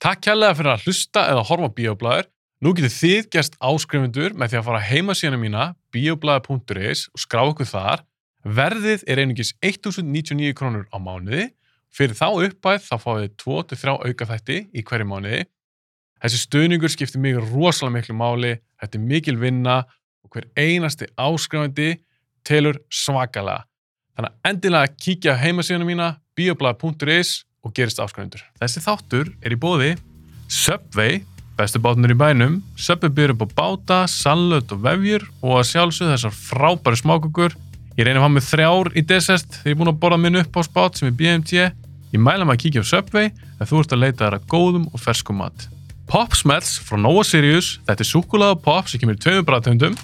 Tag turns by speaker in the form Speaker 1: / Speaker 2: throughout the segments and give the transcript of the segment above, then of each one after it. Speaker 1: Takk kærlega fyrir að hlusta eða horfa á Bíoblæður. Nú getur þið gerst áskrifundur með því að fara á heimasíðuna mína bioblæður.is og skrá okkur þar. Verðið er einungis 1.099 krónur á mánuði. Fyrir þá uppæð þá fáið þið 2-3 aukaþætti í hverju mánuði. Þessi stuðningur skiptir mig rosalega miklu máli, þetta er mikil vinna og hver einasti áskrifandi telur svakalega. Þannig að endilega kíkja á heimasíðuna mína bioblað.is og gerist áskrifundur. Þessi þáttur er í bóði Subway, bestu bátunur í bænum, Subway byrjur upp á báta, sallöt og vefjur og að sjálfsögðu þessar frábæri smákukur. Ég reyni að hafa með þrjár í desert þegar ég er búin að borða minn upp á spát sem er BMT. Ég mæla maður að kíkja á Subway þegar þú ert að leita þar að góðum og ferskum mat. Pop Smells frá Nova Sirius, þetta er súkulega pop sem kemur í tveimur bræðtöndum,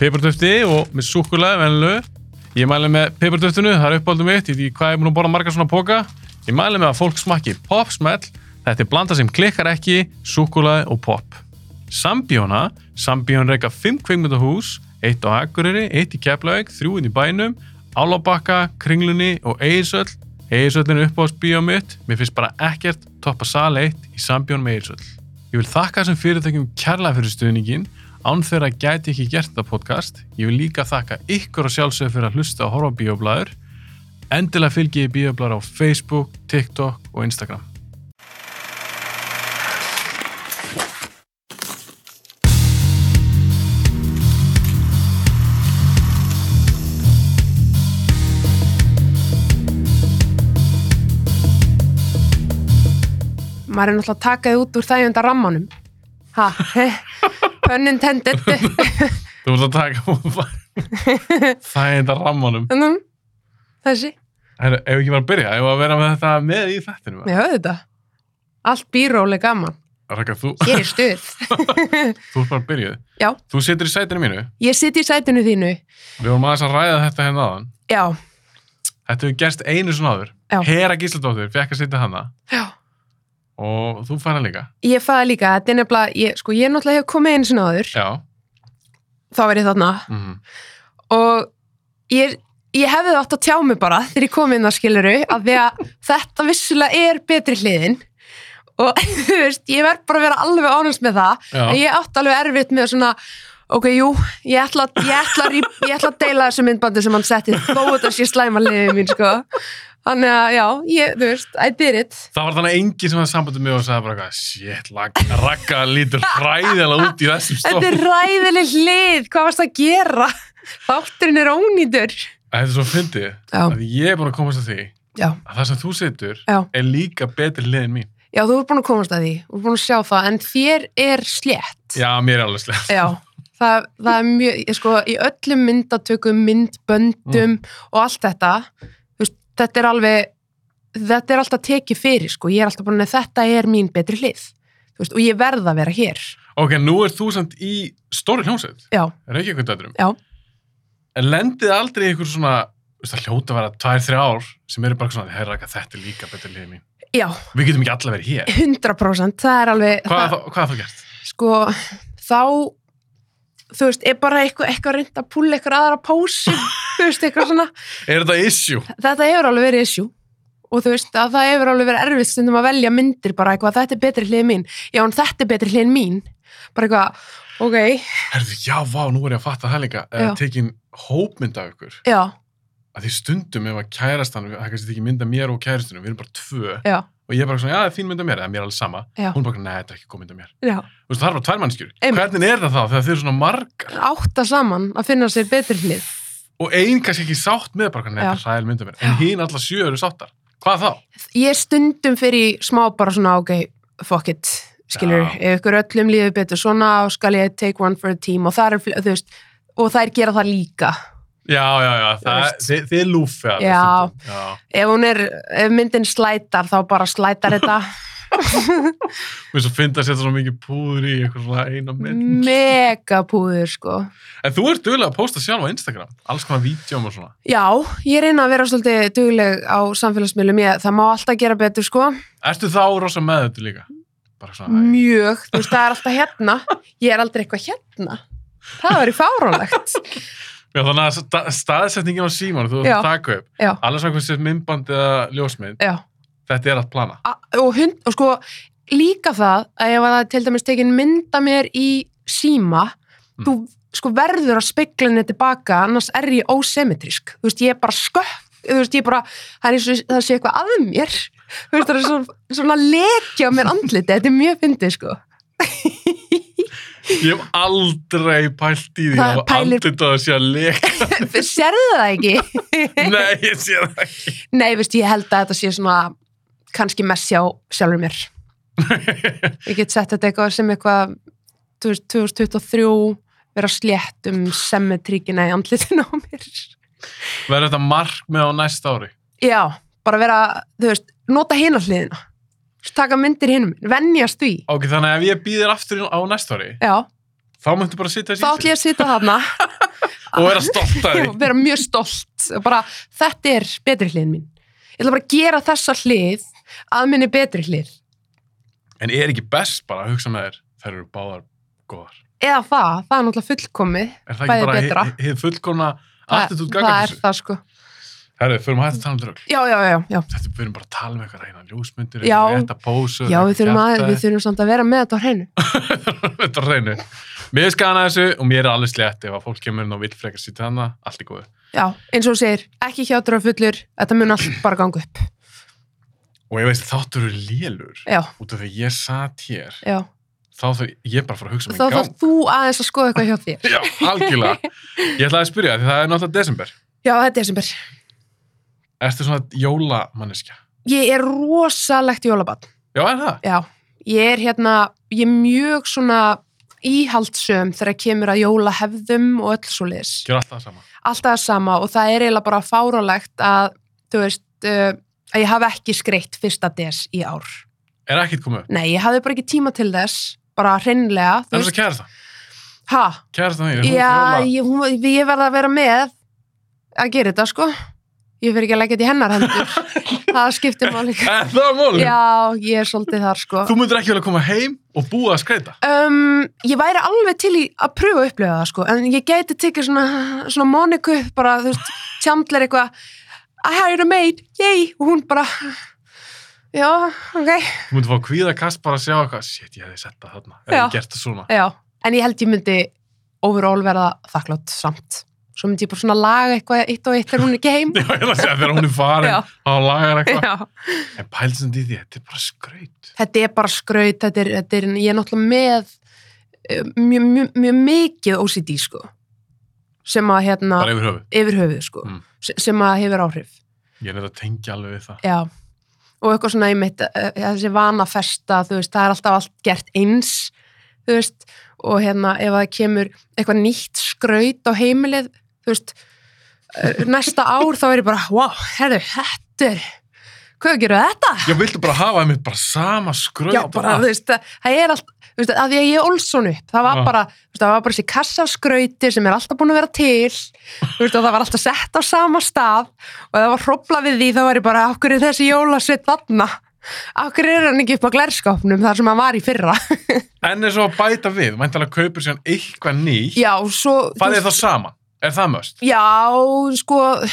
Speaker 1: pipartöfti og með súkulega venlu. Ég mæli með pipartöftinu, það er uppáldum mitt, ég veit ekki hvað ég er búin að borða margar svona póka. Ég mæli með að fólk smakki Pop Smell, þetta er blanda sem klikkar ekki, súkulega og pop. Sambjóna, Sambjón reyka 5 kveikmyndahús, 1 á Akureyri, 1 í Keflavík, 3 inn í bænum, Álabakka, Kringlunni og Eirsöll. Eirsöllin er uppáhaldsbíó mitt, mér finnst bara ekkert toppa sal 1 í Sambjón með Eirsöll. Ég vil þakka þessum fyrirtækjum kærlega fyrir stuðningin, án þeirra gæti ég ekki gert þetta podcast. Ég vil líka þakka ykkur og sjálfsögur fyrir að hlusta og horfa á bíoblæður. Endilega fylgi ég bíoblæður á Facebook, TikTok og Instagram.
Speaker 2: maður er náttúrulega að taka þið út úr þægjönda rammanum ha, pun intended
Speaker 1: Þú ert að taka það er þetta rammanum.
Speaker 2: Nú, þessi,
Speaker 1: Heru, ef ekki var að byrja, ef að vera með þetta með í þættinu.
Speaker 2: við höfum þetta allt býróli gaman,
Speaker 1: Rækka, þú,
Speaker 2: hér er stuð
Speaker 1: þú ert bara að byrja.
Speaker 2: já,
Speaker 1: Þú situr í sætinu mínu.
Speaker 2: ég sitt í sætinu þínu
Speaker 1: Við vorum aðeins að ræða þetta hérna aðan.
Speaker 2: já,
Speaker 1: Þetta hefur gerst einu svona áður.
Speaker 2: Já.
Speaker 1: Hera Gísladóttir fekk að sitja hana
Speaker 2: já
Speaker 1: og þú fær hana líka.
Speaker 2: ég fæði líka, þetta er nefnilega ég, sko, ég náttúrulega hef komið einu sinna áður
Speaker 1: Já.
Speaker 2: þá verið þarna
Speaker 1: Mm
Speaker 2: og ég, ég hefði átt að tjá mig bara þegar ég kom inn að skiluru að því að þetta vissulega er betri hliðin og þú veist, ég verð bara að vera alveg ánast með það
Speaker 1: Já.
Speaker 2: En ég átti alveg erfitt með svona ok, jú, ég ætla, ég ætla, að rí- ég ætla að deila þessu myndbandi sem hann setti þó þetta sé slæma liðið mín, sko þannig að, já, ég, þú veist, I did it
Speaker 1: Það var þannig enginn sem hafði sambandið mig og sagði bara eitthvað, shit, lag, rakka lítur hræðilega út í þessum stof.
Speaker 2: Þetta er ræðileg hlið, hvað varst að gera? Þátturinn er ónýtur
Speaker 1: Þetta er svo fyndið
Speaker 2: Já.
Speaker 1: að ég er búin að komast að því
Speaker 2: Já,
Speaker 1: að það sem þú situr
Speaker 2: já,
Speaker 1: er líka betri lið en mín.
Speaker 2: já, þú ert búin að komast að því þú ert búin að sjá það, en þér er slétt
Speaker 1: Já, mér er alveg slega.
Speaker 2: Já, það, það er mjög, ég sko, í öllum myndatökum, myndböndum og allt þetta, þú veist, þetta er alveg, þetta er alltaf tekið fyrir, sko, ég er alltaf búin að þetta er mín betri hlið, þú veist, og ég verð að vera hér,
Speaker 1: Ok, nú er þú samt í stóri hljómsveit,
Speaker 2: já,
Speaker 1: Reykjavík dætturum.
Speaker 2: Já. En
Speaker 1: lendið aldrei ykkur svona, þú veist, það hljóta að vera tvær, þrjá ár sem eru bara svona, herra, þetta er líka betri lið en mín.
Speaker 2: já,
Speaker 1: Við getum ekki alla verið hér.
Speaker 2: 100%, það er alveg,
Speaker 1: Hvað,
Speaker 2: það,
Speaker 1: það, hvað er það gert?
Speaker 2: sko, þá, þú veist, er bara eitthvað, eitthvað reynd að púla eitthvað aðra pási, þú veist, eitthvað svona,
Speaker 1: Er þetta issue?
Speaker 2: þetta hefur alveg verið issue og þú veist að það hefur alveg verið erfitt stundum að velja myndir bara eitthvað þetta er betri hlið mín já en þetta er betri hlið mín bara eitthvað, ok,
Speaker 1: Herðu, já, vá, nú er ég að fatta það líka.
Speaker 2: Já.
Speaker 1: Uh, tekin hópmynd af ykkur.
Speaker 2: já,
Speaker 1: að því stundum ef að kærastan, það er kannski ekki mynda mér og kærastunum, við erum bara tvö
Speaker 2: já,
Speaker 1: og ég er bara svona, já, það er þín mynda mér, eða mér er alveg sama
Speaker 2: Já.
Speaker 1: hún er bara, neða, þetta er ekki góð mynda mér
Speaker 2: já
Speaker 1: Þú veist, það er bara tvær mannskjur,
Speaker 2: Einmitt.
Speaker 1: hvernig er það þá þegar þau eru svona margar
Speaker 2: átta saman að finna sér betri hlið
Speaker 1: og ein kannski ekki sátt með bara, neða,
Speaker 2: Já.
Speaker 1: þetta er ræðil mynda mér en hín allar sjö eru sáttar, hvað þá?
Speaker 2: ég stundum fyrir smá bara svona ok, fuck it skilur,
Speaker 1: Já.
Speaker 2: ef ykkur öllum líður betur svona og skal ég take one for a team og það er, fl- þú veist, og þær gera það líka
Speaker 1: Já, já, já, það,
Speaker 2: veist.
Speaker 1: þið, þið lúfið
Speaker 2: Já.
Speaker 1: já,
Speaker 2: ef hún er, ef myndin slætar þá bara slætar þetta
Speaker 1: mér svo finnst að setja svona mikið púður í eitthvað svona eina
Speaker 2: Mm.
Speaker 1: mynd
Speaker 2: megapúður sko
Speaker 1: En þú ert duglega að posta sjálf á Instagram, alls konar vídjum og svona
Speaker 2: Já, ég reyna að vera svolítið dugleg á samfélagsmiðlum, ég, það má alltaf gera betur sko,
Speaker 1: Ertu þá rosa með þetta líka? Bara svona,
Speaker 2: Mm.
Speaker 1: æ,
Speaker 2: mjög, þú veist, það er alltaf hérna, ég er aldrei eitthvað hérna, það verið fáránlegt,
Speaker 1: Já, þannig að sta staðsetningin á síman, þú ert
Speaker 2: Já.
Speaker 1: að taka upp,
Speaker 2: Já.
Speaker 1: alveg svona hversu myndband eða ljósmynd,
Speaker 2: já,
Speaker 1: þetta er allt plana.
Speaker 2: A- og, hund, og sko, líka það að ef að það er til dæmis tekin mynda mér í síma
Speaker 1: Mm.
Speaker 2: þú sko verður að speikla henni tilbaka annars er ég ósymmetrisk þú veist ég er bara sköpp þú veist ég bara, það er eins og það sé eitthvað að mér þú veist það er svona, svona leki á mér andliti, þetta er mjög fyndið sko
Speaker 1: Ég hef aldrei pælt í því
Speaker 2: Það
Speaker 1: að
Speaker 2: pælir-
Speaker 1: andlita það sé að leka.
Speaker 2: sérðu það ekki?
Speaker 1: Nei, ég sé það ekki.
Speaker 2: Nei, þú veist ég held að þetta sé svona kannski messi á sjálfur mér ég get sett þetta eitthvað sem eitthvað þú veist, 2023 vera slétt um semmetríkina í andlitinu á mér
Speaker 1: Verður þetta markmið á næsta ári?
Speaker 2: já, bara vera, þú veist nota hina hliðina, Þú veist, taka myndir hinum venjast því,
Speaker 1: Ok, þannig að ef ég býðir aftur á næsta ári,
Speaker 2: já
Speaker 1: þá möntu bara sitja
Speaker 2: þá ætlum ég að sita þarna
Speaker 1: og vera stolt að
Speaker 2: Já,
Speaker 1: því.
Speaker 2: vera mjög stolt og bara, þetta er betri hliðin mín ég ætla bara að gera þessa hlið að minni betri hlið
Speaker 1: En er ekki best bara að hugsa með þér, þær eru báðar góðar.
Speaker 2: eða það, það er náttúrulega fullkomið
Speaker 1: Er það
Speaker 2: Bæði
Speaker 1: ekki bara
Speaker 2: betra.
Speaker 1: hi- hi- hið fullkomna
Speaker 2: það,
Speaker 1: attitút
Speaker 2: það er
Speaker 1: gaggakursu?
Speaker 2: það sko
Speaker 1: Herru, förum að hætta að tala um drögl.
Speaker 2: já, já, já, já
Speaker 1: Þetta við erum bara að tala um eitthvað reyna ljósmyndir,
Speaker 2: Já.
Speaker 1: eitthvað rétta pósu.
Speaker 2: Já, við þurfum, að, við þurfum samt að vera með þetta á hreinu.
Speaker 1: Þetta er reynu. Mér er skana þessu og mér er alveg slett ef að fólk kemur inn og vill frekar sitja hana, allt er góð.
Speaker 2: Já, eins og þú segir, ekki hjátur og fullur, þetta mun allt bara ganga upp.
Speaker 1: Og ég veist þáttur eru lélur.
Speaker 2: Já,
Speaker 1: Út af því ég satt hér,
Speaker 2: já.
Speaker 1: þá þarf ég bara að fara að hugsa mig
Speaker 2: Þá
Speaker 1: í
Speaker 2: þarf
Speaker 1: gang.
Speaker 2: þú aðeins að skoða eitthvað hjá þér.
Speaker 1: Já, algjörlega. Ég ætlaði að spyrja, því það er náttúrulega desember.
Speaker 2: Já, þetta er desember.
Speaker 1: Ertu svona jólamanneskja?
Speaker 2: Ég er rosalegt jólabann.
Speaker 1: Já, er það?
Speaker 2: Já, ég er hérna, ég er mjög svona íhaldsum þegar kemur að jólahefðum og öll svo liðs.
Speaker 1: Gjör alltaf það sama.
Speaker 2: Alltaf það sama og það er eiginlega bara fárálegt að, þú veist, uh, að ég hafi ekki skreitt fyrsta des í ár.
Speaker 1: Er ekkert komið upp?
Speaker 2: Nei, ég hafði bara ekki tíma til þess, bara hreinlega,
Speaker 1: Er
Speaker 2: þú
Speaker 1: það
Speaker 2: veist,
Speaker 1: kærasta?
Speaker 2: ha,
Speaker 1: Kærasta mín, er hún
Speaker 2: Já,
Speaker 1: jóla?
Speaker 2: ég, hún, ég verð að vera með að gera þetta, sko. Ég fyrir ekki að leggja þetta í hennar hendur. það skiptir máli líka.
Speaker 1: Er það málum?
Speaker 2: Já, ég er svolítið þar, sko.
Speaker 1: Þú myndir ekki vel að koma heim og búa að skreita?
Speaker 2: Um, ég væri alveg til í að pröfa að upplifa það, sko. En ég gæti tekið svona, svona Moniku, bara, þú veist, tjandlar eitthvað. I hired a maid, yay! Og hún bara, já, ok,
Speaker 1: Þú myndir fá að kvíða kast bara að sjá eitthvað, shit, ég hefði sett það þarna, ef
Speaker 2: Já.
Speaker 1: ég gert það svona.
Speaker 2: já. En ég held ég myndi overall verða þakklátt samt. Svo myndi ég bara svona laga eitthvað eitt og eitt þegar hún er ekki heim.
Speaker 1: Já, ég ætla að segja þegar hún er farin
Speaker 2: Já.
Speaker 1: og lagar eitthvað.
Speaker 2: Já.
Speaker 1: En pælið sem því, þetta er bara skreit.
Speaker 2: þetta er bara skraut, þetta er, þetta er ég er náttúrulega með eh, mjög mjö, mjö mikið OCD sko sem að hérna
Speaker 1: Bara yfir höfuð.
Speaker 2: yfir höfuð sko,
Speaker 1: Mm.
Speaker 2: se- sem að hefur áhrif
Speaker 1: Ég er þetta að tengja alveg við það.
Speaker 2: já, og eitthvað svona einmitt, eh, þessi vanafesta, þú veist, það er alltaf allt gert eins, þú veist og hérna ef það kemur eitthvað nýtt skraut á heimilið þú veist, eh, næsta ár þá er ég bara, wow, herðu, þetta er hvað gerðu þetta?
Speaker 1: Já, viltu bara hafa einmitt bara sama skreit?
Speaker 2: Já, bara, þú veist, það- það er allt, þú veist, að því að ég er Olsson upp, það var
Speaker 1: Já.
Speaker 2: bara, þú veist, það var bara þessi kassaskrauti sem er alltaf búin að vera til, þú veist, og það var alltaf sett á sama stað og það var hrópla við því, þá var ég bara, okkur er þessi jólasveit þarna, okkur er hann ekki upp á glerskapnum þar sem hann var í fyrra.
Speaker 1: En eins og að bæta við, mæntalega kaupir sér eitthvað nýtt,
Speaker 2: Já, svo, þú
Speaker 1: farið
Speaker 2: veist,
Speaker 1: það saman. Er það möst?
Speaker 2: já, sko,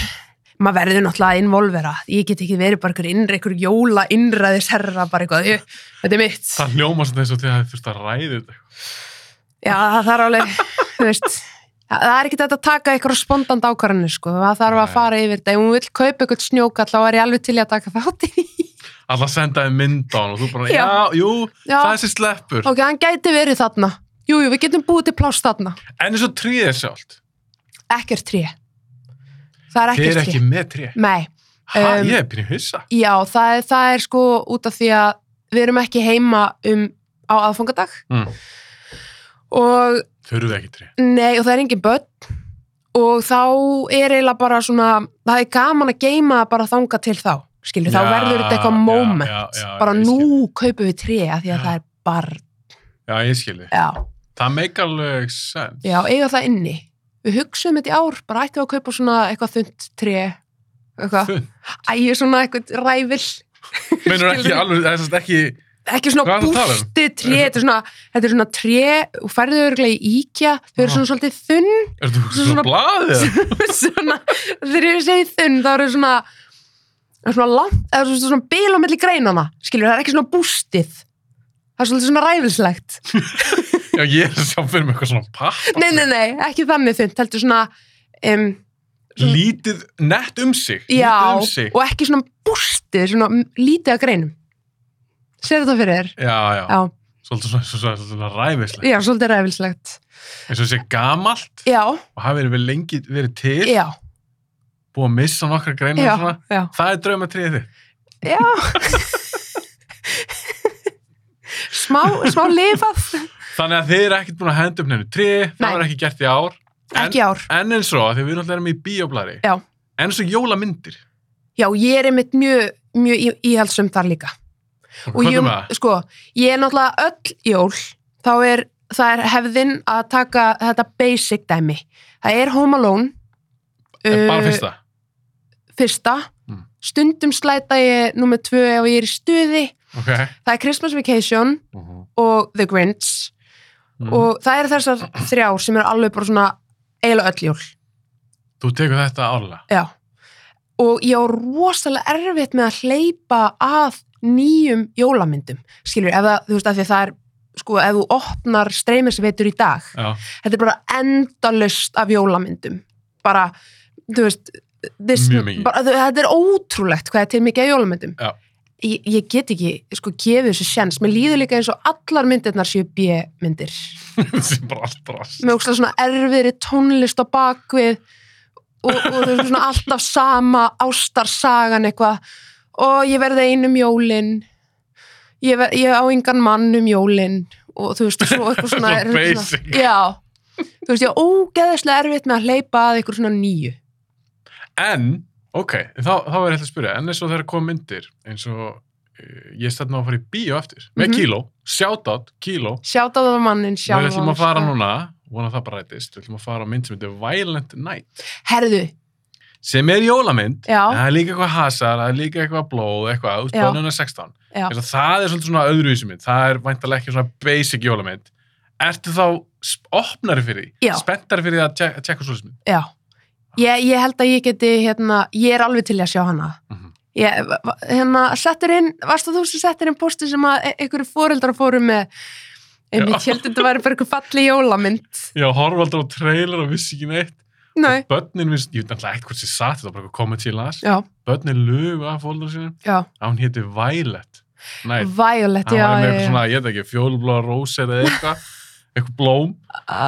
Speaker 2: maður verður náttúrulega að involvera, ég get ekki verið bara einhver innri, einhver jóla innræðisherra, bara eitthvað, ég- þetta er mitt.
Speaker 1: Það hljóma sem þess að þið hafið þurft að ræði þetta.
Speaker 2: Já, það þarf alveg, þú veist, það það er ekki þetta að taka eitthvað spondand ákvarðinu, sko, það þarf að
Speaker 1: Nei.
Speaker 2: fara yfir þetta. Ef hún vil kaupa eitthvað snjóka, þá er ég alveg til í að taka þátt í því.
Speaker 1: Alla sendaði mynd á hann og þú bara, já,
Speaker 2: Já.
Speaker 1: jú,
Speaker 2: Já,
Speaker 1: það er sér sleppur.
Speaker 2: ok, hann gæti verið þarna. Jú, jú, við getum búið til pláss þarna.
Speaker 1: En eins og tríð er sjálft.
Speaker 2: Ekkert tré. Það er
Speaker 1: Þið
Speaker 2: ekkert
Speaker 1: er
Speaker 2: tré.
Speaker 1: ekki með trí.
Speaker 2: Nei,
Speaker 1: Ha,
Speaker 2: Um,
Speaker 1: ég er byrjum hissa.
Speaker 2: já, það er, það er sko út af því að við erum ekki heima um á aðfangadag
Speaker 1: Mm.
Speaker 2: og
Speaker 1: Þau eru ekki trí.
Speaker 2: Nei, og það er engin börn og þá er eiginlega bara svona, það er gaman að geima bara þanga til þá, skilur,
Speaker 1: Já,
Speaker 2: þá verður þetta eitthvað
Speaker 1: já,
Speaker 2: moment,
Speaker 1: já, já,
Speaker 2: bara
Speaker 1: ég
Speaker 2: nú
Speaker 1: skil.
Speaker 2: kaupum við tré að því að
Speaker 1: Já.
Speaker 2: það er barn,
Speaker 1: Já, ég skilji.
Speaker 2: já,
Speaker 1: Það meikar alveg sens.
Speaker 2: já, eiga það inni við hugsaum þetta í ár, bara ættum við að kaupa svona eitthvað þund tré eitthvað,
Speaker 1: Fun.
Speaker 2: ægjur svona eitthvað ræfil
Speaker 1: Meinur ekki
Speaker 2: Skilurðu?
Speaker 1: alveg, það er sérst ekki,
Speaker 2: ekki
Speaker 1: Hvað
Speaker 2: svona
Speaker 1: er það að tala um?
Speaker 2: bústi tré, þetta er svona, þetta er svona tré og færðu örglega í íkja, þau
Speaker 1: Já.
Speaker 2: eru svona svolítið þunn
Speaker 1: er þú
Speaker 2: Svo
Speaker 1: svona
Speaker 2: svona-
Speaker 1: blaðið?
Speaker 2: svona, þegar ég segi þunn þá eru svona svona langt, eða svona, svona bil á milli greinana skilur, það er ekki svona bústið það er svolítið svona ræfilslegt
Speaker 1: Já, ég er að sjá fyrir mig eitthvað svona pappa.
Speaker 2: nei, nei, nei, ekki þannig fint, heldur svona um,
Speaker 1: Lítið nett um sig.
Speaker 2: já,
Speaker 1: Lítið um sig.
Speaker 2: og ekki svona bústið, svona m- lítið að greinum sér þetta fyrir þér
Speaker 1: Já, já.
Speaker 2: já,
Speaker 1: Svolítið svona, svona, svona, svona ræfislega.
Speaker 2: já, svolítið ræfilslegt
Speaker 1: Eins og sé gamalt
Speaker 2: já,
Speaker 1: og hafi verið lengi verið til,
Speaker 2: já,
Speaker 1: búið að missa nokkra greinar
Speaker 2: já,
Speaker 1: og svona.
Speaker 2: já
Speaker 1: Það er draumatriðið þitt.
Speaker 2: já smá, smá lifað
Speaker 1: Þannig að þið eru ekkert búin að henda upp nefnu trið, það
Speaker 2: Nei.
Speaker 1: var ekki gert í ár. En-
Speaker 2: ekki ár
Speaker 1: En eins og, því við náttúrulega erum í bíóblari,
Speaker 2: Já.
Speaker 1: en eins og jólamyndir.
Speaker 2: já, ég er einmitt mjög, mjög í- íhaldsum þar líka
Speaker 1: Og
Speaker 2: og
Speaker 1: hvað
Speaker 2: ég,
Speaker 1: er það?
Speaker 2: sko, ég er náttúrulega öll jól þá er, það er hefðin að taka þetta basic dæmi það er Home Alone
Speaker 1: En
Speaker 2: uh,
Speaker 1: bara fyrst það.
Speaker 2: fyrsta.
Speaker 1: Mm.
Speaker 2: stundum slæta ég nummer tvö ef ég er í stuði
Speaker 1: Ok.
Speaker 2: það er Christmas Vacation
Speaker 1: Mhm.
Speaker 2: og The Grinch
Speaker 1: Mm.
Speaker 2: og það eru þessar þrjár sem eru alveg bara svona eiginlega öll jól
Speaker 1: Þú tekur þetta árlega.
Speaker 2: Já. Og ég á rosalega erfitt með að hleypa að nýjum jólamyndum. Skilur, ef það, þú veist, af því að það er, sko, ef þú opnar streymisveitur í dag,
Speaker 1: Já,
Speaker 2: þetta er bara endalust af jólamyndum. Bara, þú veist, this,
Speaker 1: Mjög mikið.
Speaker 2: bara, þú, þetta er ótrúlegt hvað er til mikið af jólamyndum.
Speaker 1: Já.
Speaker 2: Ég, ég get ekki, sko, gefið þessu sjens. Mér líður líka eins og allar myndirnar séu B-myndir.
Speaker 1: það er bara allt rast.
Speaker 2: Með ókslega svona erfiðri tónlist á bakvið og, og þau eru svona alltaf sama ástarsagan eitthvað og ég verði einum jólin ég, ver, ég á engan mann um jólin og þú veist og svo eitthvað svona,
Speaker 1: Svo
Speaker 2: er eitthvað
Speaker 1: basic.
Speaker 2: svona já, þú veist ég á ógeðislega erfitt með að hleypa að eitthvað svona nýju
Speaker 1: En, ok, þá, þá er þetta að spyrja, en eins og þegar kom myndir, eins og uh, ég stætti nú að fara í bíó eftir, með mm
Speaker 2: Mhm.
Speaker 1: -hmm. kíló, shoutout, kíló,
Speaker 2: sjátt á það mannin
Speaker 1: við
Speaker 2: sjálfan,
Speaker 1: ætlum að fara
Speaker 2: sko.
Speaker 1: núna, vona það bara rætist, við ætlum að fara á mynd sem heitir Violent Night,
Speaker 2: herðu,
Speaker 1: sem er jólamynd,
Speaker 2: Já.
Speaker 1: en það er líka eitthvað hasar, það er líka eitthvað blóð, eitthvað, út
Speaker 2: Já.
Speaker 1: bannuna 16.
Speaker 2: já
Speaker 1: Þess að það er svolítið svona öðruvísi mynd, það er væntalega ekki svona basic jólamynd. Ertu þá sp- opnari fyrir því,
Speaker 2: Já.
Speaker 1: spenntari fyrir því að tjek- að tjekka svolítið mynd?
Speaker 2: Já, ég, ég held að ég geti, hérna, ég er alveg til í að sjá hana.
Speaker 1: Mhm.
Speaker 2: ég, va- va- hérna, settur inn, varstu þú sem settur inn posti sem að e- einhverju fóreldrar fóru með, en ég
Speaker 1: Já.
Speaker 2: held að þetta væri bara einhver falli jólamynd.
Speaker 1: Já, horfa aldrei á trailer og vissi ekki neitt.
Speaker 2: Nei,
Speaker 1: Bönnin, vissi, ég veit alltaf ekkert hvort sem satt, þetta var bara eitthvað komið til að.
Speaker 2: já,
Speaker 1: Bönnin lugu af fólkdra sínum,
Speaker 2: já,
Speaker 1: að hún héti Violet. Nei,
Speaker 2: Violet,
Speaker 1: hann
Speaker 2: já,
Speaker 1: var með
Speaker 2: já,
Speaker 1: eitthvað
Speaker 2: já.
Speaker 1: svona, ég veit ekki, fjólblóða rósa eða eitthvað, eitthvað blóm.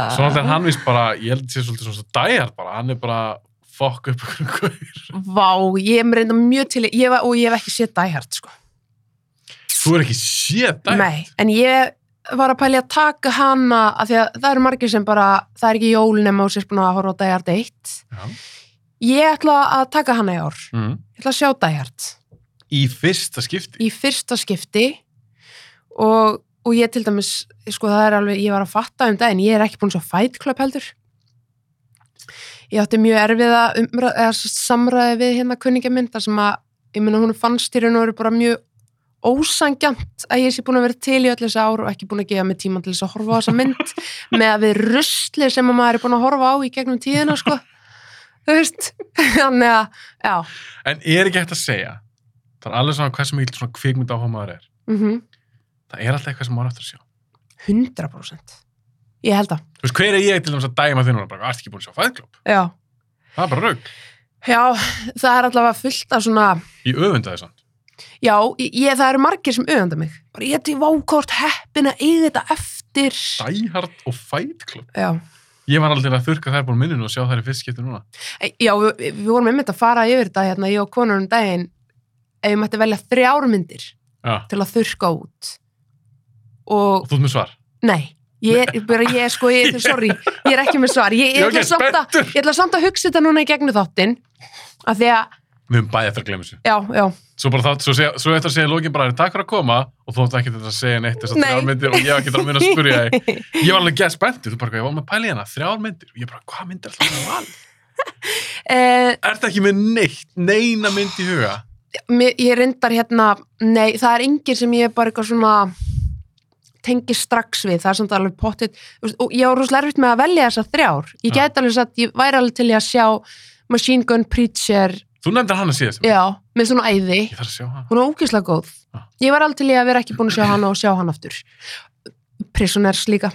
Speaker 1: Svo alltaf er hann vist bara, ég held að sé svolítið svona dæjar bara, hann er bara fokk upp einhverjum gaur.
Speaker 2: Vá, ég er reynda mjög til, í- ég var, og ég hef ekki séð dæhjart, sko.
Speaker 1: Þú er ekki séð dæjar.
Speaker 2: Nei, en ég var að pæli að taka hana, af því að það eru margir sem bara, það er ekki jól nema og sér búin að horfa á dæhjart eitt.
Speaker 1: Já.
Speaker 2: Ég ætla að taka hana í ár.
Speaker 1: Mm.
Speaker 2: Ég ætla að sjá dæhjart.
Speaker 1: Í fyrsta skipti.
Speaker 2: í fyrsta skipti og, og ég til dæmis sko það er alveg, ég var að fatta um daginn ég er ekki búin svo Fight Club heldur ég átti mjög erfiða umræð, eða s- samræði við hérna kunningamynda sem að, ég meina hún fannst í raun og eru bara mjög ósangjant að ég sé búin að vera til í öll þessi ár og ekki búin að gefa mig tíma til þess að horfa á þessa mynd með að við rusli sem að maður er búin að horfa á í gegnum tíðina sko þú veist, þannig að já,
Speaker 1: En er ekki hægt að segja, það er alveg svona hversu mikil svona kvikmynd áhuga maður er.
Speaker 2: mhm,
Speaker 1: Það er alltaf eitthvað sem maður á eftir að sjá.
Speaker 2: 100% ég held að,
Speaker 1: Þú veist, hver er ég til dæmis að dæma þinn og bara, ertu ekki búin að sjá fæðklub?
Speaker 2: já
Speaker 1: Það er bara raug.
Speaker 2: Já, það er allavega fullt af svona,
Speaker 1: Ég öfunda þess að.
Speaker 2: já, ég, það eru margir sem auðvanda mig. Bara ég er til vákort heppin að eiga þetta eftir.
Speaker 1: Dæhard og fæðklub.
Speaker 2: Já,
Speaker 1: Ég var aldrei að þurka þær búin minninu og sjá þær í fyrst skipti núna.
Speaker 2: E- já við, við vorum einmitt að fara yfir þetta hérna, ég og konur um daginn, ef ég mætti velja þrjármyndir
Speaker 1: Já.
Speaker 2: til að þurrka út.
Speaker 1: Og
Speaker 2: Og,
Speaker 1: þú ert með svar.
Speaker 2: nei, ég er, bara ég er sko, ég, sorry, ég er ekki með svar. Ég, ég,
Speaker 1: Ég er
Speaker 2: ætla
Speaker 1: ekki
Speaker 2: samt að, ég ætla samt að hugsa þetta núna í gegnum þáttinn, af því að,
Speaker 1: Við höfum bæði eftir að glemja þessu.
Speaker 2: já, já,
Speaker 1: Svo bara þá, svo, segja, svo eftir að segja lókin bara, takk fyrir að koma og þú ætti ekki að segja neitt þess að
Speaker 2: Nei.
Speaker 1: þrjár myndir og ég var ekki að muna að spurja þig. Ég var alveg gæð spenntur, þú bara, ég var með pæli hérna, þrjár myndir. Og ég bara, hvað myndir alltaf að vala?
Speaker 2: eh,
Speaker 1: Ertu ekki með neitt, neina mynd í huga?
Speaker 2: Mér, ég reyndar hérna, nei, það er enginn sem ég er bara eitthvað svona tengi strax við, það er samt alveg pottitt þú veist, og ég var rosalega erfitt með að velja þessar þrjár ég
Speaker 1: Já.
Speaker 2: gæti alveg sagt, ég væri alveg til í að sjá Machine Gun Preacher
Speaker 1: Þú nefndir hana síðast.
Speaker 2: já, með svona æði
Speaker 1: Ég þarf að sjá hana.
Speaker 2: hún er ógeðslega góð
Speaker 1: Já.
Speaker 2: ég var alveg til í að vera ekki búin að sjá hana og sjá hana aftur prisoners líka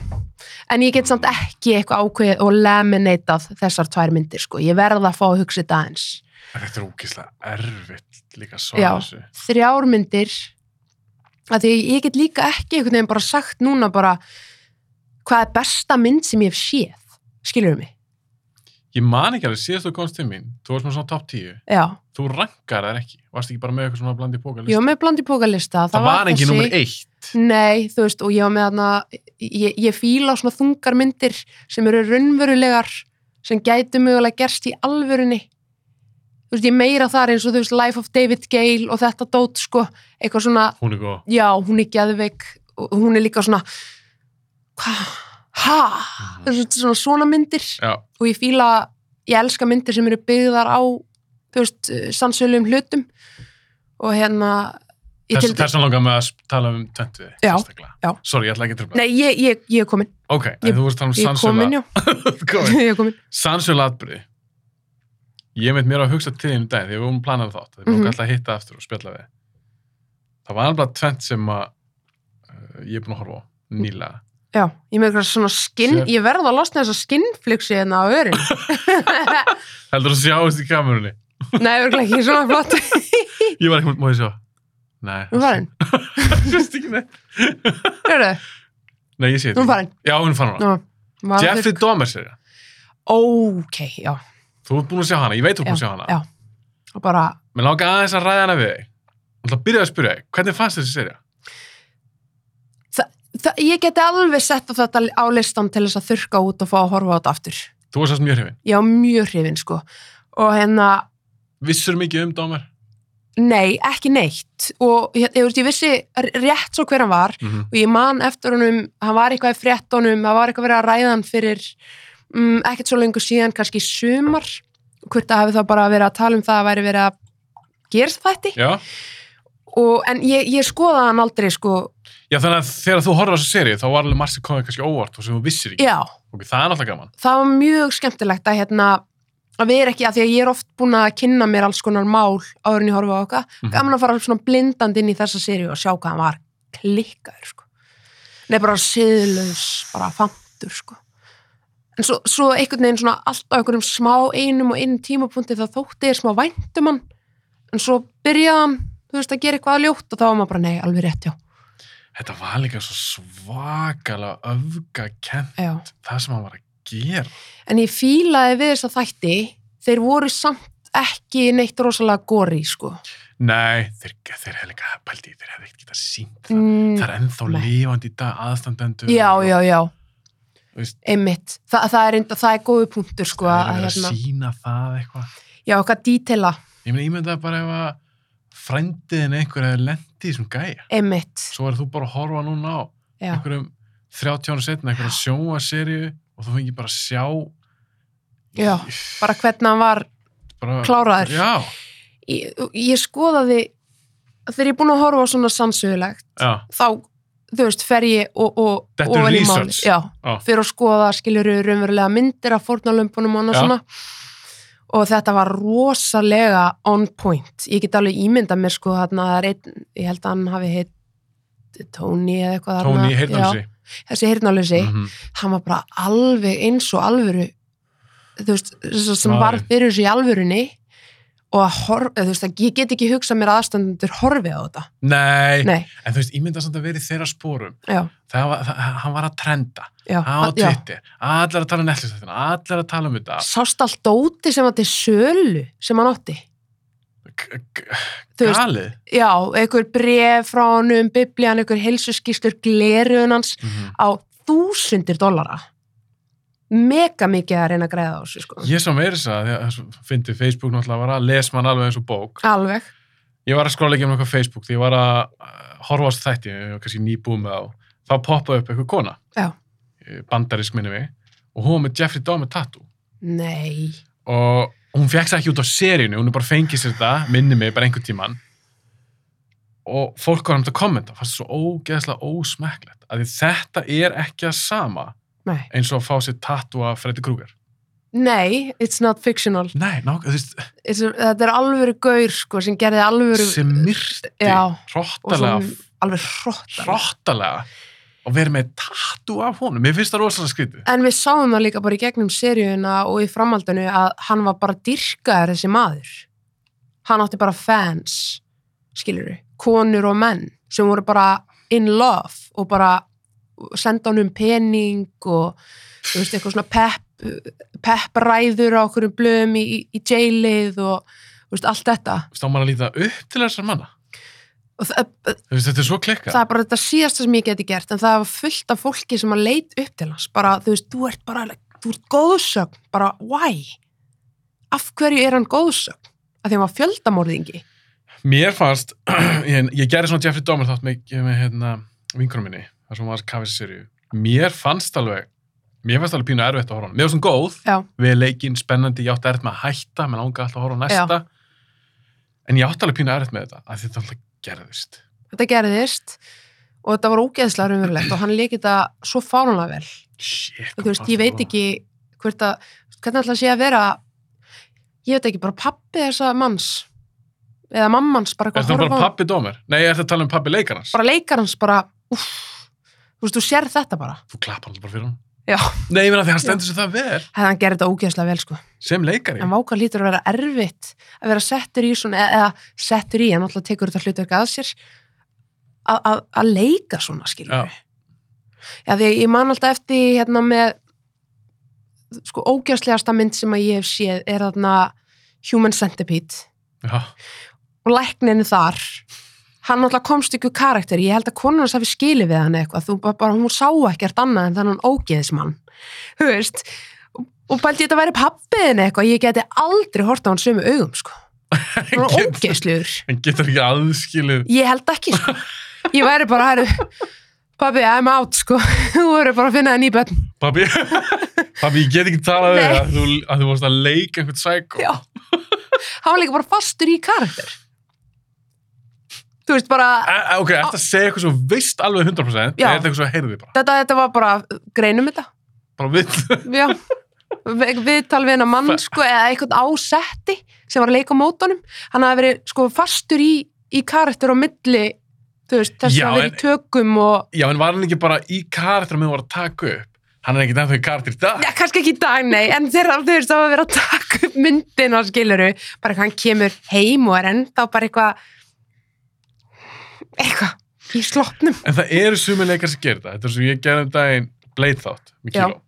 Speaker 2: en ég get samt ekki eitthvað ákveðið og laminatað þessar tvær myndir sko, ég verða að fá að hugsa þetta aðeins
Speaker 1: Þetta er ógeðslega erfitt líka að
Speaker 2: Já.
Speaker 1: svara þessu.
Speaker 2: þrjár myndir að því ég get líka ekki einhvern veginn bara sagt núna bara hvað er besta mynd sem ég hef séð skilur mig,
Speaker 1: Ég man ekki alveg síðast þú komst til mín, þú varst með svona top 10,
Speaker 2: já
Speaker 1: þú rankar þær ekki, varst ekki bara með eitthvað svona blandi pókalist.
Speaker 2: ég var með bland í pókalista, það,
Speaker 1: það var engin
Speaker 2: þessi
Speaker 1: nummer 1.
Speaker 2: nei, þú veist, og ég var með þarna ég, ég fíla svona þungar myndir sem eru raunverulegar sem gætu mögulega gerst í alvörunni þú veist, ég meira þar eins og þú veist Life of David Gale og þetta dót sko, eitthvað svona,
Speaker 1: Hún er góð.
Speaker 2: já, hún er geðveik og hún er líka svona hva, ha þú veist, svona, svona myndir
Speaker 1: Já,
Speaker 2: og ég fíla, ég elska myndir sem eru byggðar á, þú veist sannsöluðum hlutum og hérna ég
Speaker 1: þess,
Speaker 2: til-
Speaker 1: þess að langa með að sp- tala um töntuði.
Speaker 2: Já, já.
Speaker 1: Sorry, ég ætla ekki að tröfla.
Speaker 2: Nei, ég, ég, ég er komin,
Speaker 1: Ok, en þú varst að
Speaker 2: ég
Speaker 1: tala
Speaker 2: er
Speaker 1: um
Speaker 2: komin, já
Speaker 1: sannsöla.
Speaker 2: ég er komin
Speaker 1: sannsöla atbyrði. Ég veit mér að hugsa til þínu dag, þegar við vorum planað þátt, þegar við vorum
Speaker 2: Mhm.
Speaker 1: alltaf að hitta aftur og spjalla við. Það var alveg tvent sem að uh, ég er búin að horfa á, nýlega.
Speaker 2: Já, ég með eitthvað svona skinn,
Speaker 1: Sér-
Speaker 2: ég verða að losna þessa skinnflugsi hérna á örin.
Speaker 1: Heldur að sjáist í kamerunni?
Speaker 2: Nei, örgulega ekki svona flott.
Speaker 1: Ég var ekki múið að sjá. Nei.
Speaker 2: Nú var hann,
Speaker 1: Sérst ekki neitt.
Speaker 2: hörðu,
Speaker 1: Nei, ég sé þetta.
Speaker 2: nú
Speaker 1: ekki.
Speaker 2: var hann.
Speaker 1: Já, hún er farin hana.
Speaker 2: Nú, maður-
Speaker 1: Jeffrey Dahmer sér það.
Speaker 2: Ókei, já,
Speaker 1: Þú ert búin að sjá hana, ég veit þú ert búin að sjá hana.
Speaker 2: já. og bara,
Speaker 1: Mér langar aðeins að ræða hana við þig. Þú ætla að byrja að spyrja þig, hvernig fannst þessi serja?
Speaker 2: það, ég geti alveg sett á þetta á listan til þess að þurka út og fá að horfa á þetta aftur.
Speaker 1: Þú varst þess mjög hrifin.
Speaker 2: Ég á mjög hrifin, sko. Og hérna,
Speaker 1: Vissur mikið um Dahmer?
Speaker 2: nei, ekki neitt. Og ég, ég, veist, ég vissi rétt svo hver hann var,
Speaker 1: Mm -hmm.
Speaker 2: og ég man eftir honum, hann var eitthvað í fréttonum, hann var eitthvað verið að ræða hann fyrir mm, ekkert svo lengur síðan, kannski í sumar, hvort það hafi þá bara verið að tala um það að væri verið að gerst þætti,
Speaker 1: Já.
Speaker 2: og, en ég, ég skoða hann aldrei, sko,
Speaker 1: Já, þannig að þegar þú horfður á þessu serju, þá var alveg margt sem komið kannski óvart og sem þú vissir ekki.
Speaker 2: já,
Speaker 1: Ok, það er náttúrulega gaman.
Speaker 2: það var mjög skemmtilegt að hérna, að vera ekki, að því að ég er oft búin að kynna mér alls konar mál áður en ég horfa á okkar,
Speaker 1: Mhm.
Speaker 2: gaman að fara svona blindandi inn í þessa séri og sjá hvað hann var klikkaður sko. Nei, bara siðlaus, bara fantur sko. En svo, svo einhvern veginn svona allt á einhverjum smá einum og einum tímapunkti þá þótti ég smá væntum hann en svo byrjaði hann, þú veist, að gera eitthvað ljótt og þá var maður bara, nei, alveg rétt, já.
Speaker 1: Þetta var líka svo svakalega öfgakent
Speaker 2: já.
Speaker 1: það sem hann var að gera.
Speaker 2: En ég fílaði við þessa þætti þeir voru samt ekki neitt rosalega góri, sko.
Speaker 1: Nei, þeir, þeir hefði líka pældi, þeir hefði ekkert getað sínt það.
Speaker 2: Mm,
Speaker 1: Það er ennþá
Speaker 2: Nei.
Speaker 1: lifandi í dag aðstandendur.
Speaker 2: já, já, já,
Speaker 1: Þú veist,
Speaker 2: einmitt. Þa, það er enda, það er góðu punktur, sko.
Speaker 1: það er
Speaker 2: að
Speaker 1: að vera
Speaker 2: hérna-
Speaker 1: að sína það eitthvað.
Speaker 2: Já, okkar dítela,
Speaker 1: Ég meina, ég myndi að bara ef að frændiðin einhver hefði lendið í þessum gæja.
Speaker 2: einmitt.
Speaker 1: Svo er þú bara að horfa núna á
Speaker 2: Já,
Speaker 1: einhverjum 30 ára setna, einhverjum sjóa serju og þú fengið bara að sjá
Speaker 2: já, bara hvernig hann var
Speaker 1: bara,
Speaker 2: kláraður.
Speaker 1: Já,
Speaker 2: Ég, ég skoðaði, þegar ég er búin að horfa á svona sannsögulegt,
Speaker 1: já,
Speaker 2: þá, þú veist, fer ég og, og,
Speaker 1: Þetta
Speaker 2: og
Speaker 1: er
Speaker 2: í máli.
Speaker 1: research.
Speaker 2: Já,
Speaker 1: Já.
Speaker 2: fyrir að skoða, skilur við raunverulega myndir af fórnalömpunum og annað
Speaker 1: Já.
Speaker 2: svona. Og þetta var rosalega on point. Ég get alveg ímyndað mér, sko, þarna, það er einn, ég held að hann hafi heitt Tony eða eitthvað
Speaker 1: Tony
Speaker 2: þarna.
Speaker 1: Heyrnalsi.
Speaker 2: Já, þessi heyrnalösi.
Speaker 1: Mm
Speaker 2: hann var bara alveg eins og alvöru þú veist, þess að sem
Speaker 1: Maðurinn.
Speaker 2: var fyrir þessu í alvörunni og að horfa, þú veist, að ég get ekki hugsað mér að aðstandendur horfi á þetta
Speaker 1: Nei,
Speaker 2: nei,
Speaker 1: en þú veist, ég myndi að samt að vera í þeirra spórum.
Speaker 2: já,
Speaker 1: Það var, það, hann var að trenda,
Speaker 2: já,
Speaker 1: á
Speaker 2: að- já.
Speaker 1: Twitter, allar að tala um Netflix þetta, allar að tala um þetta.
Speaker 2: sást allt dóti sem var til sölu sem hann átti
Speaker 1: K- k-
Speaker 2: þú veist,
Speaker 1: Galið.
Speaker 2: já, einhver bref frá honum, biblían, einhver helsuskýslur glerun hans
Speaker 1: Mhm.
Speaker 2: á þúsundir dollara mega mikið að reyna að græða á þessu sko.
Speaker 1: Ég sá meira þess að, þegar fyndi Facebook náttúrulega var að lesa mann alveg eins og bók.
Speaker 2: alveg,
Speaker 1: Ég var að skróla ekki um eitthvað Facebook því ég var að uh, horfa á þessu þætti, ég var kannski nýbúið með þá. Þá poppaði upp eitthvað kona,
Speaker 2: Já.
Speaker 1: Eh, bandarisk minni mig, og hún var með Jeffrey Dahmer tattoo.
Speaker 2: nei
Speaker 1: Og hún fekk það ekki út á seríunni, hún er bara fengið sér þetta, minni mig, bara einhvern tíman. Og fólk var hægt að kommenta, fannst það svo ógeðslega ósmekklegt. Að þetta er ekki að sama
Speaker 2: nei,
Speaker 1: eins og að fá sér tattoo af Freddy Krueger.
Speaker 2: nei, it's not fictional
Speaker 1: Nei, nák, þú veist,
Speaker 2: it's, þetta er alvöru gaur sko, sem gerði alvöru
Speaker 1: sem myrti,
Speaker 2: Já. og
Speaker 1: hróttalega,
Speaker 2: sem alveg hrótt
Speaker 1: hróttalega og verið með tattu af honum. Mér finnst það rosalega skrítið.
Speaker 2: en við sáum það líka bara í gegnum seríuna og í framhaldinu að hann var bara dyrkaður þessi maður hann átti bara fans skilur við, konur og menn sem voru bara in love og bara senda honum pening og þú veist, eitthvað svona pep, peppræður á okkurum blöðum í, í- í jailið og þú veist, allt þetta
Speaker 1: Þú veist, á maður að líta upp til þessar manna.
Speaker 2: og það,
Speaker 1: Þú veist, þetta er svo klikkað.
Speaker 2: það er bara þetta síðasta sem ég geti gert en það var fullt af fólki sem að leit upp til hans bara, þú veist, þú ert bara þú ert góðsögn, bara, why? af hverju er hann góðsögn? af því hann var fjöldamorðingi
Speaker 1: Mér fannst, ég, ég gerði svona Jeffrey Dahmer þátt með, með hérna, vinkunum minni, þar sem var kafið sér í. Mér fannst alveg, mér fannst alveg pínu erfitt að horfa á hann. Mér var svona góð,
Speaker 2: já,
Speaker 1: við leikinn spennandi, ég átti erfitt með að hætta, menn ánga alltaf að horfa á næsta. En ég átti alveg pínu erfitt með þetta, að þetta alltaf gerðist.
Speaker 2: þetta gerðist og þetta var ógeðslega raunverulegt og hann leikið þetta svo fárunlega vel
Speaker 1: Shit.
Speaker 2: og þú veist, ég veit ekki hvert að, hvernig alltaf sé að vera ég veit ekki, bara pappi þessa manns eða mammans, bara
Speaker 1: Er
Speaker 2: eitthvað
Speaker 1: þetta
Speaker 2: að
Speaker 1: bara
Speaker 2: horfa á-
Speaker 1: pappi Dómer? um Nei, er þetta að tala um pappi leikarans?
Speaker 2: bara leikar hans, bara uff, þú veist, þú sér þetta bara
Speaker 1: Þú klappar alltaf bara fyrir hann.
Speaker 2: Já.
Speaker 1: Nei, ég meina því hann stendur sér það vel
Speaker 2: hefði hann gerði þetta ógeðslega vel sko
Speaker 1: sem leikari.
Speaker 2: en váka lítur að vera erfitt að vera settur í svona eða, eða settur í, hann alltaf tekur þetta hlutverk að sér að- að að leika svona skilur
Speaker 1: Já.
Speaker 2: við já því ég man alltaf eftir því, hérna með sko ógeðslegasta mynd sem að ég hef séð er þarna Human Centipede
Speaker 1: Já.
Speaker 2: og læknin þar hann alltaf komst ykkur karakter ég held að konur hans hafi skilið við hann eitthvað þú bara, bara hún sá ekkert annað en þannig ógeðismann þú veist og, og bælti þetta væri pappiðin eitthvað ég geti aldrei hort á hann sömu augum sko. hann var
Speaker 1: Get-
Speaker 2: ógeðsluður
Speaker 1: Hann getur ekki aðskilið
Speaker 2: ég held ekki sko. ég væri bara hæru Pabbi, I'm out, sko. Þú verður bara að finna það nýbönn.
Speaker 1: Pabbi, pabbi, ég get ekki talað við
Speaker 2: Nei.
Speaker 1: þig að þú, að þú varst að leika einhvern sækó.
Speaker 2: Já. Hann var líka bara fastur í karakter. Þú veist, bara...
Speaker 1: Ok, eftir að segja eitthvað svo veist alveg 100%,
Speaker 2: Já.
Speaker 1: eða er þetta eitthvað svo heyrði bara.
Speaker 2: Þetta, þetta var bara... Greinum þetta.
Speaker 1: Bara vill.
Speaker 2: já, Vi- viðtal við hennar mann sko, eða eitthvað ásetti sem var að leika á mótunum hann hafði verið sko fastur í, í karakter á milli þú veist, þess
Speaker 1: Já,
Speaker 2: að verið
Speaker 1: en-
Speaker 2: í tökum og
Speaker 1: Já, en var hann ekki bara í karakter með var að taka upp? Hann er ekki ennþá í karakter í dag.
Speaker 2: já, kannski ekki í dag, nei, en þeirra þú veist, það var verið að taka upp myndina skiluru, bara eitthvað hann kemur heim og er ennþá bara eitthvað eitthvað í sloppnum
Speaker 1: En það eru sumir leikar sem gerir það. Þetta er svo ég gerði um daginn Blade þátt með
Speaker 2: Já.
Speaker 1: Kilo.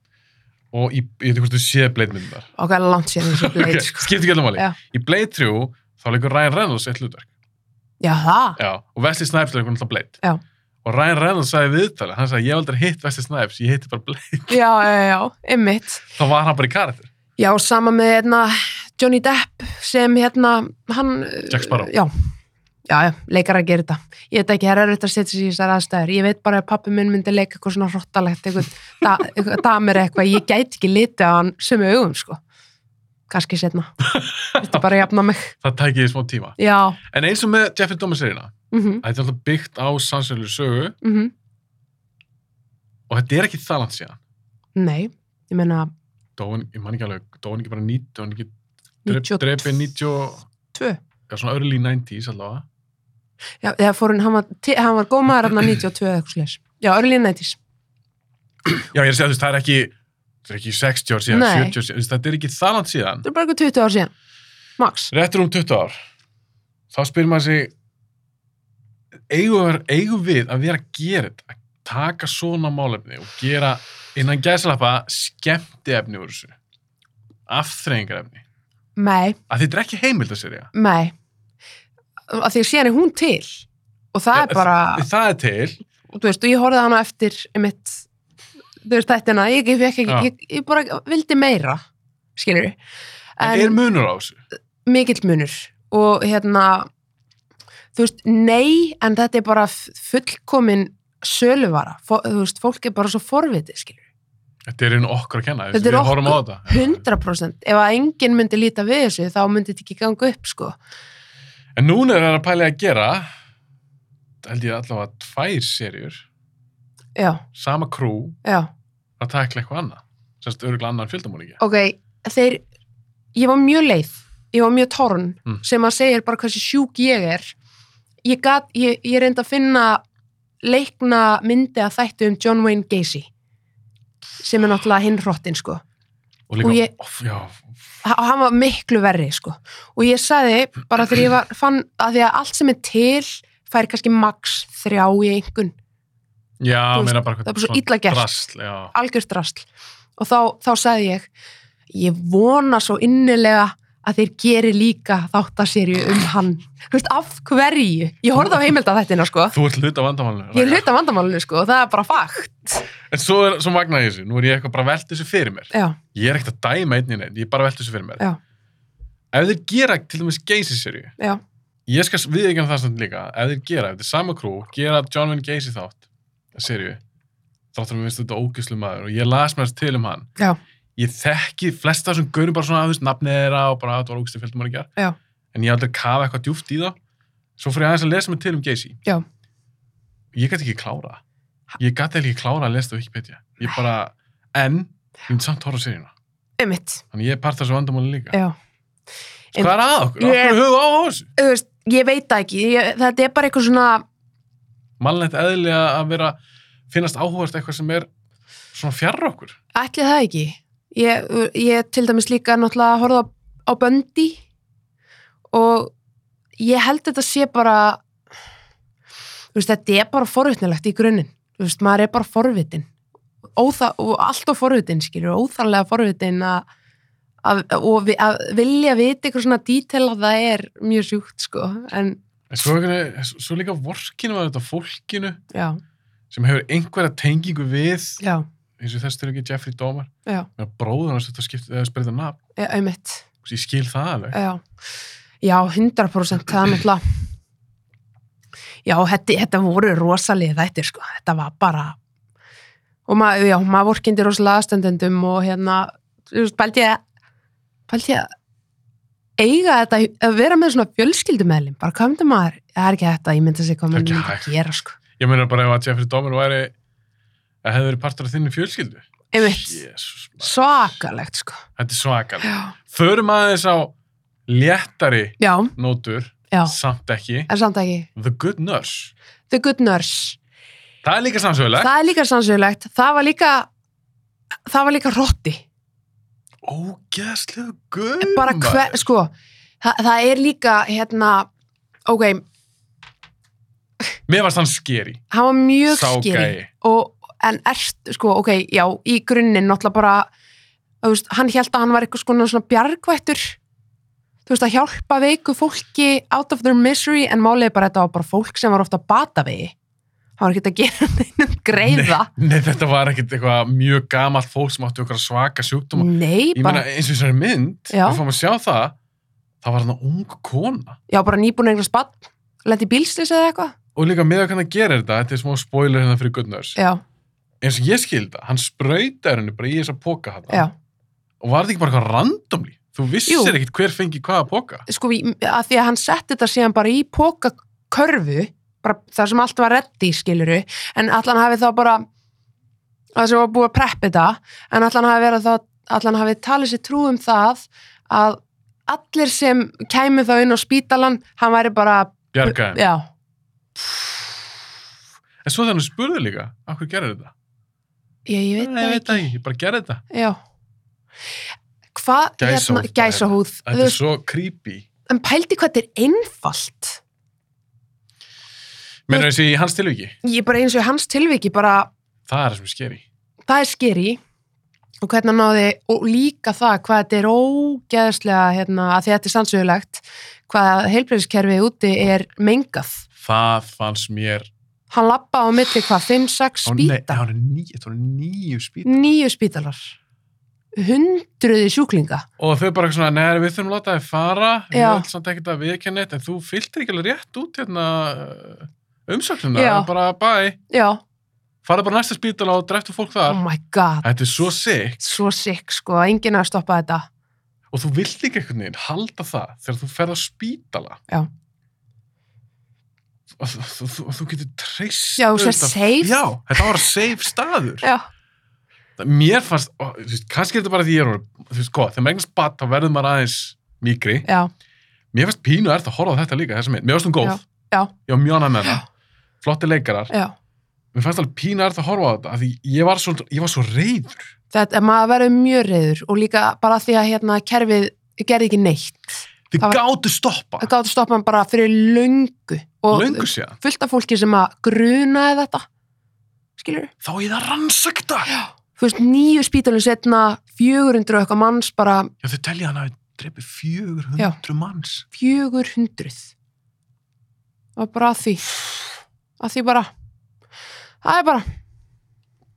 Speaker 1: Og í, ég veit ekki hvort þú séð Blade myndar.
Speaker 2: og hvað er langt sér þessi bleit,
Speaker 1: Ok,
Speaker 2: sko
Speaker 1: Skipti ekki alveg máli.
Speaker 2: Já.
Speaker 1: Í Blade 3 þá leikur Ryan Reynolds eitt hlutverk.
Speaker 2: já, það,
Speaker 1: Já, og Wesley Snipes leikur náttúrulega Blade.
Speaker 2: Já.
Speaker 1: Og Ryan Reynolds sagði viðtalið, hann sagði ég hef aldrei hitt Wesley Snipes, ég hitti bara Blade.
Speaker 2: já, já, já, einmitt
Speaker 1: þá var hann bara í karakter
Speaker 2: Já, sama með hérna, Johnny Depp sem hérna, hann... eh,
Speaker 1: Jack Sparrow.
Speaker 2: Já, já, já leikar að gera þetta. Ég veit ekki, það er auðvitað að setja sig í þessar aðstæður. Ég veit bara að pappi minn myndi leika eitthvað svona hróttalegt, eitthvað, da, eitthvað damer eitthvað. Ég gæti ekki litið á hann sömu augum, sko. Kanski setna. Þetta er bara að jafna mig.
Speaker 1: það tæki því smá tíma
Speaker 2: Já,
Speaker 1: en eins og með Jeffrey Dahmer seríuna
Speaker 2: mhm,
Speaker 1: að þetta er alltaf byggt á sannsynlu sögu
Speaker 2: mhm.
Speaker 1: og þetta er ekki það langt síðan
Speaker 2: Nei, ég meina
Speaker 1: Dóin, ég man ekki alveg, Dóin ekki bara 90 Dóin ekki drep-
Speaker 2: 92.
Speaker 1: drepið 90 og- já, svona early 90s allavega
Speaker 2: Já, þegar fór hann, hann var, ti- hann var gómaður hann 92 eða eitthvað slags. Já, örlíðin nættis.
Speaker 1: já, ég er að segja þú veist, það er ekki það er ekki 60 ár síðan,
Speaker 2: Nei.
Speaker 1: 70 ár síðan þú veist, þetta er ekki það langt síðan
Speaker 2: Þetta er bara eitthvað 20 ár síðan. Max.
Speaker 1: réttur um 20 ár þá spyr maður sig eigum, eigum við að vera að gera þetta að taka svona málefni og gera innan gæslappa skemmtiefni úr þessu afþreyingarefni
Speaker 2: Nei.
Speaker 1: að þetta er ekki heimild að serja
Speaker 2: Nei, af því að síðan er hún til og það
Speaker 1: Já, eh,
Speaker 2: er bara,
Speaker 1: það er til
Speaker 2: og þú veist, og ég horfði á hana eftir mitt, þú veist, þættina ég, ég, ég,
Speaker 1: Já.
Speaker 2: ég, ég bara vildi meira skilur við
Speaker 1: en, er munur á þessu
Speaker 2: mikill munur og hérna þú veist, nei, en þetta er bara f- fullkomin söluvara Fó, þú veist, fólk er bara svo forvitið skilur við,
Speaker 1: þetta er einu okkur að kenna
Speaker 2: Þetta er
Speaker 1: við
Speaker 2: okkur-
Speaker 1: horfum á þetta
Speaker 2: 100% ef að enginn myndi líta við þessu, þá myndi þetta ekki ganga upp sko,
Speaker 1: en núna er það að pæla í að gera held ég allavega tvær serjur
Speaker 2: já,
Speaker 1: sama krú
Speaker 2: já
Speaker 1: að takla eitthvað annað semst örgulega annan fjöldamóningi
Speaker 2: ok, þeir, ég var mjög leið ég var mjög torn
Speaker 1: Mm.
Speaker 2: sem að segja bara hversu sjúk ég er ég, gat, ég, ég reyndi að finna leikna myndi að þættu um John Wayne Gacy sem er náttúrulega hinn hrottin sko
Speaker 1: og líka,
Speaker 2: Og ég-
Speaker 1: Óf, já,
Speaker 2: Ha- og hann var miklu verri sko. og ég sagði bara þegar ég var, fann að því að allt sem er til fær kannski max þrjá í einhvern
Speaker 1: já,
Speaker 2: Þú veist,
Speaker 1: meina bara
Speaker 2: það er bara svo illa gert.
Speaker 1: drast, já,
Speaker 2: algjörst rastl og þá, þá sagði ég ég vona svo innilega að þeir geri líka þáttaserju um hann Þú veist, af hverju ég horfði á heimilda þettina sko
Speaker 1: þú ert hluta vandamálinu
Speaker 2: ég
Speaker 1: Ragga.
Speaker 2: hluta vandamálinu sko og það er bara fakt
Speaker 1: en svo, er, svo magnaði ég þessu, nú er ég eitthvað bara velt þessu fyrir mér
Speaker 2: já,
Speaker 1: ég er ekkert að dæma einnig neitt, ég er bara velt þessu fyrir mér
Speaker 2: Já.
Speaker 1: ef þeir gera til dæmis geysiserju
Speaker 2: já,
Speaker 1: ég skal viðeigna það samt líka ef þeir gera, ef þeir sama krú, gera John Wayne Gacy þátt serju þáttur að mér finnst þetta ógæslu maður og ég las mér til um hann
Speaker 2: Já.
Speaker 1: ég þekki flesta sem gaurum bara svona að þess nafnið þeirra og bara að þetta var ógæslu fjöldum að gera
Speaker 2: Já.
Speaker 1: en ég hef aldrei kafa eitthvað djúft í það svo fyrir ég aðeins að lesa mér til um Gacy
Speaker 2: Já.
Speaker 1: ég gæti ekki klára það. ég gæti ekki klára að lesa það á Wikipedia ég bara, en ég myndi samt horfa serjuna
Speaker 2: einmitt
Speaker 1: þannig ég er part af þessu vandamáli líka
Speaker 2: já. Em-
Speaker 1: hvað er að okkur,
Speaker 2: Ég-
Speaker 1: okkur höfum á þessu
Speaker 2: Þú veist, ég veit það ekki ég, þetta er bara eitthvað svona
Speaker 1: mannlegt eðlilega að vera finnast áhugast eitthvað sem er svona fjarr okkur
Speaker 2: Ætli það ekki. Ég, ég til dæmis líka náttúrulega að horfa á böndi og ég held þetta sé bara þú veist, þetta er bara forvitnilegt í grunninn. Þú veist, maður er bara forvitin. Óþa, og alltaf forvitin, skilur, óþarlega forvitin að Að, og vi, að vilja vita eitthvað svona dítel að það er mjög sjúkt sko en
Speaker 1: en svo, einhvern veginn- svo líka vorkinu að þetta fólkinu
Speaker 2: já,
Speaker 1: sem hefur einhverja tengingu við
Speaker 2: já,
Speaker 1: eins og þess til ekki Jeffrey Dahmer
Speaker 2: Já.
Speaker 1: Meina, bróður hans þetta skipt eða spreyta nafn
Speaker 2: e- einmitt
Speaker 1: Þú veist, ég skil það alveg
Speaker 2: Já, já 100% það er náttúrulega Já, þetta, þetta voru rosalega þættir sko, þetta var bara og maður, já, maður vorkindi rosalega aðstendendum og hérna þú veist, pældi ég pældi ég að eiga þetta, að vera með svona fjölskyldumeðlum, bara hvað myndi maður það er ekki þetta, ég myndi að segja hvað
Speaker 1: Það er
Speaker 2: maður
Speaker 1: ekki
Speaker 2: myndi
Speaker 1: hægt.
Speaker 2: að gera sko
Speaker 1: ég meina bara ef að Jeffrey Dahmer væri að hefði verið partur af þinni fjölskyldu
Speaker 2: einmitt,
Speaker 1: Jesus, maður.
Speaker 2: svakalegt sko
Speaker 1: þetta er svakal
Speaker 2: já,
Speaker 1: förum aðeins á léttari
Speaker 2: já,
Speaker 1: nótur
Speaker 2: já,
Speaker 1: samt ekki
Speaker 2: en samt ekki
Speaker 1: The Good Nurse
Speaker 2: The Good Nurse
Speaker 1: það er líka samsögulegt
Speaker 2: Það er líka sannsögulegt. Það var líka, það var líka rotti.
Speaker 1: ógeðslega guð
Speaker 2: Bara hver, sko, það, það er líka, hérna, ok,
Speaker 1: Mér varst hann skeri.
Speaker 2: hann var mjög
Speaker 1: Sá
Speaker 2: skýri.
Speaker 1: gæi.
Speaker 2: Og, en erst, sko, ok, já, í grunninn, náttúrulega bara, þú veist, hann held að hann var eitthvað svona, svona bjargvættur, þú veist, að hjálpa veiku fólki out of their misery, en málið er bara þetta var bara fólk sem var ofta að bata vegi. Hann var ekki að gera neinum greiða.
Speaker 1: Nei, nei, þetta var ekkit eitthvað mjög gamalt fólk sem áttu ykkur svaka sjúkdóma.
Speaker 2: Nei,
Speaker 1: Ég meina
Speaker 2: bara,
Speaker 1: eins og þessari mynd,
Speaker 2: Já.
Speaker 1: þá fáum að sjá það, það var hann ung kona.
Speaker 2: já, bara nýbúin einhver spatt, lendi bílslis eða eitthvað.
Speaker 1: Og líka með að hvernig gerir þetta, þetta er smá spoiler hérna fyrir Good Nurse.
Speaker 2: Já,
Speaker 1: Eins og ég skildi, hann sprautar henni bara í þessa póka hann.
Speaker 2: já.
Speaker 1: Og var þetta ekki bara eitthvað randomli? Þú vissir
Speaker 2: Jú.
Speaker 1: ekkit hver fengi hvaða póka.
Speaker 2: sko, í- að því að hann setti þetta síðan bara í pókakörfu bara þar sem allt var reddi, skiluru en allan hafi þá bara það sem var búið að preppa þetta en allan hafi verið þá, allan hafi talið sér trú um það að allir sem kæmu þá inn á spítalan hann væri bara,
Speaker 1: Bjargaði henni.
Speaker 2: já
Speaker 1: En svo þannig spurði líka, af hverju gerir þetta?
Speaker 2: ég, ég veit
Speaker 1: Nei,
Speaker 2: það
Speaker 1: ég veit
Speaker 2: ekki,
Speaker 1: það ekki, ég bara gerir þetta.
Speaker 2: já hvað, hérna,
Speaker 1: Gæsahúð bara.
Speaker 2: gæsahúð
Speaker 1: Þetta er svo creepy.
Speaker 2: en pældi hvað þetta er einfalt
Speaker 1: Menur þessi í hans tilviki?
Speaker 2: ég bara eins og í hans tilviki bara
Speaker 1: Það er það sem er skeri.
Speaker 2: það er skeri og hvernig hann náði, og líka það hvað þetta er ógeðslega hérna, að því að þetta er sannsögulegt hvað heilbreyðiskerfið úti er mengað
Speaker 1: Það fannst mér...
Speaker 2: hann lappa á milli hvað, 5-6
Speaker 1: Ó, Nei,
Speaker 2: spítalar
Speaker 1: það var níu, það var níu spýta.
Speaker 2: nýju spítalar hundruði sjúklinga
Speaker 1: Og þau bara eitthvað svona, neður við þurfum að láta þið fara, við
Speaker 2: Já.
Speaker 1: höfum samt ekkert að viðkenni þetta, en þú fylgtir ekki alveg rétt út hérna umsöknuna,
Speaker 2: Já.
Speaker 1: bara bæ,
Speaker 2: já,
Speaker 1: fara bara næsta spítala og dreftu fólk þar.
Speaker 2: oh my god
Speaker 1: Þetta er svo sick
Speaker 2: svo sick sko, enginn að stoppa þetta
Speaker 1: og þú vilt ekki einhvern veginn halda það þegar þú ferð á spítala.
Speaker 2: Já.
Speaker 1: Og þú, þú, þú, þú getur treyst
Speaker 2: já, þú sér safe
Speaker 1: Já, þetta var safe staður.
Speaker 2: já,
Speaker 1: það- mér fannst, ó, þú veist, kannski er þetta bara því ég er orðin- þú veist hvað, þegar maður eignast bat þá verður maður aðeins mýkri,
Speaker 2: já,
Speaker 1: mér fannst pínu erft að horfa á þetta líka, þessa mynd, mér fannst hún góð
Speaker 2: já.
Speaker 1: ég var mjög annað með það, flotti leikarar
Speaker 2: já.
Speaker 1: mér fannst alveg pínu erft að horfa á þetta af því ég var svo, ég var svo reyður
Speaker 2: Þetta, maður verður mjög reyður og líka bara því að hérna, kerfið gerði ekki neitt.
Speaker 1: þið
Speaker 2: Það var-
Speaker 1: gáttu stoppa,
Speaker 2: Það gáttu stoppa hann bara fyrir löngu og
Speaker 1: löngu síðan
Speaker 2: fullt af fólki sem að grunaði þetta. Skilur
Speaker 1: þá er það rannsakta já,
Speaker 2: Þú veist, nýju spítalinn setna, 400 og eitthvað manns, bara
Speaker 1: þau telja hann að drepi 400 manns
Speaker 2: 400. Það var bara að því. Að því bara. Það er bara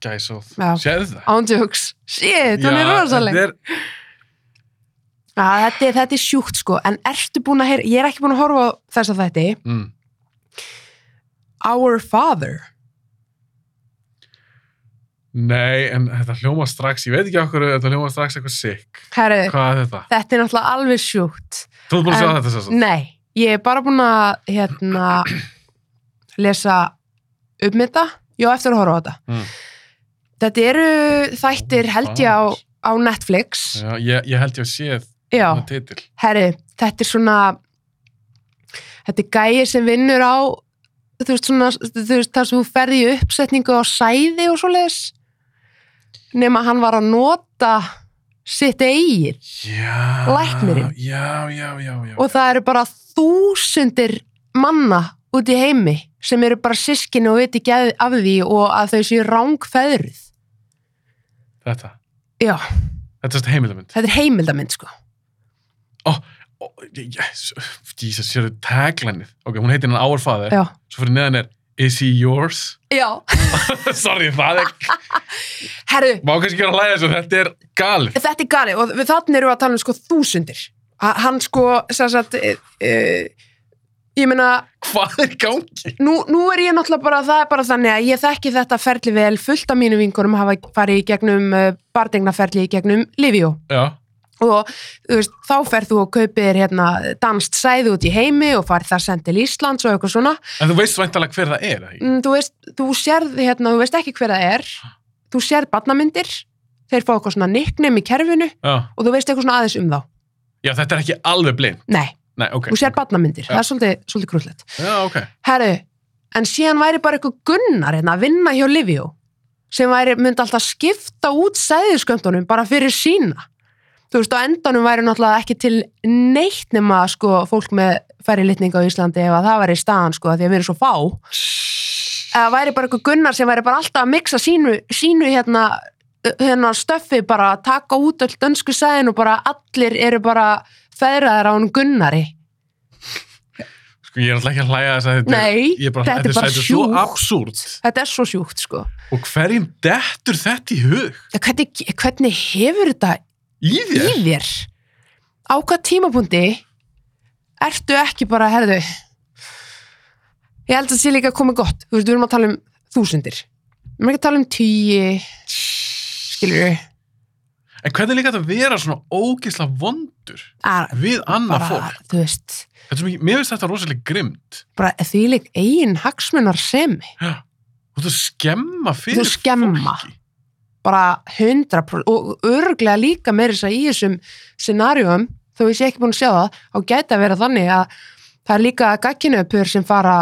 Speaker 1: gæsóð,
Speaker 2: Já.
Speaker 1: séðu það
Speaker 2: ándjóks. Shit, hún er
Speaker 1: Já,
Speaker 2: rosaleg.
Speaker 1: þetta er-
Speaker 2: Já, þetta, er- þetta er sjúkt sko, en ertu búin að heyra, ég er ekki búin að horfa á þess að þetta,
Speaker 1: mm.
Speaker 2: Our Father.
Speaker 1: Nei, en þetta hljóma strax, ég veit ekki okkur, þetta hljóma strax eitthvað sick.
Speaker 2: Herru,
Speaker 1: Hvað er þetta?
Speaker 2: þetta er náttúrulega alveg sjúkt.
Speaker 1: Þú ert búin að
Speaker 2: En-
Speaker 1: segja þetta sér svo.
Speaker 2: Nei, ég er bara búin að hérna, lesa um þetta. Já, eftir að horfa á þetta.
Speaker 1: Mm.
Speaker 2: Þetta eru þættir held ég á, á Netflix.
Speaker 1: Já, ég, ég held ég að sé
Speaker 2: Já,
Speaker 1: þetta titil.
Speaker 2: herru, þetta er svona, þetta er gæi sem vinnur á, þú veist, svona, þú veist, þar sem þú ferði í uppsetningu á sæði og svoleiðis. Nefn að hann var að nota sitt eigið.
Speaker 1: Já.
Speaker 2: Læknirinn.
Speaker 1: Já, já, já, já.
Speaker 2: og það eru bara þúsundir manna út í heimi sem eru bara sískinni og viti ekki að- af því og að þau séu rángfæðruð.
Speaker 1: Þetta.
Speaker 2: Já,
Speaker 1: Þetta er þetta heimildamönd.
Speaker 2: þetta er heimildamind sko.
Speaker 1: Jesus, sér þetta taglænið. Ok, hún heitir hann Árfaðir.
Speaker 2: Já,
Speaker 1: Svo fyrir neðan er Is he yours?
Speaker 2: já.
Speaker 1: Sorry, það er...
Speaker 2: herru,
Speaker 1: Má kannski gera að læða þessu, þetta er galið.
Speaker 2: þetta er galið og við þannig erum við að tala um sko þúsundir. Ha- Hann sko, sem sagt, e, e, ég meina,
Speaker 1: Hvað er í gangi?
Speaker 2: nú, nú er ég náttúrulega bara, það er bara þannig að ég þekki þetta ferli vel, fullt af mínum vingurum hafa farið í gegnum bardegnaferli í gegnum Livio.
Speaker 1: Já.
Speaker 2: og þú veist, þá ferð þú og kaupir hérna, danst sæði út í heimi og farið það send til Íslands og eitthvað svona
Speaker 1: En þú veist væntalega hver það er, eða ekki?
Speaker 2: Mm, þú veist, þú sérð, hérna, þú veist ekki hver það er þú sérð barnamyndir þeir fá eitthvað svona nickname í kerfinu
Speaker 1: Já.
Speaker 2: og þú veist eitthvað svona aðeins um þá
Speaker 1: Já, þetta er ekki alveg blind.
Speaker 2: nei,
Speaker 1: Nei, ok.
Speaker 2: þú sérð barnamyndir,
Speaker 1: Já.
Speaker 2: það er svolítið, svolítið krúllett
Speaker 1: Já, ok.
Speaker 2: herru, en síðan væri bara eitthvað gunnar hérna, að vinna hjá Livio sem væri, myndi alltaf skipta út sæðisköndunum bara fyrir sína þú veist, á endanum væri náttúrulega ekki til neitt nema sko, fólk með færi litninga á Íslandi ef að það væri staðan, sko, af því að við erum svo fá
Speaker 1: Sko,
Speaker 2: eða væri bara eitthvað gunnar sem væri bara alltaf að mixa sínu, sínu hérna, hérna stöffi bara að taka út öll dönsku sæðin og bara allir eru bara feðraðar á hún gunnari
Speaker 1: Sko, ég er alltaf ekki að hlæja þess að þetta er...
Speaker 2: Nei,
Speaker 1: ég er bara,
Speaker 2: þetta er bara
Speaker 1: þetta er svo
Speaker 2: sjúkt.
Speaker 1: absúrt.
Speaker 2: þetta er svo sjúkt, sko
Speaker 1: Og hverjum dettur þetta í hug?
Speaker 2: Ja, hvernig, hvernig hefur þetta
Speaker 1: Í þér?
Speaker 2: í þér? Á hvað tímapunkti ertu ekki bara, herðu, ég held að það sé líka komið gott. Þú veist, við erum að tala um þúsundir. Við erum ekki að tala um tíu, skilur við,
Speaker 1: En hvernig líka þetta að vera svona ógisla vondur
Speaker 2: að
Speaker 1: við annað
Speaker 2: bara,
Speaker 1: fólk?
Speaker 2: þú veist,
Speaker 1: Þetta er svo mikið, mér finnst þetta rosalega grimt.
Speaker 2: bara því lík eigin hagsmunar semi.
Speaker 1: Þú ert að skemma fyrir
Speaker 2: Þú skemma.
Speaker 1: fólki.
Speaker 2: Bara hundra og örglega líka með þess að í þessum scenarium, þó ég sé ekki búin að sjá það, á gæti að vera þannig að það er líka gagkinöpur sem fara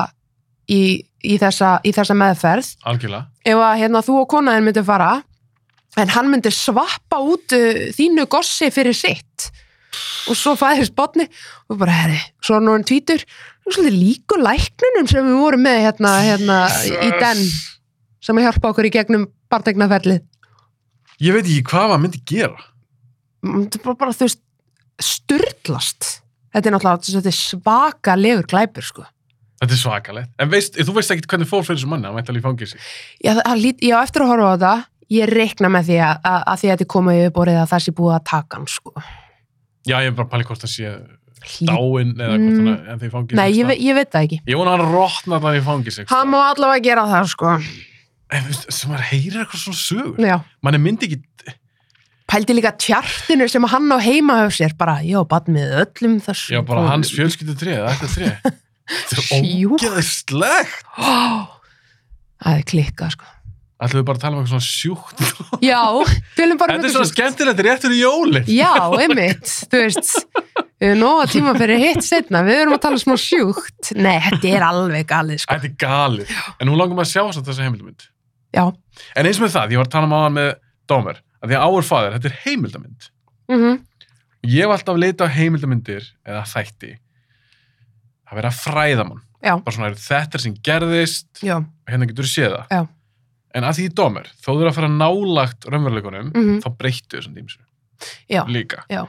Speaker 2: í, í, þessa, í þessa meðferð
Speaker 1: Algjörlega.
Speaker 2: ef að hérna, þú og konaðin myndir fara en hann myndir svappa út uh, þínu gossi fyrir sitt og svo fæðist botni og bara, herri, svo er núin tvítur og svolítið líku læknunum sem við vorum með hérna, hérna í
Speaker 1: Jesus.
Speaker 2: den sem að hjálpa okkur í gegnum barndegnaferlið
Speaker 1: Ég veit ekki hvað maður myndi gera.
Speaker 2: Mm, þetta er bara, bara þú veist, sturdlast þetta er náttúrulega þetta er svaka lefur glæpur sko
Speaker 1: Þetta er svakalegt. En veist, þú veist ekkit hvernig fór fyrir þessu manni, hann veit alveg í fangir sig.
Speaker 2: Já, það- það lít- ég á eftir að horfa á það ég reikna með því að, að, að því að þetta er komið upp orðið að það sé búið að taka hann sko
Speaker 1: Já, ég er bara að pæli hvort hann sé
Speaker 2: Hlýtur
Speaker 1: dáinn eða hvort
Speaker 2: Mm.
Speaker 1: hann er ennþá í fangir
Speaker 2: Nei, ég, ve ég veit það ekki.
Speaker 1: Ég vona að hann rotnar þannig í fangir sig.
Speaker 2: Hann má allavega gera það, sko.
Speaker 1: En veist, sem maður heyrir eitthvað svona sögur.
Speaker 2: Já.
Speaker 1: manni myndi ekki
Speaker 2: Pældi líka tjartinu sem hann á heima höf sér, bara, já, bann með öllum þessum.
Speaker 1: já, bara hans fjölskyldu treð, þetta treð þetta er
Speaker 2: Sjúkt.
Speaker 1: ógeðislegt
Speaker 2: Ó, Það er klikkað, sko.
Speaker 1: Ætlum við bara að tala um eitthvað svona sjúkt.
Speaker 2: Já, tölum bara
Speaker 1: Þetta er
Speaker 2: um eitthvað
Speaker 1: svona
Speaker 2: sjúkt.
Speaker 1: skemmtilegt rétt fyrir jólin.
Speaker 2: Já, einmitt, þú veist Við erum nóga tíma fyrir hitt setna Við erum að tala smá sjúkt Nei, þetta er alveg galið sko
Speaker 1: Þetta er galið. En nú langar maður að sjá þess þessa heimildamynd.
Speaker 2: Já,
Speaker 1: En eins með það, ég var að tala um áðan með Dómer, að því að áur fæðir, þetta er heimildamynd.
Speaker 2: mhm
Speaker 1: Ég hef alltaf leitað á heimildamyndir eða þætti. Það verið að fræða mann.
Speaker 2: Já.
Speaker 1: Bara svona, eru þetta er sem gerðist,
Speaker 2: já,
Speaker 1: hérna getur þú séð það.
Speaker 2: Já.
Speaker 1: En að því í Dómer, þó þú eru að fara nálagt raunveruleikunum,
Speaker 2: mhm,
Speaker 1: þá breyttu þessum tímsu.
Speaker 2: já,
Speaker 1: líka.
Speaker 2: Já.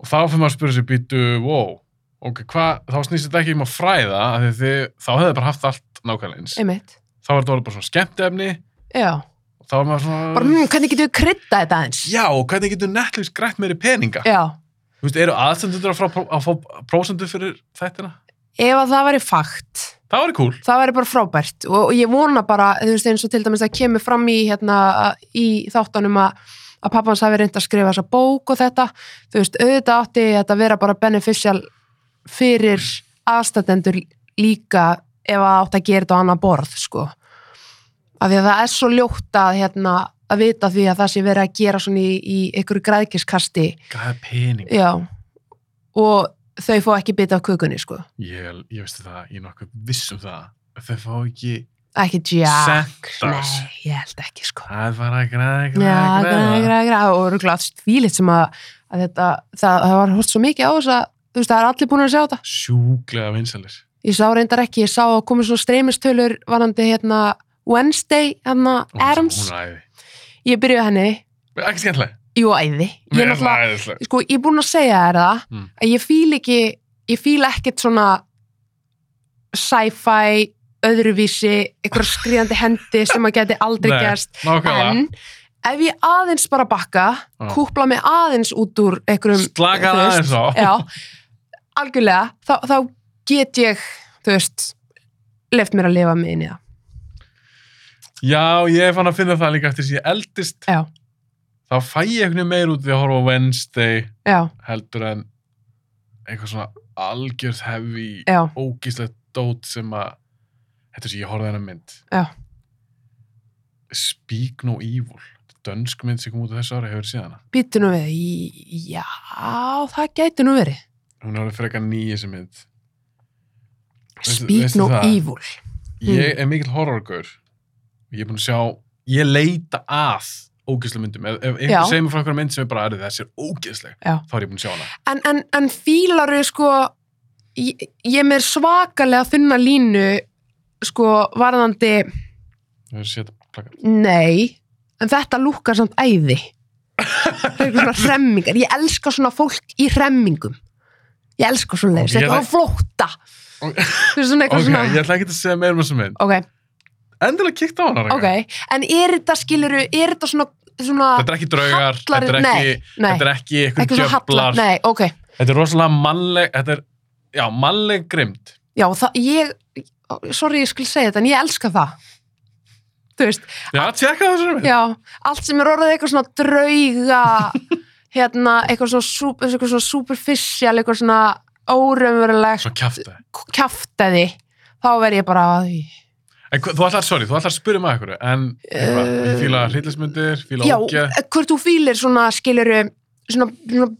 Speaker 1: Og þá fyrir maður að spyrja sér býtu, wow, ok, hvað, þá snýst þetta ekki um að fræða, af því þið, þá hefði bara haft allt nákvæmlega eins.
Speaker 2: einmitt
Speaker 1: Þá var þetta orðið bara svona skemmtefni,
Speaker 2: Já,
Speaker 1: þá var maður svona,
Speaker 2: bara mm, hvernig getum við krydda þetta eins
Speaker 1: já, og hvernig getur Netflix grætt meiri peninga?
Speaker 2: Já,
Speaker 1: Þú veist, eru aðsendur að, frá, að fá prósendu fyrir þættina?
Speaker 2: ef að það væri fakt
Speaker 1: Það var cool.
Speaker 2: það væri bara frábært og og ég vona bara, þú veist eins og til dæmis að kemur fram í, hérna, í þáttanum að að pappa hans hafi reynd að skrifa þessa bók og þetta, þú veist, auðvitað átti þetta að vera bara beneficial fyrir aðstætendur líka ef að átti að gera þetta á annað borð, sko af því að það er svo ljótt að, hérna, að vita því að það sé verið að gera svona í, í ykkur græðkiskasti,
Speaker 1: Gæði pening.
Speaker 2: já og þau fá ekki bita af kökunni, sko
Speaker 1: Ég, ég veist það, ég er nokkuð viss um það. Þau fá ekki,
Speaker 2: ekki tjá,
Speaker 1: Sent us.
Speaker 2: nei, ég held ekki, sko
Speaker 1: það er bara að græða,
Speaker 2: Já,
Speaker 1: græða,
Speaker 2: græða, græða, græða og eru glátt stílit sem að, að þetta, það, það var hort svo mikið á þess að þú veist, það er allir búin að sjá þetta.
Speaker 1: Sjúklega vinsalir.
Speaker 2: Ég sá reyndar ekki, ég sá að komið svona streymistöluður varandi hérna Wednesday, hérna
Speaker 1: Hún-
Speaker 2: Adams.
Speaker 1: Hún er æði.
Speaker 2: Ég byrjuði á henni,
Speaker 1: Ekki skemmtileg.
Speaker 2: jú, æði. Ég er náttúrulega,
Speaker 1: æðislega.
Speaker 2: sko, ég er búin að segja þér það,
Speaker 1: Mm.
Speaker 2: að ég fíl ekki, ég fíl ekkert svona sci-fi, öðruvísi, einhverja skriðandi hendi sem að geti aldrei
Speaker 1: Nei.
Speaker 2: gerst
Speaker 1: Nákvæmlega.
Speaker 2: en ef ég aðeins bara bakka
Speaker 1: Já.
Speaker 2: kúpla mig aðeins út úr einhverjum,
Speaker 1: Slaka
Speaker 2: þú
Speaker 1: það
Speaker 2: veist,
Speaker 1: Ah. aðeins á.
Speaker 2: já, algjörlega þá, þá get ég þú veist, left mér að lifa mig inn í það
Speaker 1: Já, ég fann að finna það líka eftir sem ég eldist.
Speaker 2: Já.
Speaker 1: Þá fæ ég einhvern veginn meir út við að horfa á Wednesday
Speaker 2: já,
Speaker 1: heldur en eitthvað svona algjörð hefi
Speaker 2: já,
Speaker 1: ógíslegt dót sem að þetta sem ég horfði á þennan mynd.
Speaker 2: Já.
Speaker 1: Speak No Evil. Dönsk mynd sem kom út á þessu ári hefur séð hana.
Speaker 2: býtu nú við í- já, það gæti nú verið
Speaker 1: Hún er alveg frekar nýja sem mynd. Veistu-
Speaker 2: speak
Speaker 1: veistu
Speaker 2: no
Speaker 1: það?
Speaker 2: evil
Speaker 1: Ég
Speaker 2: Hmm.
Speaker 1: er mikill horrorgaur. Ég er búin að sjá, ég leita að ógeðslega myndum. Ef, ef
Speaker 2: Já.
Speaker 1: einhver segir mér frá einhverja mynd sem er bara erðið, þessi er ógeðsleg,
Speaker 2: Já.
Speaker 1: þá er ég búin að sjá hana.
Speaker 2: en, en, en fílaru sko ég, ég er mér svakalega að finna línu sko varðandi
Speaker 1: Það er sétt plakat.
Speaker 2: Nei, en þetta lúkkar samt æði. Það er svona hremmingar. Ég elska svona fólk í hremmingum. Ég elska svona leiðis.
Speaker 1: Ok, ég
Speaker 2: Þetta
Speaker 1: ætla-
Speaker 2: var flótta.
Speaker 1: Ok.
Speaker 2: Það er svona eitthvað
Speaker 1: Ok, ég
Speaker 2: svona...
Speaker 1: ætla ekki að segja meira um þessu mynd.
Speaker 2: Ok,
Speaker 1: Endilega kíkta á hana. Ragga.
Speaker 2: ok. En er þetta, skiluru, er þetta svona... svona
Speaker 1: Þetta er ekki draugar, þetta er ekki,
Speaker 2: Nei, nei.
Speaker 1: þetta er ekki eitthvað
Speaker 2: Ekki svona hallar.
Speaker 1: djöflar.
Speaker 2: Nei, ok.
Speaker 1: Þetta er rosalega mannleg, þetta er, já, mannleg grimd.
Speaker 2: Já, það, ég... Sorry, ég skulle segja þetta, en ég elska það. Þú veist,
Speaker 1: Já, tjekka þessu mynd.
Speaker 2: Ah. Já, allt sem er orðið eitthvað svona drauga hérna, eitthvað svona, super, eitthvað svona superficial, eitthvað svona óraunverulegt
Speaker 1: Svo kjafta.
Speaker 2: kjaftaði þá verð ég bara að því
Speaker 1: En hva- þú ætlar, sorry, þú ætlar að spyrja mig eitthvað, en eitthvað,
Speaker 2: Eh,
Speaker 1: ég fíla hryllismyndir, fíla
Speaker 2: Já,
Speaker 1: ógeð.
Speaker 2: hvort þú fýlir svona skiluru svona, svona,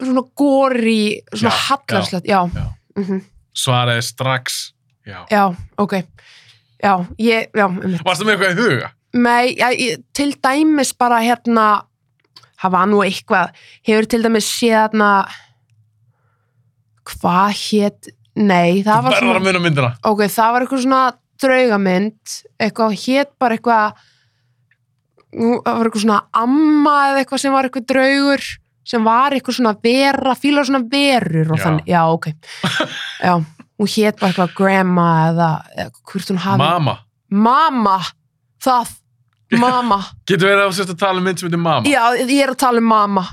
Speaker 2: svona góri svona
Speaker 1: Já,
Speaker 2: hallarslegt, já
Speaker 1: já.
Speaker 2: já. mhm,
Speaker 1: Svaraði strax, já.
Speaker 2: já, ok Já, ég, já, um
Speaker 1: Varstu með eitthvað í huga?
Speaker 2: Nei, ja, ég, til dæmis bara hérna hafa nú eitthvað hefur til dæmis séð hérna hvað hét nei, það
Speaker 1: Þú
Speaker 2: var
Speaker 1: verður að
Speaker 2: svona
Speaker 1: muna myndina.
Speaker 2: ok, það var eitthvað svona draugamynd eitthvað hét bara eitthvað nú, það var eitthvað svona amma eða eitthvað sem var eitthvað draugur sem var eitthvað svona vera fílar svona verur og
Speaker 1: Já.
Speaker 2: þannig, já ok já, hún hét bara eitthvað grandma eða, eða hvort hún hafi
Speaker 1: Mama.
Speaker 2: Mama, það, mama,
Speaker 1: Getur verið að þú sérst að tala um mynd sem heitir Mama?
Speaker 2: já, ég er að tala um mama.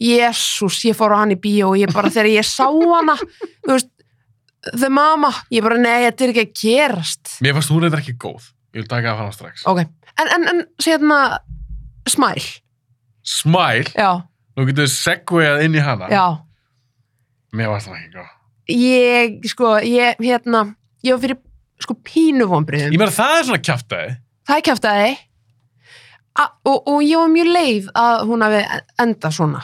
Speaker 2: Jésús, ég fór á hann í bíó og ég bara, þegar ég sá hana, þú veist, the mama, ég bara, nei, þetta er ekki að gerast.
Speaker 1: Mér fannst hún reyndar ekki góð. Ég vil taka það fram strax.
Speaker 2: Ok, en, en, hérna, en, sérna, smæl,
Speaker 1: Smile,
Speaker 2: já,
Speaker 1: nú getur við segvejað inn í hana.
Speaker 2: já,
Speaker 1: Mér fannst það ekki góð.
Speaker 2: ég, sko, ég, hérna, ég var fyrir, sko, pínuvombriðum.
Speaker 1: Ég meina það er svona kjaftaði.
Speaker 2: Það er kjáftæði, a- og, og ég var mjög leið að hún hafi enda svona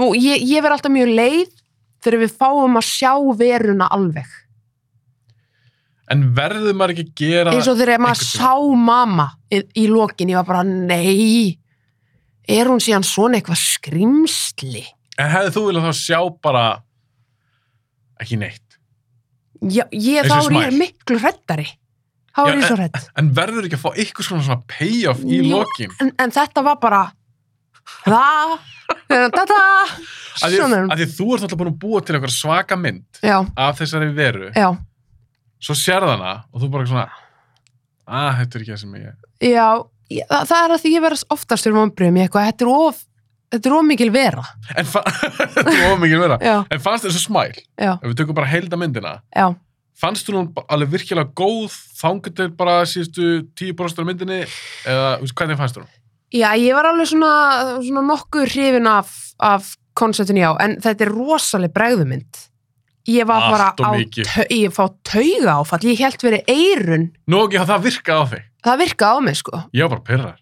Speaker 2: og ég, ég verð alltaf mjög leið þegar við fáum að sjá veruna alveg
Speaker 1: En verður maður ekki að gera...
Speaker 2: eins og þegar maður
Speaker 1: einhvern
Speaker 2: sá mamma í, í lokin, ég var bara nei er hún síðan svona eitthvað skrimsli
Speaker 1: En hefði þú viljað þá sjá bara ekki neitt.
Speaker 2: Já, ég,
Speaker 1: Eins
Speaker 2: þá
Speaker 1: og
Speaker 2: er ég
Speaker 1: Smile.
Speaker 2: miklu hreddari þá
Speaker 1: Já,
Speaker 2: er ég svo hredd
Speaker 1: En verður ekki að fá eitthvað svona, svona payoff í
Speaker 2: Jú,
Speaker 1: lokin.
Speaker 2: en, en þetta var bara það þetta
Speaker 1: Af því,
Speaker 2: svona er hún.
Speaker 1: af því þú ert alltaf búin að búa til eitthvað svaka mynd
Speaker 2: já,
Speaker 1: af þessari veru.
Speaker 2: já,
Speaker 1: Svo sérð hana og þú bara svona að þetta er ekki það sem ég...
Speaker 2: já ég- það, það er að því ég verðast oftast fyrir vonbröðum ég eitthvað, þetta er of þetta er of mikil vera
Speaker 1: En fa- þetta er ómikið vera.
Speaker 2: já,
Speaker 1: En fannst þessu smæl,
Speaker 2: Já.
Speaker 1: ef við tökum bara heilda myndina,
Speaker 2: já,
Speaker 1: fannst þú hún ba- alveg virkilega góð þangur til bara síðustu 10% af myndinni eða þú veist, hvernig fannst þú hún?
Speaker 2: já ég var alveg svona, svona nokkuð hrifin af, af konceptinu já, en þetta er rosaleg bregðumynd ég var bara
Speaker 1: Allt of
Speaker 2: á,
Speaker 1: mikið.
Speaker 2: tau, ég fá tauga áfall ég held verið eirun
Speaker 1: Nú ekki að það virkaði á þig.
Speaker 2: það virka á mig sko
Speaker 1: Ég var bara pyrrar.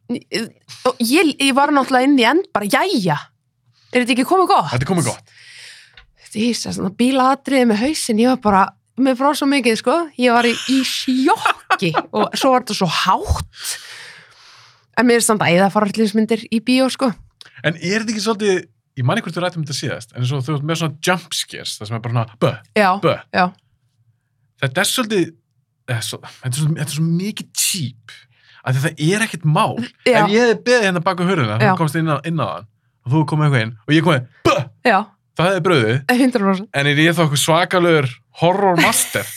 Speaker 2: og ég, ég var náttúrulega inn í end bara, jæja, er þetta ekki komið gott?
Speaker 1: Þetta er komið gott.
Speaker 2: Þetta er ísa, svona bílaatriði með hausinn, ég var bara, mér frá svo mikið, sko, ég var í, í sjokki og svo var þetta svo hátt. En mér er samt æða að fara allir myndir í bíó, sko.
Speaker 1: En er þetta ekki svolítið, ég manni hvort við rættum þetta síðast, en svo þú ert með svona jump scares, það sem er bara svona, bö,
Speaker 2: Já,
Speaker 1: bö.
Speaker 2: já.
Speaker 1: Þetta er svolítið, eh, svo- þetta er svo, þetta er svo mikið típ, að það er ekkert mál.
Speaker 2: Já.
Speaker 1: Ef ég hefði beðið hérna baka hurðina,
Speaker 2: Já.
Speaker 1: þú komst inn á, inn á hann, og þú komið eitthvað inn, og ég komið, bö,
Speaker 2: Já,
Speaker 1: það hefði bröðið,
Speaker 2: 100%.
Speaker 1: en er ég þá eitthvað svakalur horror master?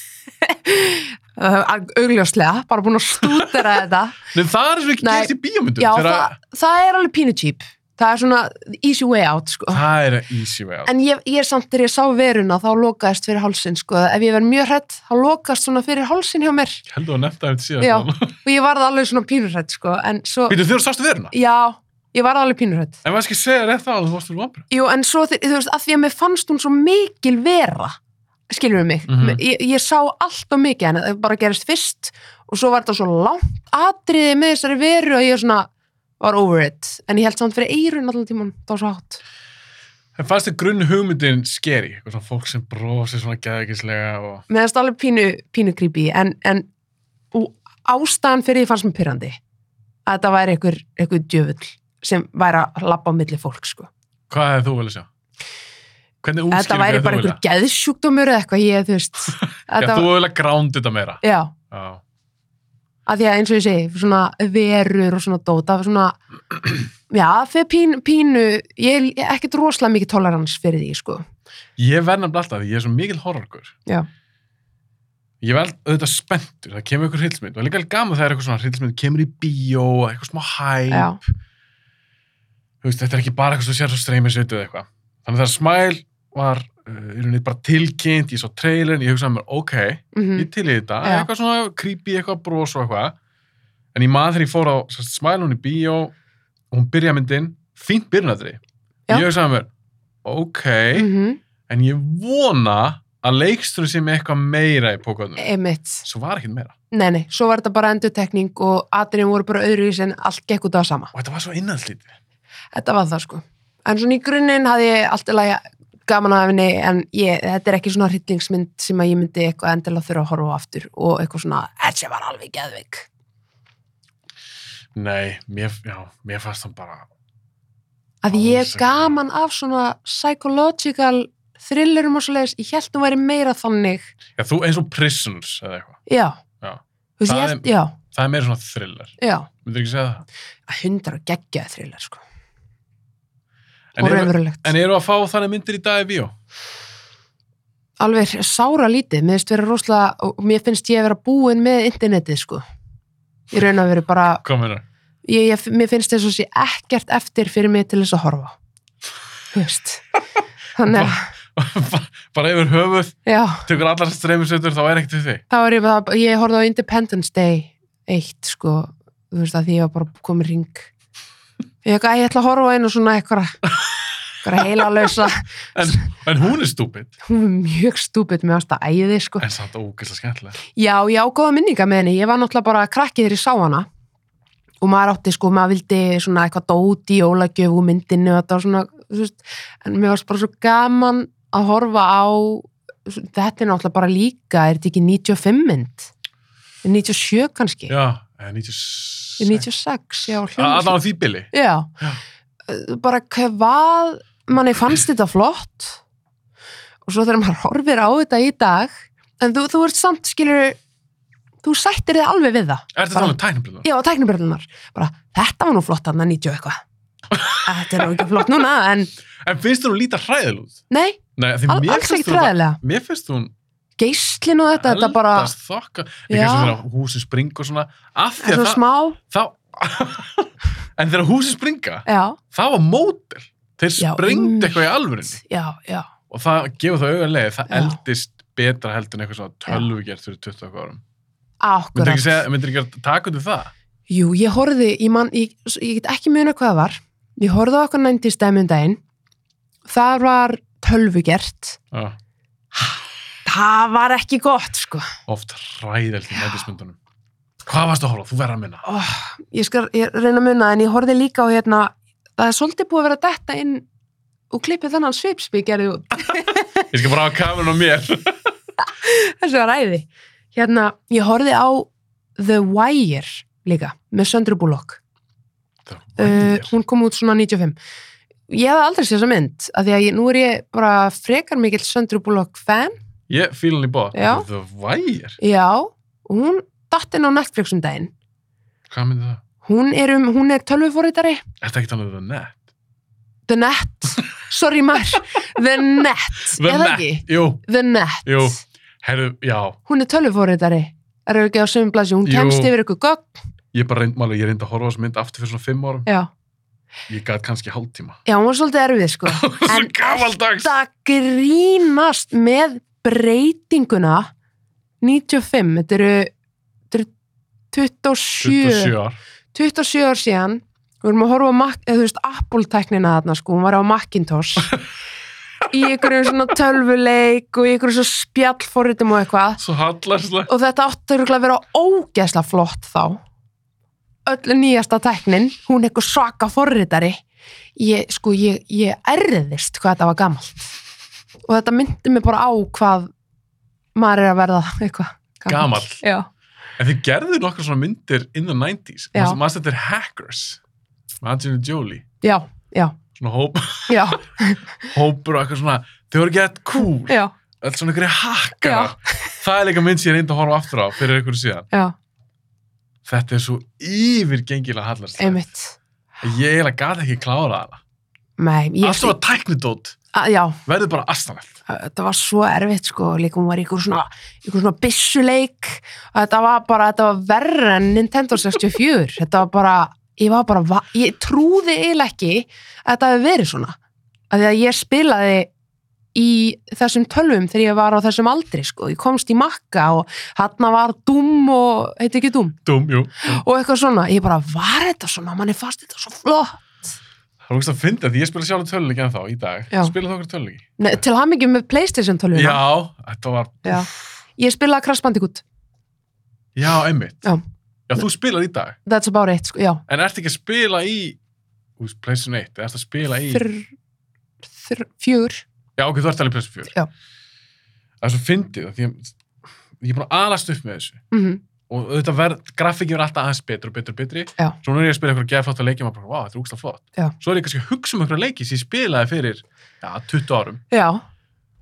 Speaker 2: Uh, augljóslega, bara búin að stútera þetta.
Speaker 1: Nei, það er svo ekki
Speaker 2: Nei.
Speaker 1: gerst í bíómyndum.
Speaker 2: Já,
Speaker 1: þegar
Speaker 2: það, það er alveg pínu típ. Það er svona easy way out, sko.
Speaker 1: það er easy way out.
Speaker 2: En ég, ég er samt þegar ég sá veruna þá lokaðist fyrir hálsin sko. Ef ég verð mjög hrætt þá lokaðist svona fyrir hálsin hjá mér
Speaker 1: Ég held að þú nefnt að þetta
Speaker 2: Já.
Speaker 1: síðast.
Speaker 2: og ég varð alveg svona pínurhrætt sko. En svo,
Speaker 1: Býtu, þú eru sástu veruna?
Speaker 2: já, ég varð alveg pínurhrætt.
Speaker 1: En maður skal segja rétt það að þú varst fyrir vonbrigðum.
Speaker 2: Jú, en svo þi- þú veist, að því að mér fannst hún svo mikil vera, skilur við mig.
Speaker 1: Mhm.
Speaker 2: ég, ég sá allt og mikið en það bara gerist fyrst og svo var þetta svo langt atriði með þessari veru að ég svona var over it. En ég held samt fyrir eirun allan tíman, það var svo hátt.
Speaker 1: En fannst þið grunn hugmyndin skeri? Eitthvað svona fólk sem brosir svona geðegislega og...
Speaker 2: með þess alveg pínu, pínu creepy en, en og ástæðan fyrir ég fannst mér pyrrandi að þetta væri einhver, einhver djöfull sem væri að labba á milli fólk sko.
Speaker 1: Hvað hefði þú viljað sjá? Hvernig
Speaker 2: Að þetta
Speaker 1: útskýringu
Speaker 2: væri
Speaker 1: hefði þú
Speaker 2: bara einhver
Speaker 1: viljað?
Speaker 2: geðsjúkdómur eða eitthvað ég, þú veist
Speaker 1: Já,
Speaker 2: þetta,
Speaker 1: þú hefði viljað gránd þetta meira.
Speaker 2: já,
Speaker 1: Já.
Speaker 2: að því að eins og ég segi svona verur og svona dóta svona, já, fyrir pín, pínu ég er ekkert rosalega mikið tolerans fyrir því, sko
Speaker 1: Ég verð nefnilega alltaf því ég er svo mikil horrorkur.
Speaker 2: Já.
Speaker 1: Ég verð auðvitað spenntur, það kemur einhver hryllsmynd. Og líka alveg gaman þegar eitthvað svona hryllsmynd kemur í bíó, eitthvað smá hæ.
Speaker 2: já,
Speaker 1: Þú veist, þetta er ekki bara eitthvað sem þú sér svo streymi sveitu eða eitthvað. Þannig þegar Smile var, uh, í rauninni bara tilkynnt, ég sá trailerin, ég hugsaði mér, ok,
Speaker 2: mm
Speaker 1: ég til í þetta,
Speaker 2: Já.
Speaker 1: eitthvað svona creepy, eitthvað bros og eitthvað en ég maður þegar ég fór á sérst, smæl hún í bíó og hún byrja myndin fínt byrjunatri
Speaker 2: Já.
Speaker 1: ég hugsaði mér, ok
Speaker 2: Mhm.
Speaker 1: en ég vona að leiksturinn sé með eitthvað meira í pókaðunum
Speaker 2: einmitt
Speaker 1: svo var ekkert meira
Speaker 2: nei, nei, svo var þetta bara endurtekning og atriðin voru bara öðru í sem allt gekk út á það sama
Speaker 1: og þetta var svo innanslítið
Speaker 2: Þetta var það sko. En svona í grunninn hafði ég alltaf lagi gaman af henni en ég, þetta er ekki svona hryllingsmynd sem að ég myndi eitthvað endilega þurfa að horfa á aftur og eitthvað svona, þessi var alveg geðveik.
Speaker 1: nei, mér, já, mér fannst hann bara
Speaker 2: Að því ég
Speaker 1: Alls
Speaker 2: er
Speaker 1: ekki.
Speaker 2: gaman af svona psychological thrillerum og svoleiðis, ég held hún væri meira þannig.
Speaker 1: já, þú eins og Prisons eða eitthvað
Speaker 2: Já.
Speaker 1: Já.
Speaker 2: Þú veist,
Speaker 1: Það
Speaker 2: ég
Speaker 1: er-
Speaker 2: held, já,
Speaker 1: það er meira svona thriller,
Speaker 2: já.
Speaker 1: myndir ekki segja það
Speaker 2: Að hundra geggjaði thriller sko.
Speaker 1: en,
Speaker 2: og
Speaker 1: eru,
Speaker 2: raunverulegt.
Speaker 1: en eru að fá þannig myndir í dag í bíó
Speaker 2: Alveg sára lítið, mér finnst vera rosalega, og mér finnst ég vera búin með internetið sko. Ég raun að vera bara
Speaker 1: hvað meina?
Speaker 2: ég, ég, mér finnst þess að sé ekkert eftir fyrir mig til þess að horfa á. Þú veist þannig að,
Speaker 1: bara yfir höfuð,
Speaker 2: já,
Speaker 1: tekur allar streymisveitur þá er ekkert við þig
Speaker 2: þá er ég bara ég horfði á Independence Day eitt sko, þú veist að því ég var bara komin ring ég, eitthvað, ég ætla að horfa á einu svona eitthvað eitthvað heila lausa,
Speaker 1: en, en hún er stúpid
Speaker 2: hún er mjög stúpid með ást að æði sko,
Speaker 1: en samt ógeðslega skemmtilega
Speaker 2: já, ég ágóða minninga með henni, ég var náttúrulega bara krakki þegar ég sá hana og maður átti sko, maður vildi svona eitthvað dót í jólagjöf úr myndinu og þetta var svona, þú veist, en mér varst bara svo gaman að horfa á þetta er náttúrulega bara líka er þetta ekki 95 mynd? 97 kannski?
Speaker 1: já, eh, eða 96
Speaker 2: 96, já, hljómsveit.
Speaker 1: allan á því bili
Speaker 2: Já, Eh,
Speaker 1: Já.
Speaker 2: bara hvað, manni fannst þetta flott og svo þegar maður horfir á þetta í dag, en þú, þú ert samt skilur, þú sættir þið alveg við það.
Speaker 1: er þetta
Speaker 2: Bara-
Speaker 1: talað um tækniblöðan?
Speaker 2: Já, tæknibrellunar, bara þetta var nú flott hann að 90 og eitthvað. Þetta er nú ekki flott núna, en
Speaker 1: en finnst þú hún líta hræðil út?
Speaker 2: nei,
Speaker 1: Nei, því
Speaker 2: al,
Speaker 1: mér
Speaker 2: alls
Speaker 1: finnst
Speaker 2: ekki
Speaker 1: þú bara-
Speaker 2: træðilega.
Speaker 1: mér finnst hún
Speaker 2: Geislin og þetta, þetta bara,
Speaker 1: eldast þokka ekki
Speaker 2: Já.
Speaker 1: eins og þegar húsin springa og svona af því
Speaker 2: er
Speaker 1: að
Speaker 2: svo
Speaker 1: það
Speaker 2: smá,
Speaker 1: þá, en þegar húsin springa
Speaker 2: já,
Speaker 1: það var mótel þeir
Speaker 2: Já,
Speaker 1: springdu eitthvað í alvörinni
Speaker 2: já, já.
Speaker 1: og það gefur það auðanlega það
Speaker 2: Já.
Speaker 1: eldist betra heldur en eitthvað svona tölvugert fyrir 20 árum myndir ekki,
Speaker 2: Akkurat.
Speaker 1: segja, myndir ekki að taka undir það
Speaker 2: Jú, ég horfði, ég, man, ég, ég get ekki muna hvað það var. Ég horfði á okkur næntist dæmum daginn. Það var tölvugert.
Speaker 1: Já,
Speaker 2: Það var ekki gott, sko.
Speaker 1: oft hræðelt í nættismyndunum hvað varst að horfa, á? þú verður að minna
Speaker 2: Ó, Oh, ég skal ég reyna að muna, en ég horfði líka á hérna, það er svolítið búið að vera detta inn og klippið þennan svipsbygg gerði út.
Speaker 1: ég skal bara hafa kamerun á mér
Speaker 2: Þessi var æði. Hérna, ég horfði á The Wire líka, með Söndru Bullock. uh,
Speaker 1: uh,
Speaker 2: hún kom út svona 95 ég hef aldrei séð þessa mynd af því að ég, nú er ég bara frekar mikill Söndru Bullock fan
Speaker 1: ég fíl hann í bóð
Speaker 2: Já.
Speaker 1: The Wire,
Speaker 2: já, og hún datt inn á Netflix um daginn
Speaker 1: hvað myndir það?
Speaker 2: hún er, um, hún er tölvuforritari
Speaker 1: er þetta ekki talað um The Net?
Speaker 2: The Net, sorry maður The Net,
Speaker 1: The
Speaker 2: eða
Speaker 1: Net,
Speaker 2: ekki
Speaker 1: jú,
Speaker 2: The Net,
Speaker 1: Jú. herru, já
Speaker 2: hún er tölvuforritari er það ekki á sömum blasi, hún
Speaker 1: Jú.
Speaker 2: kemst yfir ykkur gögn,
Speaker 1: ég bara reynd, máli, ég reyndi að horfa á þessu mynd aftur fyrir svona 5 árum
Speaker 2: já,
Speaker 1: ég gæti kannski hálftíma
Speaker 2: já, hún var svolítið erfið sko
Speaker 1: svo gamaldags
Speaker 2: alltaf grínast með breytinguna 95, þetta eru, þetta eru 27,
Speaker 1: 27 ár
Speaker 2: 27 ár síðan við vorum að horfa á Mac, eða, þú veist, Apple-tæknina þarna sko, hún var á Macintosh í einhverjum svona tölvuleik og í einhverjum svona spjallforritum og eitthvað
Speaker 1: svo hallarslega
Speaker 2: og þetta átti örugglega að vera ógeðslega flott þá öll nýjasta tæknin, hún eitthvað svaka forritari ég, sko, ég, ég erðist hvað þetta var gamalt og þetta myndi mig bara á hvað maður er að verða eitthvað gamall.
Speaker 1: Gamall.
Speaker 2: Já.
Speaker 1: En þið gerðu nokkar svona myndir in the 90s.
Speaker 2: Já.
Speaker 1: Manstu manstu þetta er Hackers. Angelina Jolie.
Speaker 2: já, já,
Speaker 1: Svona hóp,
Speaker 2: já,
Speaker 1: hópur og eitthvað svona, þau voru gett cool.
Speaker 2: já,
Speaker 1: Þetta svona einhverju hakkar. Það er líka mynd sem ég reyndi að horfa aftur á fyrir einhverju síðan.
Speaker 2: já,
Speaker 1: Þetta er svo yfirgengilega hallast.
Speaker 2: einmitt
Speaker 1: Ég eiginlega gati ekki klára hana.
Speaker 2: Nei, ég,
Speaker 1: Allt sem var tæknidót
Speaker 2: að, já,
Speaker 1: verður bara astanlegt.
Speaker 2: þetta var svo erfitt sko, líka hún var í ykkur svona, ykkur svona byssuleik og þetta var bara, þetta var verra en Nintendo 64, þetta var bara ég var bara, va- ég trúði eiginlega ekki að þetta hefði verið svona að því að ég spilaði í þessum tölvum þegar ég var á þessum aldri sko, ég komst í makka og hann var dúm og, heit ekki dúm
Speaker 1: Dúm, jú. Dúm.
Speaker 2: og eitthvað svona, ég bara, var þetta svona manni fast þetta svo flott
Speaker 1: Það er ógst að finna því ég spila sjálf töluleiki en þá í dag.
Speaker 2: Já.
Speaker 1: Spila þú okkur töluleiki?
Speaker 2: Nei, til hann ekki með Playstation tölvuna
Speaker 1: Já, þetta var,
Speaker 2: Já. ég spilaði Crash Bandicoot,
Speaker 1: já, einmitt.
Speaker 2: Já.
Speaker 1: Já, þú spilar í dag.
Speaker 2: that's about it sko, já
Speaker 1: En ertu ekki að spila í Þú veist, PlayStation 1, ertu að spila í
Speaker 2: þr, þr, fjör
Speaker 1: Já, ok, þú ert alveg PlayStation 4
Speaker 2: Já.
Speaker 1: Það er svo fyndið af Því ég, ég er búin að alast upp með þessu
Speaker 2: mm
Speaker 1: Og auðvitað verð, grafíkinn verður alltaf aðeins betur og betur og betri
Speaker 2: Já.
Speaker 1: Svo nú er ég að spila eitthvað geðflott að leikja og maður bara, vá, þetta er úkslega flott
Speaker 2: Já.
Speaker 1: Svo er ég kannski að hugsa um eitthvað leiki sem ég spilaði fyrir já, 20 árum
Speaker 2: já,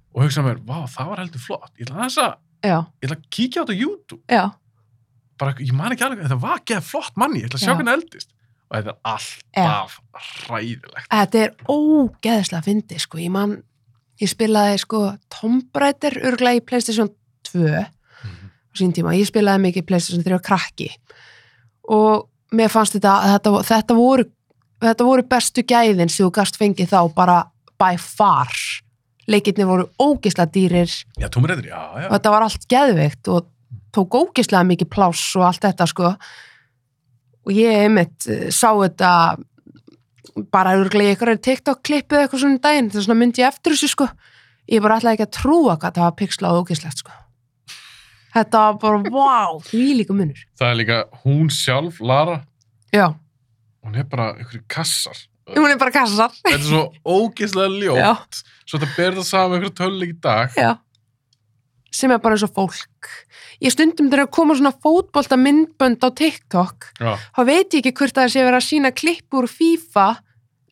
Speaker 1: og hugsa mér, vá, það var heldur flott Ég ætla aðeins að,
Speaker 2: já,
Speaker 1: ég ætla að kíkja á þetta á YouTube
Speaker 2: já
Speaker 1: bara, ég man ekki alveg, þetta var geða flott manni, ég ætla að sjá
Speaker 2: Já.
Speaker 1: hvernig eldist og þetta er alltaf hræðilegt
Speaker 2: þetta er ógeðslega fyndi sko, ég man ég spilaði sko Tomb Raider örglega í Playstation 2 á sín tíma, ég spilaði mikið Playstation 3 og krakki og mér fannst þetta, þetta, þetta voru þetta voru bestu gæðin sem þú gast fengið þá bara by far leikirni voru ógeðslega dýrir
Speaker 1: Já, tómur reyður, já, já
Speaker 2: og þetta var allt geðveikt og tók ógislega mikið pláss og allt þetta sko og ég einmitt eh, sá þetta bara örglega ykkur TikTok-klippið eitthvað svona um daginn þess að myndi ég eftir þessu sko ég bara ætlaði ekki að trúa hvað það var pixlað og ógislegt sko þetta var bara, wow, því líka munur
Speaker 1: það er líka hún sjálf, Lara
Speaker 2: já,
Speaker 1: hún er bara ykkur kassar
Speaker 2: hún er bara kassar
Speaker 1: þetta er svo ógeðslega ljótt
Speaker 2: já,
Speaker 1: svo þetta ber það saman ykkur töluleik í dag
Speaker 2: já sem er bara eins og fólk ég stundum þegar koma svona fótbolta myndbönd á TikTok
Speaker 1: já,
Speaker 2: þá veit ég ekki hvort það sé verið að sína klippur úr FIFA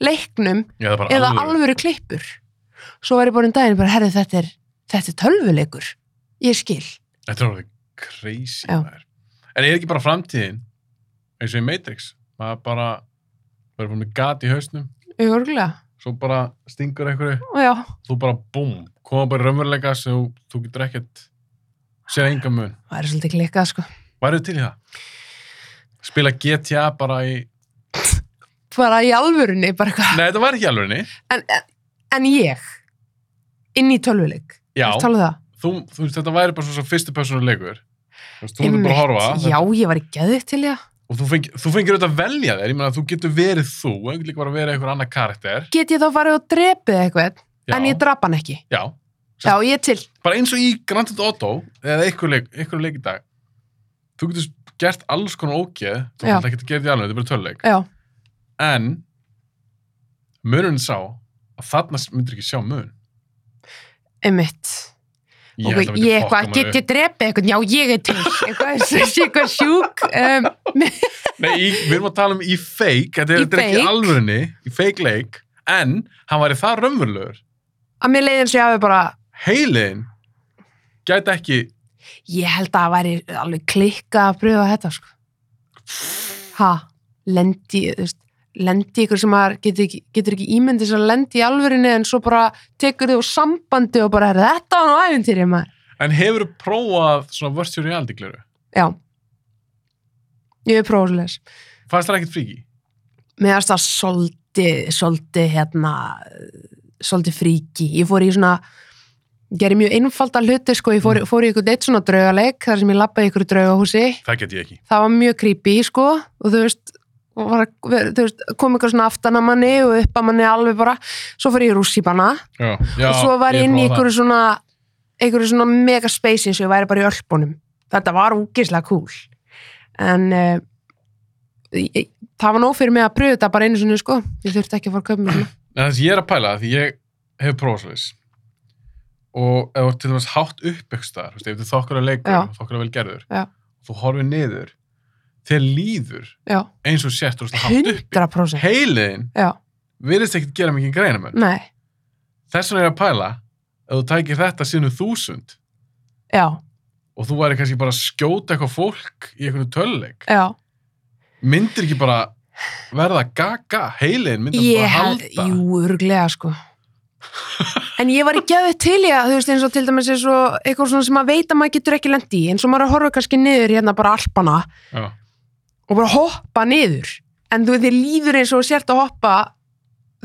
Speaker 2: leiknum
Speaker 1: já það er bara
Speaker 2: eða alvöru klippur svo var ég bara um daginn bara, herri þetta er þetta er tölvuleikur, ég skil
Speaker 1: Þetta er orðið crazy
Speaker 2: Já.
Speaker 1: maður. En er ekki bara framtíðin eins og í Matrix maður bara verður bara með gat í hausnum
Speaker 2: örgulega,
Speaker 1: svo bara stingur einhverju
Speaker 2: já,
Speaker 1: þú bara búm, koma bara í raunveruleika sem þú, þú getur ekkert sér enga mun.
Speaker 2: það er svolítið klikkað sko
Speaker 1: Værið til í það? Spila GTA bara í
Speaker 2: bara í alvörunni, bara eitthvað
Speaker 1: Nei, þetta var ekki alveg niður.
Speaker 2: en, en, en ég, inn í tölvuleik
Speaker 1: Já,
Speaker 2: Ertu að tala um það?
Speaker 1: þú, þú veist, þetta væri bara svo sem fyrstu personuleikur. Þú veist, þú myndir bara að horfa
Speaker 2: Einmitt. já, ég var í geðið til ég
Speaker 1: og þú, feng, þú fengir auðvitað að velja þér. Ég meina, þú getur verið þú, en líka bara verið einhver annar karakter.
Speaker 2: get ég þá farið og drepið eitthvað
Speaker 1: Já,
Speaker 2: en ég drap hann ekki,
Speaker 1: já,
Speaker 2: já, ég er til
Speaker 1: bara eins og í Grand Theft Auto eða einhver leik, einhver leik í dag þú getur gert alls konar ógeð þú
Speaker 2: Já.
Speaker 1: getur ekki að gera því alveg, þetta er bara töluleik
Speaker 2: já,
Speaker 1: en munurinn sá að þarna myndir ekki sjá mun
Speaker 2: einmitt Ég,
Speaker 1: held að
Speaker 2: okay,
Speaker 1: myndi
Speaker 2: ég
Speaker 1: fokka
Speaker 2: eitthvað,
Speaker 1: manni
Speaker 2: get ég drepið eitthvað, já ég er til, eitthvað, eins og sé eitthvað sjúk, um,
Speaker 1: upp. Nei, í, við erum að tala um í fake þetta er,
Speaker 2: Í
Speaker 1: þetta er ekki
Speaker 2: fake.
Speaker 1: alvörunni, í fake leik en hann væri það raunverulegur
Speaker 2: að mér leiði eins og ég hafi bara,
Speaker 1: heilin gæti ekki
Speaker 2: ég held að það væri alveg klikka að pröfa þetta, sko. Ha, lendi, þú veist, lendi ykkur sem maður getur ekki, getur ekki ímyndið sem lendi í alvörinni en svo bara tekur þau úr sambandi og bara, "Herra, þetta var nú æfintýrið maður.
Speaker 1: en hefur prófað svona virtual reality gleru
Speaker 2: Já, ég er prófisleis.
Speaker 1: fannst það ekkert fríki
Speaker 2: Mér finnst það svolítið, svolítið hérna, svolítið fríki. Ég fór í svona, gerði mjög einfalda hluti, sko, ég fór, fór í ykkur eitt svona draugaleik, þar sem ég labbaði í ykkur draugahúsi.
Speaker 1: það get ég ekki
Speaker 2: Það var mjög creepy, sko, og þú veist, og var, að ver- þú veist, kom ykkur svona aftan að manni og upp að manni alveg bara, svo fór ég í rússipanna
Speaker 1: já, já,
Speaker 2: og svo var
Speaker 1: ég
Speaker 2: ég inn í
Speaker 1: prófaði það.
Speaker 2: ykkur svona, ykkur svona mega space eins og ég væri bara í ölpunum. Þetta var úkislega cool. En uh, ég, það var nóg fyrir mig að pröfa þetta bara einu sinni, sko. Ég þurfti ekki að fara að köpa mér svona.
Speaker 1: Nei, það sem ég er að pæla, því ég hef prófasleis og ef þú ert til dæmis hátt upp ykkur staðar, þú veist, ef þú þokkar að leikur
Speaker 2: Já.
Speaker 1: og þokkar að vel gerður,
Speaker 2: Já.
Speaker 1: þú horfir niður þér líður
Speaker 2: Já,
Speaker 1: eins og sért þú veist, hátt upp
Speaker 2: 100%.
Speaker 1: heiliðin
Speaker 2: Já,
Speaker 1: virðist ekkert gera mikið greina mér
Speaker 2: nei,
Speaker 1: þess vegna er ég að pæla, ef þú tækir þetta sinu þúsund
Speaker 2: já,
Speaker 1: og þú væri kannski bara að skjóta eitthvað fólk í eitthvað töluleik,
Speaker 2: já.
Speaker 1: myndir ekki bara verða gaga, heiliðin myndir
Speaker 2: Ég
Speaker 1: bara
Speaker 2: held,
Speaker 1: halda
Speaker 2: jú, örglega, sko. En ég var í geðu til ég að, þú veist, eins og til dæmis eins og eitthvað svona sem maður veit að maður getur ekki lent í, eins og maður er að horfa kannski niður hérna bara alpana
Speaker 1: Já.
Speaker 2: og bara hoppa niður. En þú veist, þið líður eins og þú sért að hoppa,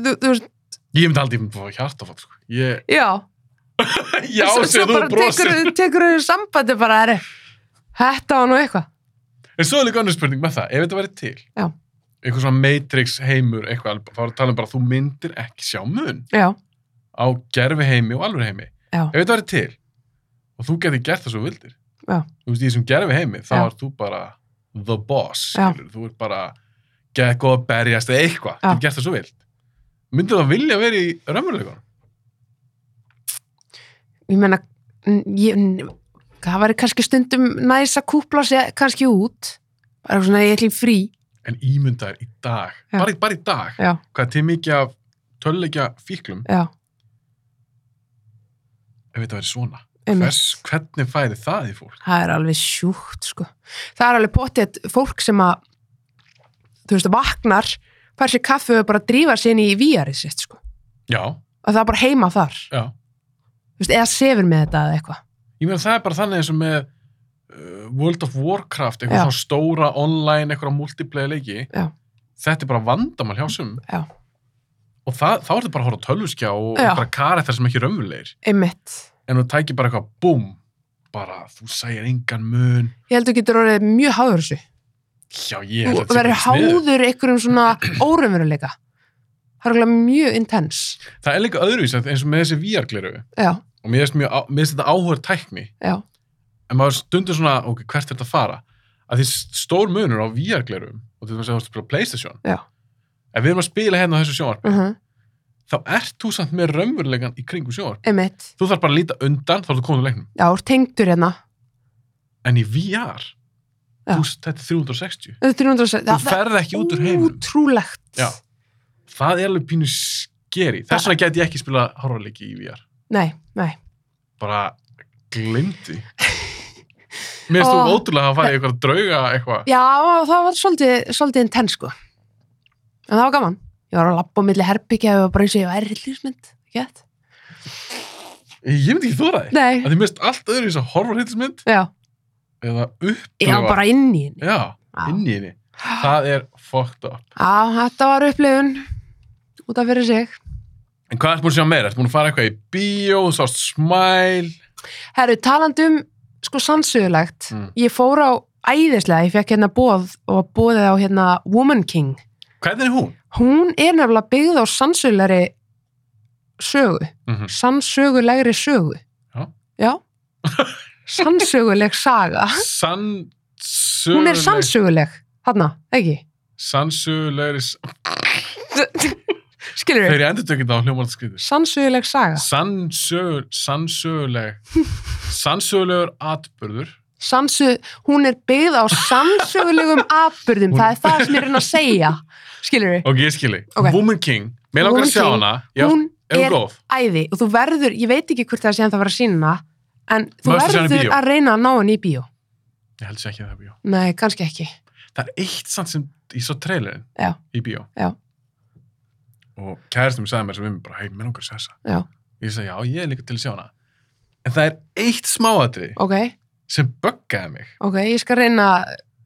Speaker 2: þú, þú veist,
Speaker 1: ég myndi aldrei að fá hjartafall sko. ég,
Speaker 2: já.
Speaker 1: já,
Speaker 2: svo,
Speaker 1: sem
Speaker 2: svo
Speaker 1: þú
Speaker 2: bara
Speaker 1: brosir
Speaker 2: tekur, tekur þau sambandi bara, herri, þetta var nú eitthvað.
Speaker 1: En svo er líka annars spurning með það, ef þetta væri til
Speaker 2: Já.
Speaker 1: eitthvað svona matrix heimur eitthvað, þá er að tala um bara að þú myndir ekki sjá mun
Speaker 2: Já,
Speaker 1: á gerfi heimi og alveg heimi
Speaker 2: Já.
Speaker 1: ef þetta væri til og þú getur gert það svo þú vildir
Speaker 2: Já.
Speaker 1: þú veist, í þessum gerfi heimi, þá
Speaker 2: Já.
Speaker 1: er þú bara the boss,
Speaker 2: Já.
Speaker 1: skilur, þú ert bara geða góð að berjast eða eitthvað
Speaker 2: Já.
Speaker 1: getur gert það svo vilt myndir það vilja vera í raunveruleikunum?
Speaker 2: ég meina n- ég, n- það væri kannski stundum næs að kúpla sér kannski út bara svona ég ætli í frí
Speaker 1: en ímyndaðir í dag,
Speaker 2: Já.
Speaker 1: bara, í- bara í dag
Speaker 2: já,
Speaker 1: hvað er til mikið af töluleikja fíklum
Speaker 2: já,
Speaker 1: ef þetta væri svona
Speaker 2: einmitt
Speaker 1: Hvers, hvernig færi það í fólk?
Speaker 2: það er alveg sjúkt sko það er alveg potið fólk sem að þú veist, vaknar fær sér kaffi og bara drífa sér inn í výjarið sitt sko,
Speaker 1: Já,
Speaker 2: og það er bara heima þar þú
Speaker 1: já.
Speaker 2: veist, eða sefur með þetta eða eitthvað
Speaker 1: Ég meina það er bara þannig eins og með uh, World of Warcraft,
Speaker 2: Já.
Speaker 1: eitthvað svona stóra online, eitthvað multiplayer leiki.
Speaker 2: Já.
Speaker 1: Þetta er bara vandamál hjá sum.
Speaker 2: Já.
Speaker 1: Og það, þá er þetta bara að horfa á tölvuskjá og, og
Speaker 2: Já.
Speaker 1: bara karættar sem ekki er raunverulegir.
Speaker 2: einmitt,
Speaker 1: En þú tækir bara eitthvað, búm, bara þú sæir engan mun.
Speaker 2: ég held þú getur orðið mjög háður þessu
Speaker 1: Já, ég held að þetta
Speaker 2: þú
Speaker 1: sé bara
Speaker 2: verður
Speaker 1: sniðugt.
Speaker 2: háður einhverjum svona órumveruleika það er alveg mjög intens
Speaker 1: Það er líka öðruvís eins og með þessi VR-gleru.
Speaker 2: já,
Speaker 1: Og mér finnst mjög á- mér finnst þetta áhugur tækni.
Speaker 2: já
Speaker 1: en maður stundur svona, ok, hvert er þetta að fara að því stór munur á VR-glerum og og til dæmis að þú ert að spila Playstation
Speaker 2: Já.
Speaker 1: ef við erum að spila hérna á þessu sjónvarp
Speaker 2: uh -huh.
Speaker 1: þá ert þú samt með raunverulegan í kringum sjónvarp
Speaker 2: Emitt,
Speaker 1: þú þarf bara að líta undan þá er þú komin úr leiknum
Speaker 2: já, þú ert tengdur hérna
Speaker 1: en í VR
Speaker 2: Já.
Speaker 1: þú, þetta er 360
Speaker 2: Þetta er
Speaker 1: þú
Speaker 2: 360. Það- það er
Speaker 1: ferð ekki út úr heiminum
Speaker 2: Ótrúlegt
Speaker 1: Já. það er alveg pínu skeri þess vegna get ég ekki spila horfarleiki í VR
Speaker 2: Nei, nei
Speaker 1: bara glimti mér finnst
Speaker 2: Ó.
Speaker 1: þú ótrúlega að fara í eitthvað drauga eitthvað
Speaker 2: Já, það var svolítið, svolítið intens sko En það var gaman Ég var að labba á milli herbyggja og bara eins og ég væri hryllingsmynd Gett?
Speaker 1: ég myndi ekki þóra þig
Speaker 2: Nei,
Speaker 1: að þið mist allt öðru í þess að horfarleikismynd
Speaker 2: já
Speaker 1: eða
Speaker 2: Já,
Speaker 1: upplifa
Speaker 2: bara inn í henni
Speaker 1: já,
Speaker 2: Já.
Speaker 1: inn í henni það er fucked up
Speaker 2: Já, þetta var upplifun Út af fyrir sig
Speaker 1: en hvað ert búin að sjá meira? ert búin að fara eitthvað í bíó þú sást smæl
Speaker 2: Herru, talandi um sko sannsögulegt
Speaker 1: Mm.
Speaker 2: Ég fór á æðislega, ég fekk hérna bóð og bóðið á hérna Woman King
Speaker 1: hvernig er hún?
Speaker 2: Hún er nefnilega byggð á sannsögulegri sögu
Speaker 1: Mm -hmm.
Speaker 2: sannsögulegri sögu
Speaker 1: Já.
Speaker 2: sannsöguleg saga
Speaker 1: sann
Speaker 2: hún er sannsöguleg, þarna, ekki
Speaker 1: sannsögulegri
Speaker 2: skilur við,
Speaker 1: þegar ég endur tökir þá hljómar þetta skriðis
Speaker 2: sannsöguleg saga
Speaker 1: sannsögur sannsöguleg sannsögulegur atbyrður
Speaker 2: Sansu, hún er byggð á sannsögulegum atbyrðum,
Speaker 1: Hún-
Speaker 2: það er það sem ég er að segja skilur við,
Speaker 1: ok, ég skilji,
Speaker 2: Ok.
Speaker 1: Woman King mér langar
Speaker 2: Woman
Speaker 1: að sjá
Speaker 2: King,
Speaker 1: hana já,
Speaker 2: hún
Speaker 1: er hún
Speaker 2: er
Speaker 1: góð
Speaker 2: æði og þú verður, ég veit ekki hvort það sé en það var að sína en þú
Speaker 1: Maður skal sjá hana í
Speaker 2: verður
Speaker 1: bíó.
Speaker 2: að reyna að ná henni í bíó
Speaker 1: ég held sér ekki að það er bíó
Speaker 2: nei, kannski ekki
Speaker 1: það er eitt samt sem ég svo trailerin
Speaker 2: Já.
Speaker 1: í bíó
Speaker 2: Já.
Speaker 1: og kærastum sagði mér sem við mér bara, hei, mér langar að sjá þessa
Speaker 2: Já.
Speaker 1: ég sagði, já, ég er líka til að sjá hana en það er eitt smáatri
Speaker 2: ok,
Speaker 1: sem böggaði mig
Speaker 2: ok, ég skal reyna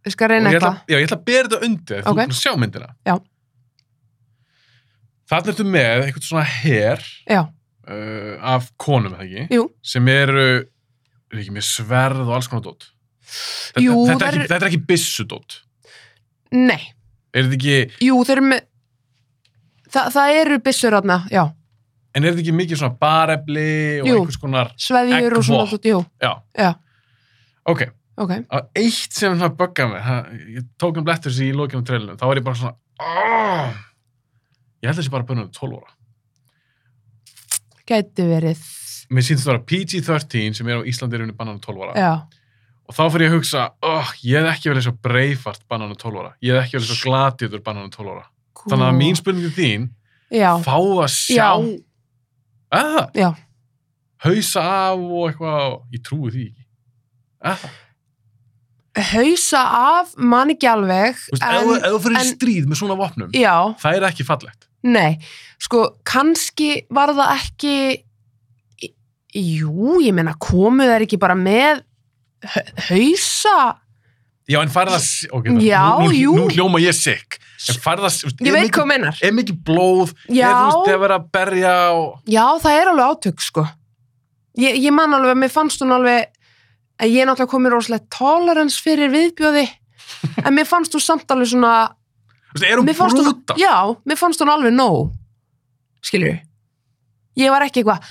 Speaker 2: ég skal
Speaker 1: og
Speaker 2: reyna
Speaker 1: ég ætla,
Speaker 2: eitthvað
Speaker 1: já, ég ætla að bera þetta undir þú
Speaker 2: Ok.
Speaker 1: okay. sjá myndina
Speaker 2: Já.
Speaker 1: þarna ertu með eitthvað svona her
Speaker 2: já,
Speaker 1: uh, af konum, er það ekki?
Speaker 2: Jú.
Speaker 1: sem eru er ekki, með sverð og alls konar dót þetta,
Speaker 2: Jú,
Speaker 1: þetta, er
Speaker 2: það
Speaker 1: ekki,
Speaker 2: eru-
Speaker 1: þetta er ekki byssudót
Speaker 2: nei
Speaker 1: er þetta ekki,
Speaker 2: Jú, þeir eru með Þa, það eru byssur þarna, já,
Speaker 1: en er þetta ekki mikið svona barefli og
Speaker 2: Jú.
Speaker 1: einhvers konar
Speaker 2: sveðjur og svona,
Speaker 1: Eggvopn.
Speaker 2: jú,
Speaker 1: já,
Speaker 2: Já.
Speaker 1: ok,
Speaker 2: ok,
Speaker 1: að eitt sem það böggaði mig það, ég tók um blettur sér í lokinu treilinu þá var ég bara svona oh! ég held að þessi bara bönnum 12 ára
Speaker 2: gæti verið
Speaker 1: mér sýnst það að vera PG-13 sem er á Íslandi rauninni bannan á 12 ára
Speaker 2: Já,
Speaker 1: og þá fyrir ég að hugsa, oh, ég hef ekki vel eins og breyfart bannan á 12 um ára, ég hef ekki vel eins og gladiður bannan á 12 um ára, þannig að mín spurning til þín,
Speaker 2: Já,
Speaker 1: fá að sjá
Speaker 2: Já.
Speaker 1: að það,
Speaker 2: já,
Speaker 1: hausa af og eitthvað, ég trúi því ekki að það,
Speaker 2: hausa af man ekki alveg
Speaker 1: þú veist,
Speaker 2: en,
Speaker 1: ef, ef þú fyrir
Speaker 2: en-
Speaker 1: í stríð með svona vopnum,
Speaker 2: Já,
Speaker 1: það er ekki fallegt
Speaker 2: nei Sko, kannski var það ekki í- Jú, ég meina komu þær ekki bara með ha- hausa
Speaker 1: já, en farið að, s- ok, það-
Speaker 2: Já,
Speaker 1: nú, nú,
Speaker 2: jú.
Speaker 1: nú hljóma ég sikk en farið að, þú veist,
Speaker 2: Ég
Speaker 1: er
Speaker 2: veit
Speaker 1: mikið-
Speaker 2: hvað þú meinar
Speaker 1: er mikið blóð
Speaker 2: Já,
Speaker 1: er þú veist, að vera að berja og,
Speaker 2: Já, það er alveg átök, sko. Ég, ég man alveg, mér fannst hún alveg, en ég er náttúrulega komið rosalega tolerance fyrir viðbjóði, en mér fannst hún samt alveg svona,
Speaker 1: þú veist, er hún
Speaker 2: mér fannst hún,
Speaker 1: brúta
Speaker 2: já, mér fannst hún alveg nóg, skilur Ég var ekki eitthvað,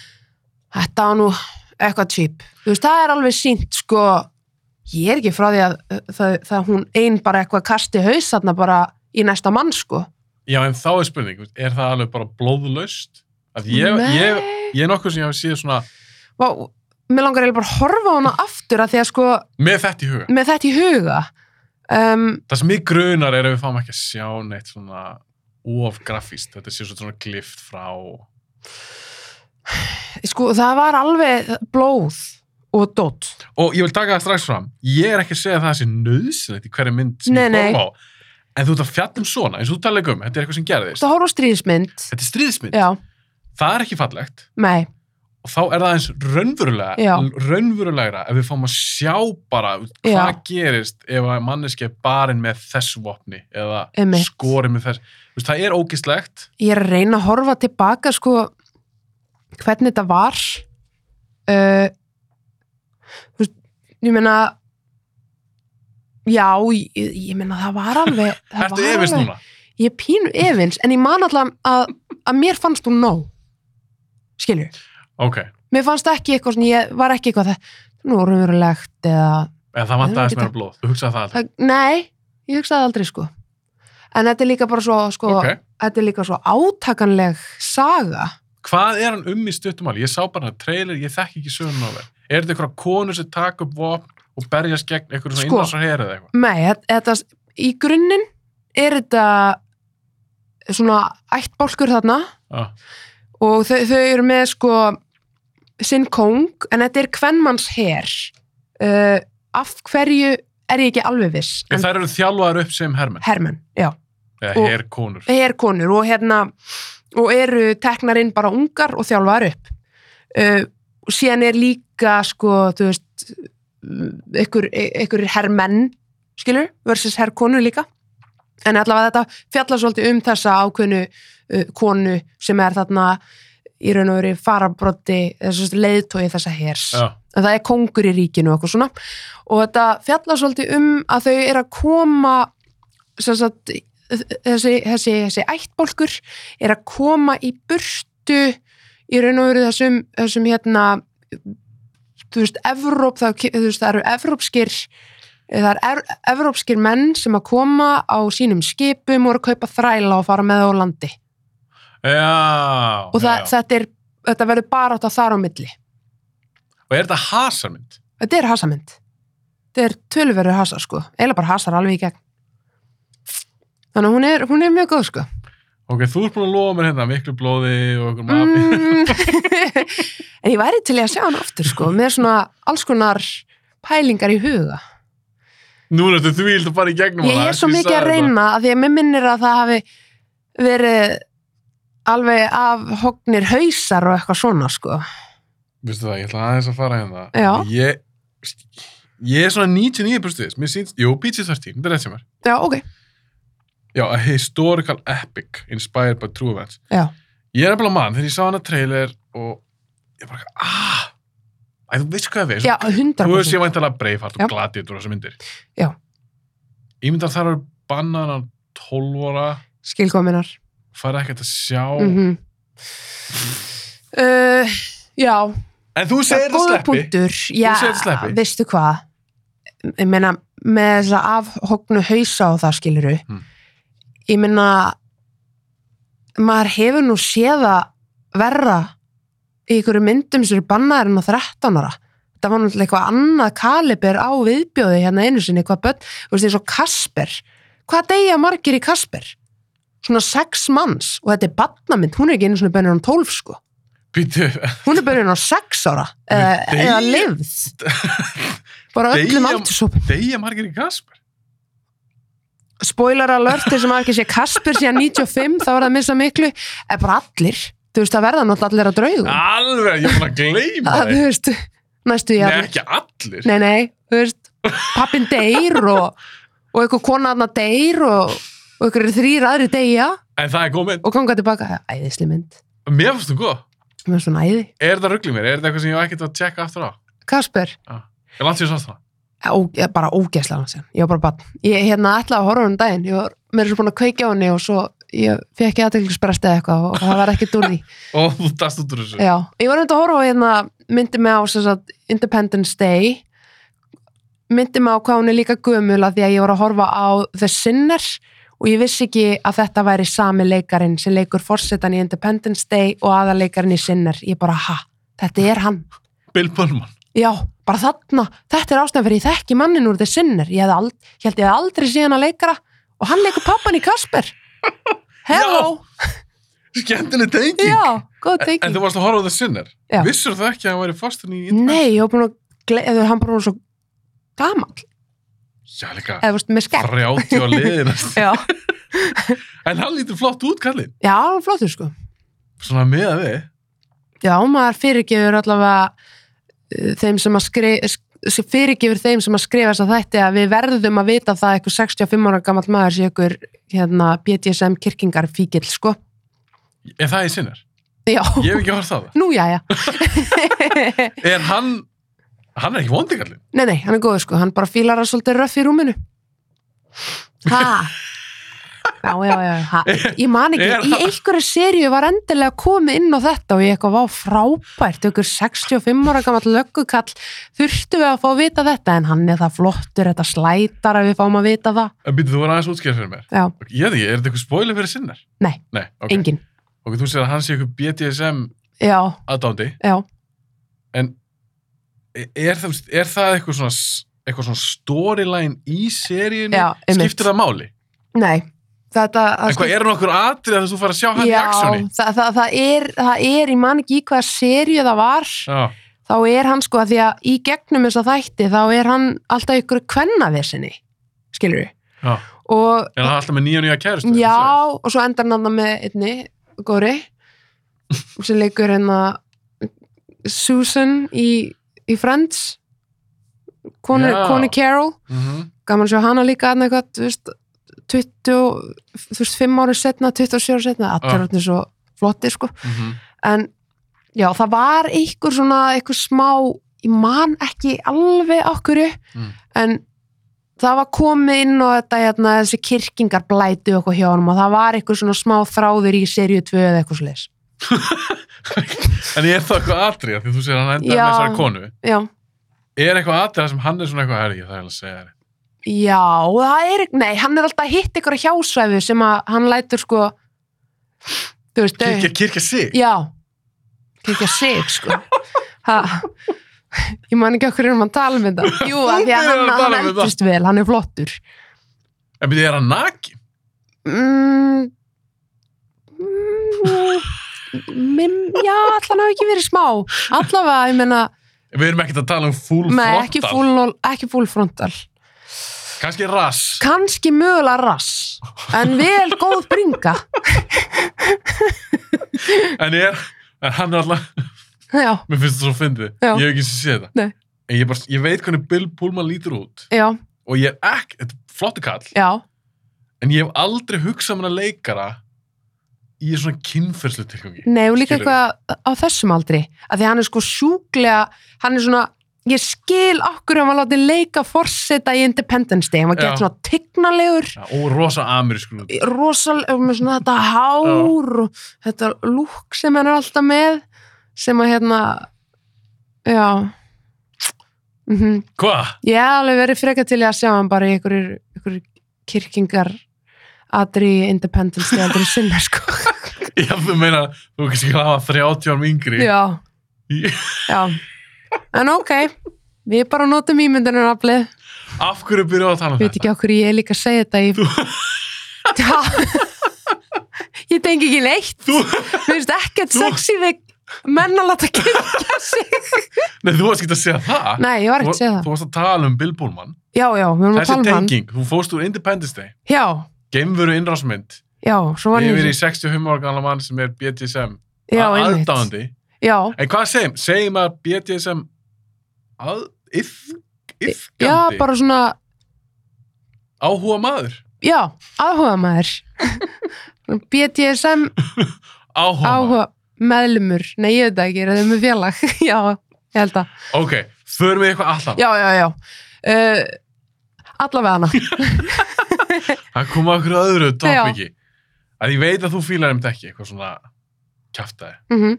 Speaker 2: þetta var nú eitthvað típ. Þú veist, það er alveg sínt, sko, ég er ekki frá því að það, það hún ein bara eitthvað kasti haus þarna bara í næsta mann, sko.
Speaker 1: Já, en þá er spurning, þú veist, er það alveg bara blóðlaust? Að ég, ég, ég er nokkuð sem ég hafi síðan svona
Speaker 2: Vá, mér langar eiginlega bara að horfa á hana aftur að því að sko,
Speaker 1: með þetta í huga.
Speaker 2: með þetta í huga um,
Speaker 1: Það sem mig grunar er að við fáum ekki að sjá neitt svona of grafíst, þetta sé svona svona glift frá og
Speaker 2: sko það var alveg blóð og dótt
Speaker 1: ég vil taka það strax fram ég er ekki að segja að það sé nöðsynlegt í hverju mynd sem
Speaker 2: Nei, nei.
Speaker 1: ég horfa á en þú ert að fjalla um svona, eins og þú tala ekki um þetta er eitthvað sem gerðist,
Speaker 2: það horf á stríðismynd
Speaker 1: þetta er stríðismynd
Speaker 2: já,
Speaker 1: það er ekki fallegt
Speaker 2: nei,
Speaker 1: og þá er það eins raunverulega
Speaker 2: Já.
Speaker 1: raunverulegra ef við fáum að sjá bara hvað gerist ef að manneski er barinn með þessu vopni eða
Speaker 2: Einmitt.
Speaker 1: skorinn með þessu Þú veist, það er ógistlegt
Speaker 2: ég er að reyna að horfa tilbaka sko hvernig þetta var uh, þú veist, ég meina já, ég, ég meina það var alveg það
Speaker 1: Ertu
Speaker 2: var
Speaker 1: efins
Speaker 2: alveg-
Speaker 1: núna?
Speaker 2: ég er pínu efins, en ég man allan að, að mér fannst hún nóg skilju
Speaker 1: Ok,
Speaker 2: mér fannst ekki eitthvað sem ég var ekki eitthvað það, nú raunverulegt eða
Speaker 1: en það
Speaker 2: Nei,
Speaker 1: vantaðist
Speaker 2: ekki
Speaker 1: meira blóð þú hugsaði það aldrei
Speaker 2: það, nei, ég hugsaði aldrei sko en þetta er líka bara svo, sko,
Speaker 1: ok.
Speaker 2: þetta er líka svo átakanleg saga.
Speaker 1: Hvað er hann um í stuttumáli? Ég sá bara hann trailer, ég þekki ekki söguna á það. Er þetta einhverja konur sem taka upp vopn og berjast gegn einhverjum svona
Speaker 2: Sko.
Speaker 1: innrásar eða eitthvað?
Speaker 2: Nei, þe- þetta, í grunninn er þetta svona ættbólkur þarna
Speaker 1: Ah,
Speaker 2: og þau, þau eru með sko sinn kóng, en þetta er kvennmanns her. Uh, af hverju er ég ekki alveg viss?
Speaker 1: en þær eru þjálfaðar upp sem hermenn,
Speaker 2: Hermenn, já.
Speaker 1: eða
Speaker 2: og-
Speaker 1: herkonur.
Speaker 2: herkonur og hérna og eru teknar inn bara ungar og þjálfaðar upp uh, og síðan er líka sko, þú veist ykkur, ykkur hermenn skilur, versus herkonur líka en allavega þetta fjallar svolítið um þessa ákveðnu uh, konu sem er þarna í raun og verið farabrotti leiðtói þessa hers
Speaker 1: Já,
Speaker 2: en það er kongur í ríkinu og eitthvað svona og þetta fjallar svolítið um að þau eru að koma sem sagt, þessi, þessi, þessi ættbólkur er að koma í burtu í raun og veru þessum, þessum hérna þú veist, Evróp það, þú veist, það eru evrópskir það eru ev evrópskir menn sem að koma á sínum skipum og eru að kaupa þræla og fara með það á landi
Speaker 1: já.
Speaker 2: og það,
Speaker 1: já.
Speaker 2: þetta, er, þetta verður bara átt að þar á milli
Speaker 1: Og er þetta hasarmynd?
Speaker 2: Þetta er hasamynd. Þetta er töluverður hasar, sko. Eila bara hasar alveg í gegn. Þannig að hún er, hún er mjög góð, sko.
Speaker 1: Ok, þú ert búin að lofa mér hérna miklu blóði og okkur mafi.
Speaker 2: Mm. en ég væri til í að sjá hann aftur, sko, með svona alls konar pælingar í huga.
Speaker 1: Núna ertu því að fara í gegnum
Speaker 2: Ég
Speaker 1: hana,
Speaker 2: er svo
Speaker 1: ég
Speaker 2: mikið að
Speaker 1: sagði það.
Speaker 2: reyna að því að mér minnir að það hafi verið alveg af hognir hausar og eitthvað svona, sko.
Speaker 1: Vistu það, ég ætla aðeins að fara hérna.
Speaker 2: Já.
Speaker 1: Ég, ég er svona 99% þess. Mér sýnst, jú, PG-13, þetta er rétt sem er.
Speaker 2: Já, ok.
Speaker 1: Já, a historical epic inspired by true events.
Speaker 2: Já.
Speaker 1: Ég er nefnilega mann þegar ég sá hana trailer og ég bara, aah, að þú veist hvað það er.
Speaker 2: Já,
Speaker 1: Þú veist
Speaker 2: 100%.
Speaker 1: ég væntalega Braveheart
Speaker 2: Já.
Speaker 1: og Gladiator og þessar myndir.
Speaker 2: Já.
Speaker 1: Ég myndar þar að banna hana 12 ára,
Speaker 2: Skilkominar.
Speaker 1: fara ekkert að sjá.
Speaker 2: Mm uh, já,
Speaker 1: En þú segir það
Speaker 2: Góður
Speaker 1: sleppi.
Speaker 2: punktur,
Speaker 1: segir þetta
Speaker 2: já,
Speaker 1: sleppi.
Speaker 2: veistu hvað ég meina, með þess að afhognu hausa og það skiluru
Speaker 1: Mm.
Speaker 2: ég meina maður hefur nú séð að verra í ykkur myndum sem eru bannaðir en á 13 ára það var náttúrulega eitthvað annað kalibir á viðbjóði hérna einu sinni hvað börn, þú veist eins og Kasper hvað deyja margir í Kasper svona sex manns og þetta er barnamynd, hún er ekki einu svona bönnir á 12 sko
Speaker 1: Býtu,
Speaker 2: hún er börjun á sex ára
Speaker 1: Hún
Speaker 2: eða,
Speaker 1: er deyja-
Speaker 2: eða lifð bara öllum
Speaker 1: Deyja-
Speaker 2: aldursópum
Speaker 1: deyja margir í Kasper.
Speaker 2: spoiler alert, þessum að ekki sé Kasper síðan 95, þá er það að missa miklu eða bara allir, þú veist það verða náttúrulega allir að draugum
Speaker 1: Ah, Alveg, ég er búin að gleyma
Speaker 2: að,
Speaker 1: það.
Speaker 2: þú veist, næstu ég
Speaker 1: Nei,
Speaker 2: allir
Speaker 1: ekki allir.
Speaker 2: nei, nei, þú veist pappin deyr og, og einhver kona aðna deyr og, og einhver þrýr aðri deyja
Speaker 1: En það er góð mynd.
Speaker 2: og ganga tilbaka, æðisli mynd
Speaker 1: Mér finnst þú góð.
Speaker 2: með svona æði,
Speaker 1: Er það ruggli mér? Er það eitthvað sem ég á ekkert að tjekka aftur á?
Speaker 2: Kasper
Speaker 1: Ég langt sér sátt það.
Speaker 2: ó, ég- bara ógeðslega hann sem, ég var bara bann ég hérna ætlaði að horfa á hún daginn ég var mér er svo búin að kveikja á henni og svo ég fekk ég aðteglisbrest eða eitthvað og það var ekki dúr því
Speaker 1: Og þú dast út úr þessu.
Speaker 2: já, ég var hérna að horfa á hérna myndi mig á sem sagt, Independence Day myndi mig á hvað hún er líka gömul að því að ég var að horfa á The Sinner og ég vissi ekki að þetta væri sami leikarinn sem leikur forsetan í Independence Day og aðaleikarinn í Sinner ég bara, ha, þetta er hann
Speaker 1: Bill Pullman.
Speaker 2: Já, bara þarna, þetta er ástæðan fyrir ég þekki mannin úr The Sinner. Ég, hef ald, ég held ég hef aldrei síðan að leikara og hann leikur pappan í Kasper. Hello!
Speaker 1: Skemmtileg
Speaker 2: Já,
Speaker 1: tenging.
Speaker 2: góð
Speaker 1: En- En
Speaker 2: teki.
Speaker 1: þú varst að horfa á það sinner.
Speaker 2: Já.
Speaker 1: Vissur þú ekki að hann væri fastur í
Speaker 2: Nei, ég hef búin að gleða, hann bara hún svo gamall,
Speaker 1: Já, líka.
Speaker 2: eða þú veist, með skemmt.
Speaker 1: 30 á liðinast.
Speaker 2: Já,
Speaker 1: en hann lítur flott út, Karlin.
Speaker 2: já, hann er flottur sko.
Speaker 1: Svona með að við.
Speaker 2: Já, maður fyrirgefur allavega uh, þeim sem að skrifa fyrirgefur þeim sem að skrifa þess að þetta að við verðum að vita það að eitthvað 65 ára gamall maður sé ykkur hérna, BDSM kirkingar fíkil sko.
Speaker 1: Er það í sinner?
Speaker 2: Já.
Speaker 1: Ég hef ekki horfð á það.
Speaker 2: Nú, já, já.
Speaker 1: Er hann, hann er ekki vondi, Karlin.
Speaker 2: nei, nei, hann er góður sko, hann bara fílar að svolítið röff í rúminu. Ha? já, já, já, ha, ég man ekki,
Speaker 1: Er-
Speaker 2: í einhverju seríu var endilega komið inn á þetta og ég eitthvað var frábært, ykkur 65 ára gamall löggukall, þurftu við að fá að vita þetta en hann er það flottur, þetta slætar að við fáum að vita það,
Speaker 1: En býttu þú var aðeins útskjæð fyrir mér.
Speaker 2: já,
Speaker 1: Ég veit ekki, er þetta eitthvað spoiler fyrir sinnar?
Speaker 2: Nei.
Speaker 1: Nei, ok.
Speaker 2: engin,
Speaker 1: Ok, þú sér að hann sé eitthvað BDSM
Speaker 2: já,
Speaker 1: aðdándi,
Speaker 2: já,
Speaker 1: en er, er, það- er það eitthvað svona, s- eitthvað svona storyline í seríinu?
Speaker 2: já, einmitt.
Speaker 1: Skiptir það máli?
Speaker 2: Nei, þetta... það
Speaker 1: En hvað,
Speaker 2: skiptir-
Speaker 1: eru nokkur atrið að þú fara að sjá hann í aksjóni?
Speaker 2: sko- Já, það, það, það, er, það er, ég man ekki í hvaða serju það var,
Speaker 1: Já,
Speaker 2: þá er hann sko að því að í gegnum þessa þætti þá er hann alltaf ykkur kvennaversinni, skilur við.
Speaker 1: já.
Speaker 2: Og
Speaker 1: Er hann alltaf með nýja nýja kæristu?
Speaker 2: já, og svo endar hann annað með einni, Góri, sem leikur hennar Susan í, í Friends, konu,
Speaker 1: Já.
Speaker 2: konu Carol
Speaker 1: Mm
Speaker 2: gaman að sjá hana líka hann eitthvað, þú veist, 20, þú veist, 5 ára setna, 27 ára setna, allir
Speaker 1: Já.
Speaker 2: orðnir svo flottir, sko.
Speaker 1: mhm.
Speaker 2: En já, það var einhver svona, einhver smá, ég man ekki alveg okkur,
Speaker 1: Mm.
Speaker 2: en það var komið inn og þetta, hérna, þessi kirkingar blætu okkur hjá honum og það var einhver svona smá þráður í serju 2 eða eitthvað sliðis.
Speaker 1: En er það eitthvað atrið, því þú sér að hann enda með
Speaker 2: Já.
Speaker 1: þessari konu?
Speaker 2: Já.
Speaker 1: Er eitthvað atrið þar sem hann er svona eitthvað herri, ég þarf eiginlega að segja þér.
Speaker 2: Já, það er, nei, hann er alltaf hitt ykkur á hjásvæfu sem að hann lætur sko, þú veist, þau-
Speaker 1: Kirkja, kirkja sig?
Speaker 2: Já, kekja sig sko ha. Ég man ekki okkur um að tala um þetta Jú, af því að
Speaker 1: byrjar
Speaker 2: hann,
Speaker 1: að tala
Speaker 2: hann
Speaker 1: um þetta.
Speaker 2: eldist vel, hann er flottur
Speaker 1: En byrja, er hann nakin?
Speaker 2: mm, mm, mim, Já, allan hafa ekki verið smá Allavega, ég meina
Speaker 1: Við erum ekkert að tala um full
Speaker 2: með,
Speaker 1: frontal.
Speaker 2: ekki, full, ekki full frontal
Speaker 1: Kannski rass.
Speaker 2: Kanski mögulega rass En vel góð bringa
Speaker 1: En er, en hann er alltaf,
Speaker 2: Já,
Speaker 1: mér finnst það svo fyndið.
Speaker 2: Já.
Speaker 1: Ég hef ekki séð þetta.
Speaker 2: Nei.
Speaker 1: En ég, bara, ég veit hvernig Bill Pullman lítur út.
Speaker 2: já,
Speaker 1: Og ég er ekki, þetta er flottu kall,
Speaker 2: já
Speaker 1: en ég hef aldrei hugsað mér að leikara í svona kynferðslu tilgangi.
Speaker 2: Nei, og líka
Speaker 1: Skilurðu?
Speaker 2: eitthvað á þessum aldri að því hann er sko sjúklega hann er svona, ég skil okkur ef hann láti leika forseta í Independence Day hann var
Speaker 1: Já.
Speaker 2: gett svona tignalegur
Speaker 1: Já, og rosa amerísku lút.
Speaker 2: rosalega með svona þetta hár og þetta lúk sem hann er alltaf með sem að hérna já mm
Speaker 1: Hva?
Speaker 2: ég hef alveg verið freka til í að sjá hann bara í einhverjur, einhverjur kirkingar aðri í Independence Day aldrei sinna sko
Speaker 1: Já, þú meina, þú kannski hafa 30 árum yngri.
Speaker 2: já
Speaker 1: Í-
Speaker 2: Já, en ok Við bara notum ímyndunaraflið
Speaker 1: Af hverju byrjuðu að tala um
Speaker 2: Við veit
Speaker 1: þetta?
Speaker 2: ekki okkur ég er líka að segja þetta í... Já Ég tengi ekki neitt
Speaker 1: Þú,
Speaker 2: Mér finnst ekkert
Speaker 1: Þú-
Speaker 2: sexy við menn að láta kyrkja sig
Speaker 1: nei, þú varst ekki að segja það.
Speaker 2: Nei, ég var ekkert að segja það
Speaker 1: Þú varst að tala um Bill Pullman.
Speaker 2: Já, já, við vorum að
Speaker 1: Þessi
Speaker 2: tala um hann
Speaker 1: tenging, þú fóst úr Independence Day,
Speaker 2: Já,
Speaker 1: geimveru innrásmynd,
Speaker 2: já, svo var
Speaker 1: yfir í
Speaker 2: ég
Speaker 1: 65 ára gamla mann sem er BDSM
Speaker 2: Já,
Speaker 1: að-
Speaker 2: einmitt
Speaker 1: aðdáandi.
Speaker 2: Já,
Speaker 1: En hvað segjum? Segjum að BDSM að, if, ifkandi,
Speaker 2: já, bara svona
Speaker 1: áhuga maður.
Speaker 2: Já, áhuga maður BDSM
Speaker 1: Áhuga, maður.
Speaker 2: áhuga meðlumur Nei, ég veit það ekki, er það með félag Já, ég held að
Speaker 1: Ok, förum við eitthvað alltaf.
Speaker 2: já, já, já uh, allavega hana
Speaker 1: Það kom að okkur öðru topiki. Að ég veit að þú fílar um þetta ekki, eitthvað svona kjaftaði.
Speaker 2: mm -hmm.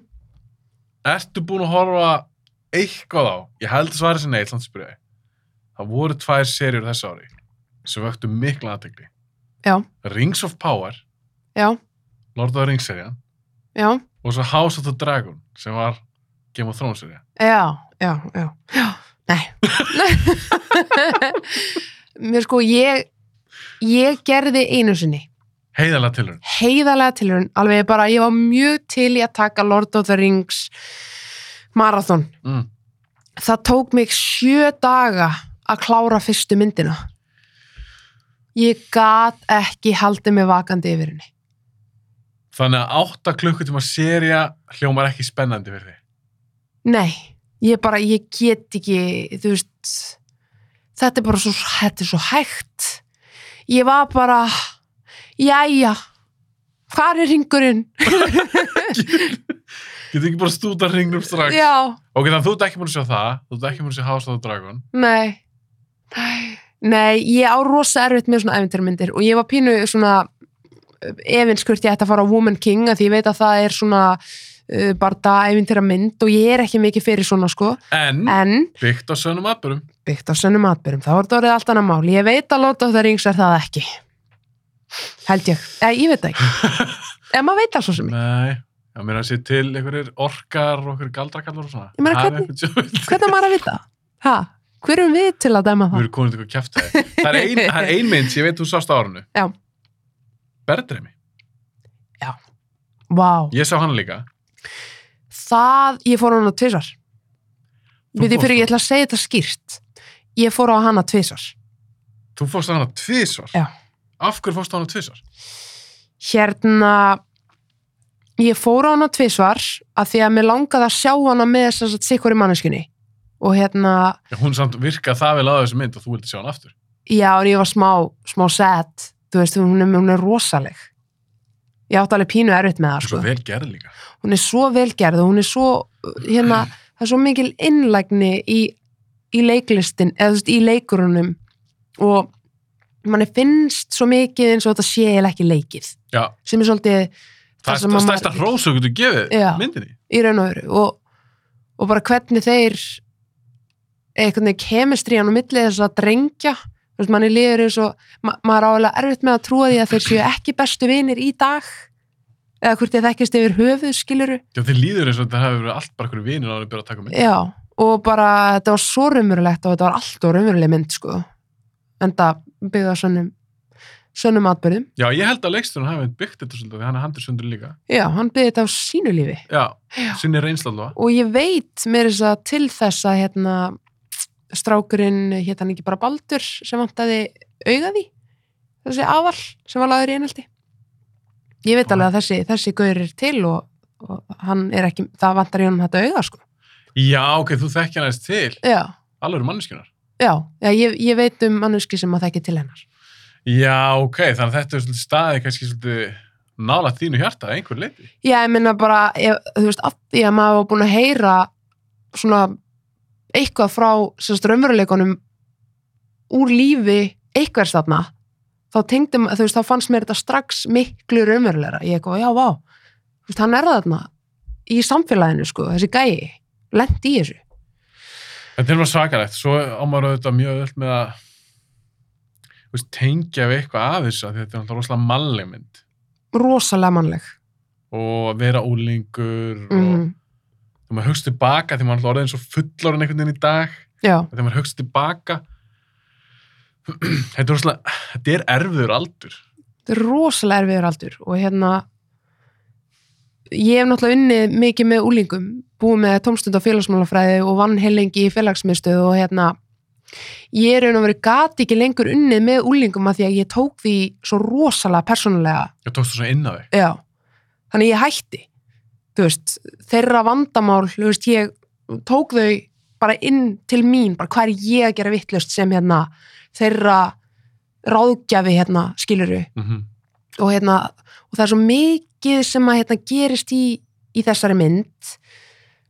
Speaker 1: Ertu búin að horfa eitthvað á? Ég held að svara sér neitt, þannig spyrja ég. Það voru tvær serjur þessu ári sem vöktu mikla aðtegli.
Speaker 2: Já.
Speaker 1: Rings of Power,
Speaker 2: já,
Speaker 1: Lord of the Rings serjan
Speaker 2: já,
Speaker 1: og svo House of the Dragon sem var Game of Thrones serja.
Speaker 2: já, já, já, já. nei mér sko ég ég gerði einu sinni
Speaker 1: Heiðalega tilhörn.
Speaker 2: heiðalega tilhörun, alveg bara ég var mjög til í að taka Lord of the Rings marathon
Speaker 1: Mm.
Speaker 2: það tók mig sjö daga að klára fyrstu myndina ég gat ekki haldið mig vakandi yfir henni
Speaker 1: Þannig að 8 klukkutíma seria hljómar ekki spennandi fyrir þig.
Speaker 2: Nei, ég bara, ég get ekki, þú veist, þetta er bara svo, þetta er svo hægt. Ég var bara, jæja, hvar er ringurinn?
Speaker 1: Getur ekki bara stúta ringnum strax.
Speaker 2: Já,
Speaker 1: Ok, þannig að þú ert ekki múin að sjá það, þú ert ekki múin að sjá House of the Dragon.
Speaker 2: nei, nei, nei, ég á rosa erfitt með svona æfintarmyndir og ég var pínu svona, efins hvort ég ætti að fara á Woman King af því ég veit að það er svona uh, barda æfintýra mynd og ég er ekki mikið fyrir svona sko,
Speaker 1: En,
Speaker 2: en
Speaker 1: byggt á sönum aðbörum.
Speaker 2: byggt á sönnum atbyrjum, þá er þetta orðið allt annað mál ég veit að Lord of the Rings er það ekki held ég, eða ég veit það ekki eða maður veit það svo sem ekki.
Speaker 1: Nei, já, mér er að sé til einhverjir orkar og einhverjir galdrakallar og svona.
Speaker 2: Ég meina, hvernig- hvernig á maður að vita? Ha? hver erum við til að dæma
Speaker 1: Við
Speaker 2: það?
Speaker 1: erum konið til að kæfta þig. Það er ein, það er ein mynd sem ég veit þú sást á árinu.
Speaker 2: Já.
Speaker 1: Berðreimi.
Speaker 2: Vá,
Speaker 1: Ég sá hann líka.
Speaker 2: það, ég fór á hana tvisar
Speaker 1: Þú
Speaker 2: við því
Speaker 1: fórst
Speaker 2: fyrir
Speaker 1: á-
Speaker 2: ég ætla að segja þetta skýrt ég fór á hana tvisar
Speaker 1: Þú fórst á hana tvísvar.
Speaker 2: Já.
Speaker 1: Af hverju fórst á hana tvísvar?
Speaker 2: hérna ég fór á hana tvisvar af því að mér langaði að sjá hana með þess að sikkur í manneskunni og hérna,
Speaker 1: Já, hún samt virkað það vel á þessu mynd og þú vildi sjá hann aftur.
Speaker 2: já en ég var smá smá sad, þú veist hún er, hún er rosaleg ég átti alveg pínu erfitt með það
Speaker 1: Svo
Speaker 2: sko.
Speaker 1: vel gerð líka.
Speaker 2: hún er svo velgerð og hún er svo hérna, það er svo mikil innlægni í, í leiklistin eða þú veist, í leikurunum og manni finnst svo mikið eins og þetta sé eiginlega ekki leikið
Speaker 1: Já,
Speaker 2: sem er svolítið
Speaker 1: það,
Speaker 2: sem
Speaker 1: það
Speaker 2: að maður-
Speaker 1: stærsta hrós og getur gefið
Speaker 2: Já.
Speaker 1: myndinni.
Speaker 2: í raun og veru og, og bara hvernig þeir einhvern veginn kemistrían og millið þess að drengja þú veist, manni líður eins og ma maður álega erfitt með að trúa því að þeir séu ekki bestu vinir í dag eða hvort þeir þekkist yfir höfuð skiluru
Speaker 1: Já, þeir líður eins og það hefur verið allt bara hverju vinir árið byrjað að taka mynd.
Speaker 2: já, og bara þetta var svo raumurulegt og þetta var allt og raumuruleg mynd sko enda byggða sönnum sönnum atbyrðum,
Speaker 1: Já, ég held að leiksturinn hafi byggt þetta svolítið, þannig að hann er sundur líka.
Speaker 2: já, hann byggði þetta á sínu lífi
Speaker 1: Já,
Speaker 2: Já.
Speaker 1: sinni reynsla allavega.
Speaker 2: og ég veit mér þess að til þess að hérna, strákurinn hétt hann ekki bara Baldur sem vantaði augaði þessi aðal sem var laður í einhaldi ég veit alveg að þessi, þessi gaur er til og, og hann er ekki það vantar í honum þetta auga sko
Speaker 1: Já, ok, þú þekkja hann aðeins til.
Speaker 2: já,
Speaker 1: Alveg eru manneskunar.
Speaker 2: já, já ég, ég veit um mannuski sem að þekki til hennar
Speaker 1: Já, ok, þannig að þetta er svolítið staði kannski svolítið nála þínu hjarta að einhver leiti.
Speaker 2: já, ég minna bara, ég, þú veist af því að maður var búin að heyra svona eitthvað frá sérst raunveruleikunum úr lífi eitthvers þarna þá tengdum, þú veist, þá fannst mér þetta strax miklu raunverulegra, ég eitthvað, já, vá þú veist, hann er þarna í samfélaginu, sko, þessi gæi lent í þessu,
Speaker 1: Þetta er bara svakalegt. Svo á maður auðvitað mjög öll með að þú veist, tengja við eitthvað að þessu af því þetta er náttúrulega rosalega malleg mynd
Speaker 2: rosalega mannleg
Speaker 1: og að vera úlingur og
Speaker 2: mm
Speaker 1: þegar maður hugst tilbaka þegar maður er náttúrulega orðin svo fullar en einhvern veginn í dag
Speaker 2: já,
Speaker 1: þegar maður hugst tilbaka þetta er rosalega þetta er erfiður aldur
Speaker 2: þetta er rosalega erfiður aldur og hérna ég hef náttúrulega unnið mikið með úlingum búið með tómstund á félagsmálafræði og vann heilengi í félagsmiðstöð og hérna ég er raun og verið gati ekki lengur unnið með úlingum að því að ég tók því svo rosalega persónulega
Speaker 1: ég tókst þú svona inn á þig
Speaker 2: Já, þannig ég hætti þú veist, þeirra vandamál þú veist, ég tók þau bara inn til mín, bara hvað er ég að gera vittlust sem hérna þeirra ráðgjafi hérna skiluru
Speaker 1: mm -hmm.
Speaker 2: og, hérna, og það er svo mikið sem að hérna, gerist í, í þessari mynd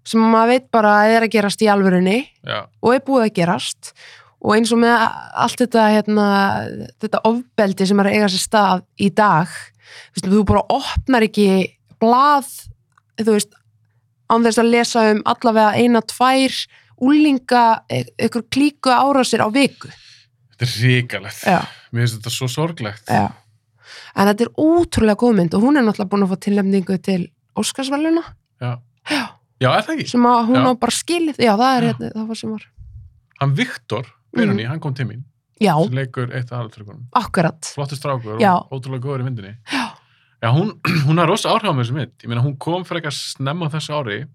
Speaker 2: sem maður veit bara að er að gerast í alvörunni
Speaker 1: já,
Speaker 2: og er búið að gerast og eins og með allt þetta hérna, þetta ofbeldi sem er að eiga sér stað í dag þú veist, þú bara opnar ekki blað þú veist, án þess að lesa um allavega eina, tvær úlinga, ykkur klíku árásir á viku
Speaker 1: þetta er ríkalegt
Speaker 2: Já,
Speaker 1: mér finnst þetta svo sorglegt
Speaker 2: já. en þetta er ótrúlega góð mynd og hún er náttúrulega búin að fá tilnefningu til Óskarsverluna
Speaker 1: já.
Speaker 2: Já.
Speaker 1: já, er það ekki?
Speaker 2: sem að hún
Speaker 1: Já.
Speaker 2: á bara skilið já, það, er,
Speaker 1: Já.
Speaker 2: hérna, það var sem var
Speaker 1: hann Viktor, Byrjunni, hann kom til mín
Speaker 2: Mm. já,
Speaker 1: sem leikur eitt af aðaltryggunum
Speaker 2: akkurat
Speaker 1: flottur strákur
Speaker 2: Já.
Speaker 1: og ótrúlega góður í myndinni
Speaker 2: Já.
Speaker 1: já, hún, hún har rosa áhrif á mér sem mynd ég meina hún kom frekar snemma á þessu ári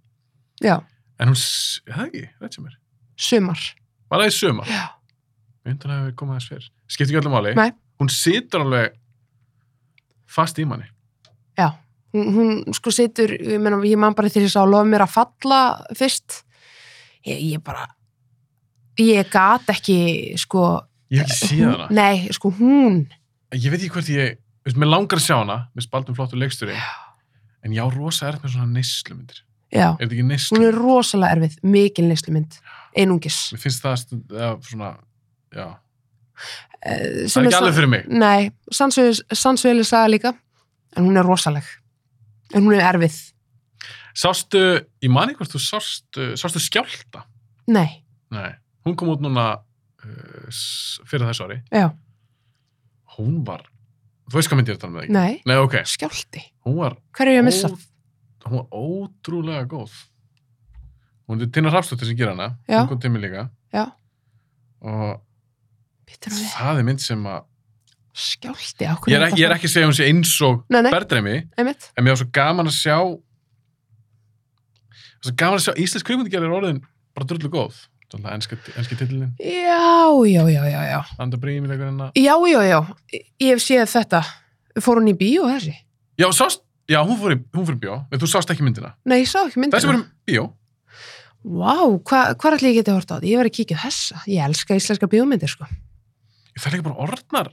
Speaker 2: já,
Speaker 1: en hún, s- er það ekki, veit sem er
Speaker 2: sumar
Speaker 1: bara í sumar
Speaker 2: já
Speaker 1: Ég undan að við komum aðeins fyrr. Skiptir ekki öllu máli.
Speaker 2: Nei.
Speaker 1: Hún situr alveg fast í manni.
Speaker 2: hún, hún sko situr, ég, meina, ég man bara þegar ég sá lofa mér að falla fyrst ég, ég bara ég gat ekki sko,
Speaker 1: Ég hef ekki séð hana.
Speaker 2: nei, sko hún
Speaker 1: Ég veit ekki hvort ég, þú veist, mér langar að sjá hana, mér spaldum flottur leiksturinn, en já, rosa er með svona neyslumyndir.
Speaker 2: já,
Speaker 1: Er þetta ekki neyslum?
Speaker 2: hún er rosalega erfið mikil neyslumynd, einungis
Speaker 1: Mér finnst það stund, eða, svona, já,
Speaker 2: Eh,
Speaker 1: það
Speaker 2: sem Eh,
Speaker 1: er ekki alveg fyrir mig.
Speaker 2: nei, sannsveili saga líka en hún er rosaleg en hún er erfið,
Speaker 1: Sástu, ég mani hvort þú sástu, sástu skjálta.
Speaker 2: nei
Speaker 1: Nei, hún kom út núna uh, s- fyrir þessu ári.
Speaker 2: já,
Speaker 1: Hún var, þú veist hvað myndi ég er að tala með ekki?
Speaker 2: nei,
Speaker 1: Nei, ok,
Speaker 2: skjálti
Speaker 1: hún var,
Speaker 2: hverju ég að missa?
Speaker 1: Ó. hún var ótrúlega góð. Hún er Tina Rapsdóttir sem gera hana,
Speaker 2: Já.
Speaker 1: hún kom til mig líka.
Speaker 2: Já.
Speaker 1: Og
Speaker 2: Bíddu nú við.
Speaker 1: það er mynd sem að,
Speaker 2: skjálti,
Speaker 1: ég
Speaker 2: á hverju
Speaker 1: er, ekki- ég er ekki að segja að hún sé eins og
Speaker 2: nei, nei,
Speaker 1: berðreimi,
Speaker 2: einmitt
Speaker 1: en mér var svo gaman að sjá, svo gaman að sjá, Íslensk kvikmyndigerð er orðin bara drullu góð. Þannig að enski, enski titilin,
Speaker 2: já, já, já, já, já
Speaker 1: Andra Brím í leikurinn
Speaker 2: já, já, já, ég ég hef séð þetta fór hún í bíó þessi?
Speaker 1: Já, sást, já hún, fór í, hún fór í bíó, en þú sást ekki myndina.
Speaker 2: nei, ég sá ekki myndina
Speaker 1: Þessi verið bíó.
Speaker 2: Vá, hva, hvað ætli ég geti hort á þetta? Ég verið að kíkja á þessa. Ég elska íslenska bíómyndir, sko.
Speaker 1: Það er ekki bara orðnar.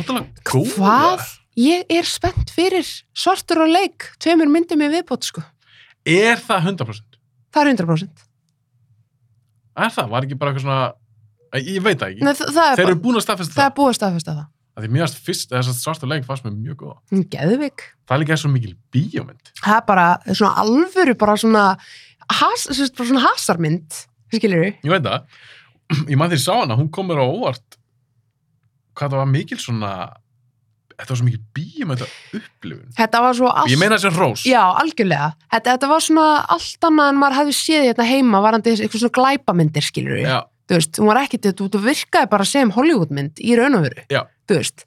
Speaker 1: Óttalega góða.
Speaker 2: Hvað? Ég er spennt fyrir svartur og leik, tveimur myndum í viðbót, sko.
Speaker 1: Er það 100%?
Speaker 2: Það er 100%.
Speaker 1: Er það? Var ekki bara eitthvað svona... Æ, Ég veit það ekki.
Speaker 2: Nei, það, það, er
Speaker 1: Þeir
Speaker 2: bara,
Speaker 1: eru búin að staðfesta
Speaker 2: það
Speaker 1: það.
Speaker 2: er búið að staðfesta það.
Speaker 1: það. Því mjögast fyrst, þess að svarta leik fannst mér mjög góða.
Speaker 2: Hún geðvik.
Speaker 1: Það er líka svo mikil bíómynd.
Speaker 2: Það er bara svona alvöru, bara svona, has, sem sagt, bara svona hasarmynd, skilur við.
Speaker 1: Ég veit það. Ég maður því sá hana, hún kom mér á óvart hvað það var mikil svona... Þetta var svo mikil bíómynd upplifun.
Speaker 2: Þetta var svo allt...
Speaker 1: Ég meina þessi rós.
Speaker 2: Já, algjörlega. Þetta, þetta var svona allt annað en maður hefði séð hérna heima, varandi eitthvað svona glæpamyndir, skilur við.
Speaker 1: Já,
Speaker 2: þú veist, hún var ekkit, þú, þú virkaði bara sem Hollywoodmynd í raun og veru,
Speaker 1: Já.
Speaker 2: þú veist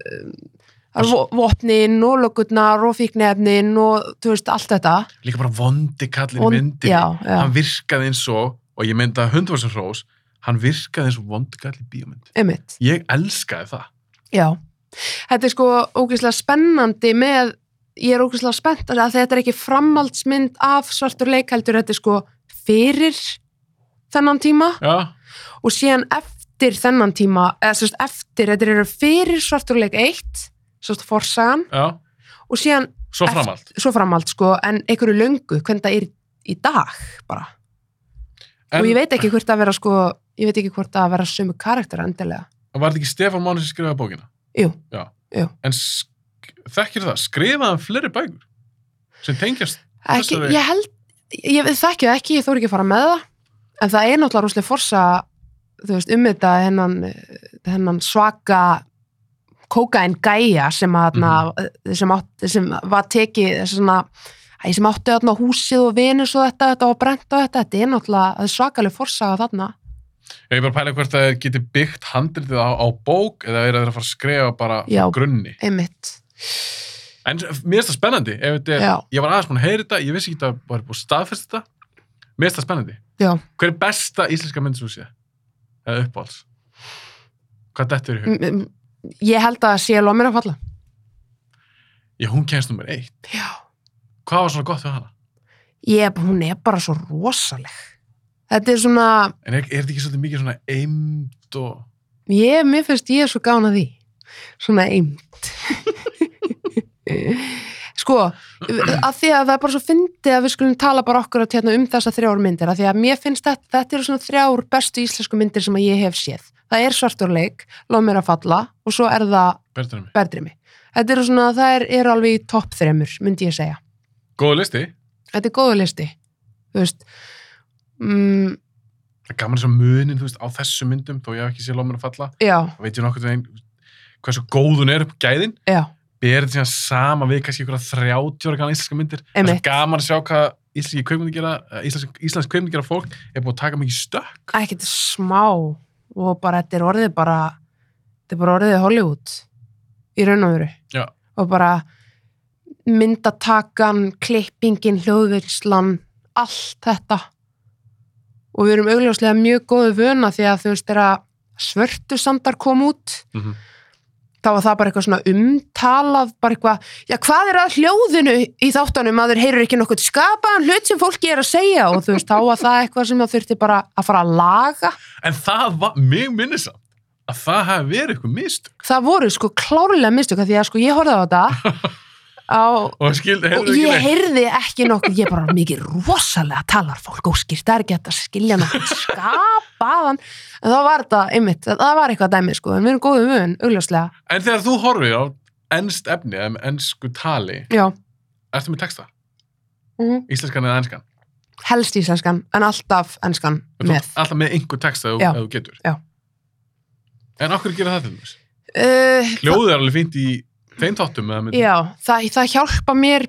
Speaker 2: um, það er vopnin og lögurnar og fíknefnin og þú veist, allt þetta
Speaker 1: líka bara vondi kallin
Speaker 2: Von-
Speaker 1: myndi.
Speaker 2: já, já,
Speaker 1: hann virkaði eins og, og ég mynda hundvarsar hrós, hann virkaði eins og vondgall í bíómynd.
Speaker 2: einmitt,
Speaker 1: Ég elskaði það.
Speaker 2: já þetta er sko ógeðslega spennandi með, ég er ógeðslega spennt að þetta er ekki framhaldsmynd af svartur leikældur, þetta er sko fyrir þennan tíma
Speaker 1: Já,
Speaker 2: og síðan eftir þennan tíma, eða sérst eftir þetta eru fyrir svartur leik 1 sérst forsagan
Speaker 1: já,
Speaker 2: og síðan
Speaker 1: svo
Speaker 2: Eft-
Speaker 1: framhald.
Speaker 2: svo framhald sko, en einhverju löngu hvernig það er í dag bara.
Speaker 1: En
Speaker 2: og ég veit ekki hvort að vera sko, ég veit ekki hvort að vera sömu karakter endilega.
Speaker 1: var þetta ekki Stefán Máni sem skrifaði bókina?
Speaker 2: Jú.
Speaker 1: Já.
Speaker 2: Jú.
Speaker 1: En sk- þekkir það, skrifaði hann fleiri bækur sem tengjast.
Speaker 2: Ekki,
Speaker 1: Þessari-
Speaker 2: ég held, ég veit þekki það ekki, ég þóri ekki að fara með það, en það er náttúrulega rúslega forsa, þú veist, um þetta hennan, hennan svaka kókain gæja sem að, mm sem, átt, sem var tekið, þessi svona Æ, sem átti þarna húsið og vinus og þetta, þetta og brent og þetta, þetta er náttúrulega það er svakaleg forsaga þarna.
Speaker 1: Ég er bara að pæla hvort það geti byggt handritið á, á bók eða er það að fara að skrifa bara frá
Speaker 2: Já.
Speaker 1: grunni.
Speaker 2: Einmitt.
Speaker 1: En mér finnst það spennandi. Ef þetta er,
Speaker 2: Já.
Speaker 1: ég var aðeins búin að heyra þetta, ég vissi ekki að það var búin að staðfesta þetta. Mér finnst það spennandi.
Speaker 2: Já.
Speaker 1: Hver er besta íslenska mynd sem þú sé? Eða uppáhalds? Hvað þetta er í hug?
Speaker 2: M- m- ég held að sé lómir að falla
Speaker 1: Já, hún kennst nummer eitt.
Speaker 2: já.
Speaker 1: Hvað var svona gott við hana?
Speaker 2: ég, hún er bara svo rosaleg þetta er svona
Speaker 1: En er, er þetta ekki svolítið mikið svona eimd og...
Speaker 2: ég, mér finnst ég er svo gána því svona eimt sko að því að það er bara svo fyndið að við skulum tala bara okkur að hérna um þessa þrjár myndir að því að mér finnst þetta, þetta eru svona þrjár bestu íslensku myndir sem að ég hef séð það er svarturleik, lómir að falla og svo er það
Speaker 1: Berður mig.
Speaker 2: berðrimi þetta eru svona, það er, er alveg í topp þremur myndi ég segja
Speaker 1: Góðu listi.
Speaker 2: þetta er góðu listi þú veist mm,
Speaker 1: Það er gaman þess að munin, þú veist, á þessu myndum, þó ég hef ekki séð lómur að falla.
Speaker 2: já,
Speaker 1: Það veit ég nokkuð veginn hversu góð hún er upp gæðin.
Speaker 2: já,
Speaker 1: Ber þetta síðan sama við kannski ykkur að 30 ára gana íslenska myndir. Það er svo
Speaker 2: Einmitt.
Speaker 1: gaman að sjá hvað íslenski kveikmyndi gera, eh, íslensk, íslensk kveikmyndi gera fólk er búið að taka mikið stökk.
Speaker 2: ekkert smá og bara þetta er orðið bara þetta er bara orðið Hollywood í raun og veru
Speaker 1: Já.
Speaker 2: og bara myndatakan, klippingin, hljóðvirslan allt þetta og við erum augljóslega mjög góðu vöna því að þú veist þegar svörtu samdar kom út
Speaker 1: Mm -hmm.
Speaker 2: þá var það bara eitthvað svona umtalað bara eitthvað, já hvað er að hljóðinu í þáttanum að þeir heyrur ekki nokkuð skapaðan hlut sem fólki er að segja og þú veist þá var það eitthvað sem það þurfti bara að fara að laga
Speaker 1: En það var, mig minnir samt, að það hafi verið eitthvað mist.
Speaker 2: það voru sko klárlega mistök af því að sko ég horfði á þetta á,
Speaker 1: Og skil,
Speaker 2: og
Speaker 1: heyrðu ekki
Speaker 2: ég
Speaker 1: neitt.
Speaker 2: heyrði ekki nokkuð ég bara mikið rosalega talar fólk óskýrt, það er ekki hægt að skilja nokkuð skapaðan en þá var þetta einmitt, það var eitthvað dæmi sko en við erum góðum vön, augljóslega
Speaker 1: En þegar þú horfir á ennst efni eða með ennsku tali
Speaker 2: já,
Speaker 1: ertu með texta,
Speaker 2: mhm.
Speaker 1: íslenskan eða ennskan
Speaker 2: helst íslenskan en alltaf enskan
Speaker 1: þú
Speaker 2: með
Speaker 1: ert alltaf með einhver texta ef,
Speaker 2: Já.
Speaker 1: ef þú getur
Speaker 2: Já.
Speaker 1: en okkur gera það til þess
Speaker 2: uh,
Speaker 1: hljóðið er alveg fínt í þeim þáttum eða myndum.
Speaker 2: já, það, það hjálpa mér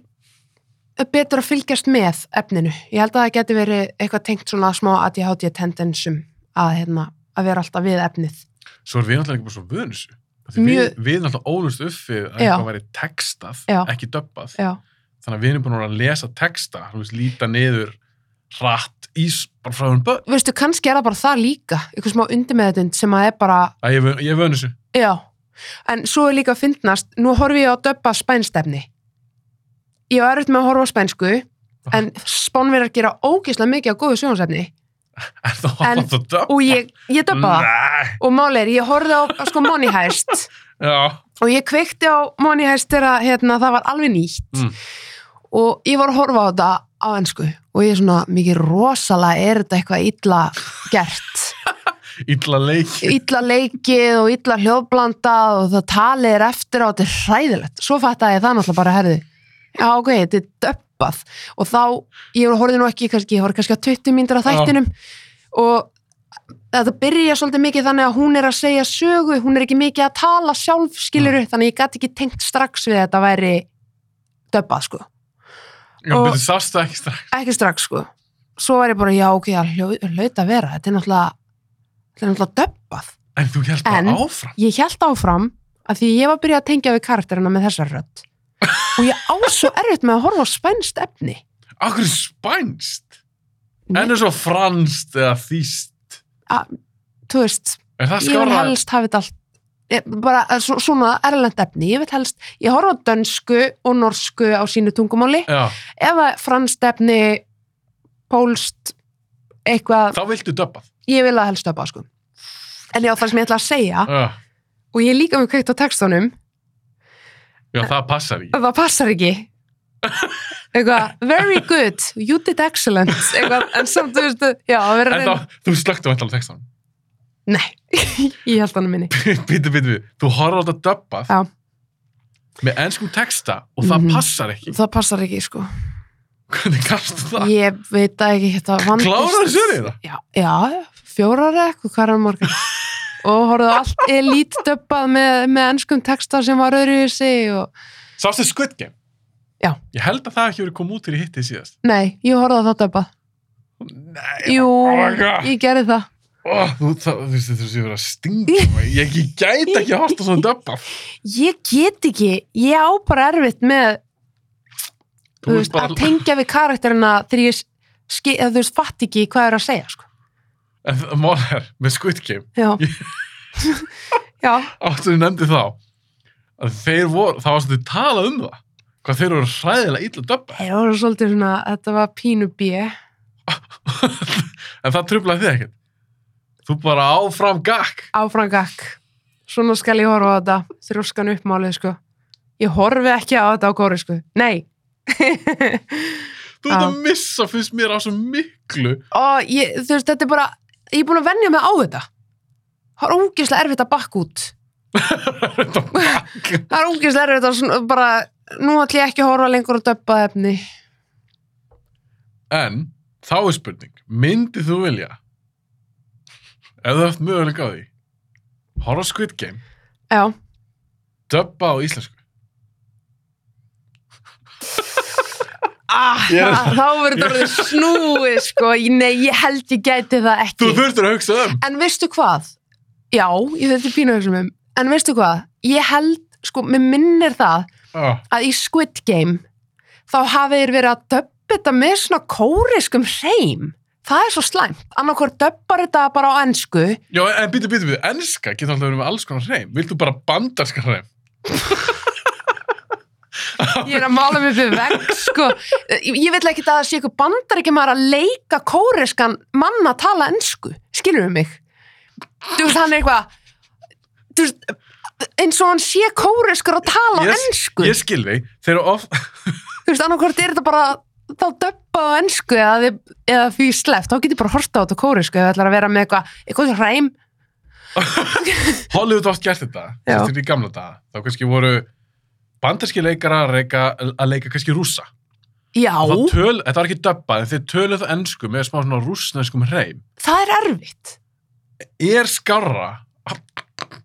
Speaker 2: betur að fylgjast með efninu ég held að það geti verið eitthvað tengt svona smá ADHD tendensum að, hérna, að vera alltaf við efnið
Speaker 1: svo er við náttúrulega ekki bara svo vöðnusu
Speaker 2: Mjög-
Speaker 1: við, við náttúrulega ólust upp við að
Speaker 2: Já.
Speaker 1: eitthvað væri textað,
Speaker 2: Já.
Speaker 1: ekki döbbað
Speaker 2: já,
Speaker 1: þannig að við erum búin að vera að lesa texta þú veist, líta niður hratt í s- bara frá hún börn
Speaker 2: veistu, kannski er það bara það líka eitthvað smá undirmeðutund sem að er bara
Speaker 1: að ég, vön- ég er vöðnusu
Speaker 2: já, en svo er líka að fyndnast nú horfi ég á döbba spænstefni ég var erfitt með að horfa á spænsku en spánverjar gera ógeðslega mikið á góðu sjónsefni
Speaker 1: er það
Speaker 2: En-
Speaker 1: alltaf döbbað?
Speaker 2: og ég, ég döbba það og máli er, ég horfði á sko Money Heist
Speaker 1: já,
Speaker 2: og ég kveikti á Money Heist þegar hérna, það var alveg nýtt
Speaker 1: Mm.
Speaker 2: og ég var að horfa á þetta á ennsku og ég er svona mikið rosalega er þetta eitthvað illa gert
Speaker 1: illa leik
Speaker 2: illa leikið og illa hljóðblandað og það talið er eftir á þetta er hræðilegt svo fattaði ég það náttúrulega bara herði já ok, þetta er döppað og þá, ég horfði nú ekki kannski, ég horfði kannski á 20 mínútur á þættinum og þetta byrja svolítið mikið þannig að hún er að segja sögu hún er ekki mikið að tala sjálf skiluru þannig að ég gat ekki tengt strax við að þetta væri döppað sko
Speaker 1: já,
Speaker 2: og-
Speaker 1: betur sást það ekki strax
Speaker 2: ekki strax sko svo var ég bara, já ok, það hljó- hlaut að vera þetta er náttúrulega, þetta er náttúrulega döppað
Speaker 1: en þú held
Speaker 2: En-
Speaker 1: bara áfram
Speaker 2: ég held áfram að því ég var að byrja að tengja við karakterina með þessar rödd og ég á svo erfitt með að horfa á spænst efni
Speaker 1: akkur er spænst en er svo franst eða þýst
Speaker 2: þú veist,
Speaker 1: er það
Speaker 2: ég vil
Speaker 1: skára
Speaker 2: helst hafa þetta allt ég- bara eh, svo- svona erlend efni ég vil helst, ég horfa á dönsku og norsku á sínu tungumáli
Speaker 1: já,
Speaker 2: ef að franst efni pólst eitthvað,
Speaker 1: þá viltu döbbað
Speaker 2: ég vil að helst stöpa sko. en já, það sem ég ætla að segja
Speaker 1: já,
Speaker 2: og ég er líka með kveikt á textunum
Speaker 1: já það passar ekki
Speaker 2: það passar ekki eitthvað, very good you did excellent eitthvað, en samt, þú veistu, já, að vera
Speaker 1: en
Speaker 2: reyna-
Speaker 1: þá, þú slöktu vantala textan
Speaker 2: nei, ég held hann minni
Speaker 1: bítu, bítu, bítu, þú horfður á þetta döbbað
Speaker 2: Já.
Speaker 1: með ennskum texta og það
Speaker 2: Mhm.
Speaker 1: passar ekki
Speaker 2: það passar ekki, sko
Speaker 1: hvernig kannst það?
Speaker 2: ég veit það ekki, þetta vandist
Speaker 1: kláraðu sérið það?
Speaker 2: já, já, fjórar eða eitthvað, hvað er morgun og horfðu á allt elítdöppað með, með ennskum texta sem var öðruvísi og
Speaker 1: Sástu Squid Game?
Speaker 2: Já.
Speaker 1: Ég held að það hafi ekki verið komið út fyrir hittið síðast.
Speaker 2: nei, ég horfði á það döppað
Speaker 1: Nei,
Speaker 2: jú,
Speaker 1: oh my God.
Speaker 2: ég gerði það
Speaker 1: Ó, þú, það, þú veist, þú veist, ég verið að stinga. mig. Ég, ég gæti ekki að horta svona döbba.
Speaker 2: ég get ekki, ég á bara erfitt með
Speaker 1: Þú
Speaker 2: þú
Speaker 1: veist
Speaker 2: veist, að
Speaker 1: bara,
Speaker 2: tengja við karakterina þegar ég ski, eða, þú veist, fatt ekki hvað er að segja sko.
Speaker 1: en mórðar, með Squid Game,
Speaker 2: já já,
Speaker 1: áttur ég nefndi þá, að þeir voru, það var svona talað um það, hvað þeir voru hræðilega illa döbba.
Speaker 2: það var svolítið svona þetta var pínu bjö
Speaker 1: en það trublaði þið ekkert. Þú bara áfram gakk.
Speaker 2: áfrangak, svona skal ég horfa á þetta þrjóskan uppmálið sko ég horfi ekki á þetta á kóri sko nei
Speaker 1: Þú ert
Speaker 2: Já.
Speaker 1: að missa, finnst mér, á svo miklu.
Speaker 2: og ég, þú veist, þetta er bara ég er búin að venja mig á þetta það er ógeðslega erfitt að bakka út
Speaker 1: Þetta bakk.
Speaker 2: það er ógeðslega erfitt að svona, bara nú ætlum ég ekki að horfa lengur á döppa efni
Speaker 1: En þá er spurning, myndið þú vilja ef þú haft möguleika á því horfa á Squid Game
Speaker 2: já,
Speaker 1: döbba á íslensku
Speaker 2: Ah,
Speaker 1: Ég er-
Speaker 2: það- þá verður þetta orðið snúið sko, Ég- nei, ég held ég gæti það
Speaker 1: Þú
Speaker 2: ekki
Speaker 1: þurftur að hugsa um
Speaker 2: En veistu hvað? Já, ég þetta er pínu að hugsa um En veistu hvað? Ég held, sko, mér minnir það
Speaker 1: ah,
Speaker 2: að í Squid Game þá hafið þér verið að döbba þetta með svona kóriskum hreim Það er svo slæmt, annarkvort döbbar þetta bara á ennsku
Speaker 1: Já, en býtu, býtu, býtu, enska getur alltaf verið með alls konar hreim Viltu bara bandarska hreim?
Speaker 2: Ég er að mála mig fyrir vegg, sko Ég ég vil ekki að það sé ykkur bandar ekki maður að leika kóreskan mann að tala ensku Skilur við mig? Þú veist, hann er eitthvað Þú veist, eins og hann sé kóreskur að tala
Speaker 1: Ég-
Speaker 2: ensku
Speaker 1: Ég skil þig, þeir eru of
Speaker 2: Þú veist, annarkvort er þetta bara þá döppa á ensku eða, þið- eða því sleft, þá getur ég bara að horta á þetta kóresku eða ætlar að vera með eitthvað, eitthvað hræm
Speaker 1: Hollywood oft gert þetta
Speaker 2: Já.
Speaker 1: Þetta er í gamla daga Þá kannski voru banderski leikarar leika, að leika kannski rússa.
Speaker 2: Já,
Speaker 1: Og það töl, þetta var ekki döbbað, en þeir töluðu ennsku með smá svona rússneskum hreim.
Speaker 2: það er erfitt.
Speaker 1: Er skárra,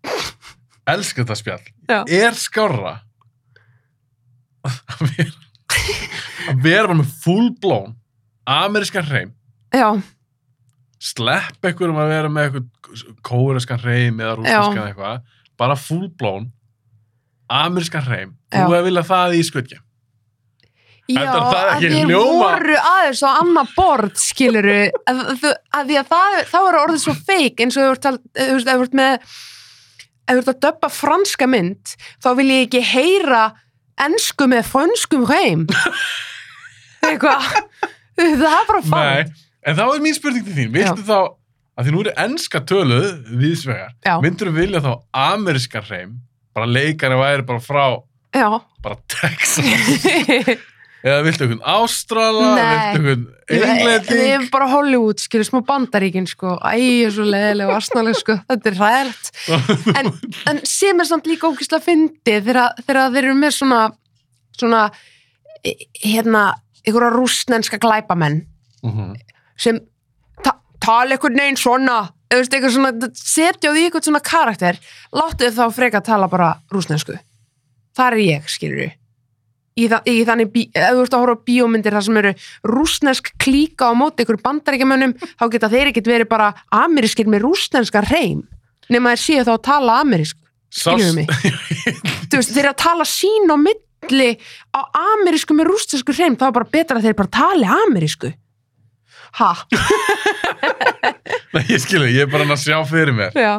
Speaker 1: elskar þetta spjall,
Speaker 2: Já.
Speaker 1: er skárra að vera, að vera bara með fullblón amerískan hreim
Speaker 2: Já,
Speaker 1: slepp ekkur um að vera með eitthvað kóreskan hreim eða rúsneskan eitthvað bara fullblón amerískan hreim,
Speaker 2: Já.
Speaker 1: þú hefði viljað það í skutki
Speaker 2: já,
Speaker 1: Heldur það
Speaker 2: að
Speaker 1: ekki
Speaker 2: þið
Speaker 1: hljóma?
Speaker 2: voru aðeins á annað borð, skiluru, að, þú- að því að það, þá er orðið svo feik eins og ef þú ert, að- þú veist, ef þú ert með, ef þú ert að döbba franska mynd, þá vil ég ekki heyra ensku með fönskum heim. Eitthvað, það er bara
Speaker 1: Nei,
Speaker 2: fann.
Speaker 1: en þá er mín spurning til þín viltu þá, að því nú eru enska töluð viðsvegar,
Speaker 2: Já.
Speaker 1: myndur þú vilja þá amerískan hreim, bara leikari væri bara frá,
Speaker 2: Já.
Speaker 1: bara Texas eða viltu einhvern Ástrala
Speaker 2: Nei.
Speaker 1: viltu einhvern
Speaker 2: Við
Speaker 1: Englending
Speaker 2: erum bara Hollywood, skilur, smá bandaríkin, sko. Æ, ég er svo leðileg og asnaleg, sko. Þetta er ræðilegt. En, en sem er samt líka ógislega fyndið þegar, þegar þeir eru með svona, svona, eh, hérna, einhverja rústnenska glæpamenn
Speaker 1: Mhm.
Speaker 2: sem ta tala einhvern veginn svona, eða veist, eitthvað svona, setja á því einhvern svona karakter, láttu þau þá freka að tala bara rústnensku. Þar er ég, skilur við. Í, þa í þannig, bí- ef þú ert að horfa á bíómyndir þar sem eru rúsnesk klíka á móti ykkur bandaríkjamönnum, þá geta þeir ekkert verið bara amerískir með rúsnenska reym nema þeir séu þá að tala amerísk skilur mig Þú veist, þeir eru að tala sín og milli á amerísku með rústisku hreim þá er bara betra að þeir bara tali amerísku ha,
Speaker 1: Nei, ég skilja, ég er bara hann að sjá fyrir mér
Speaker 2: já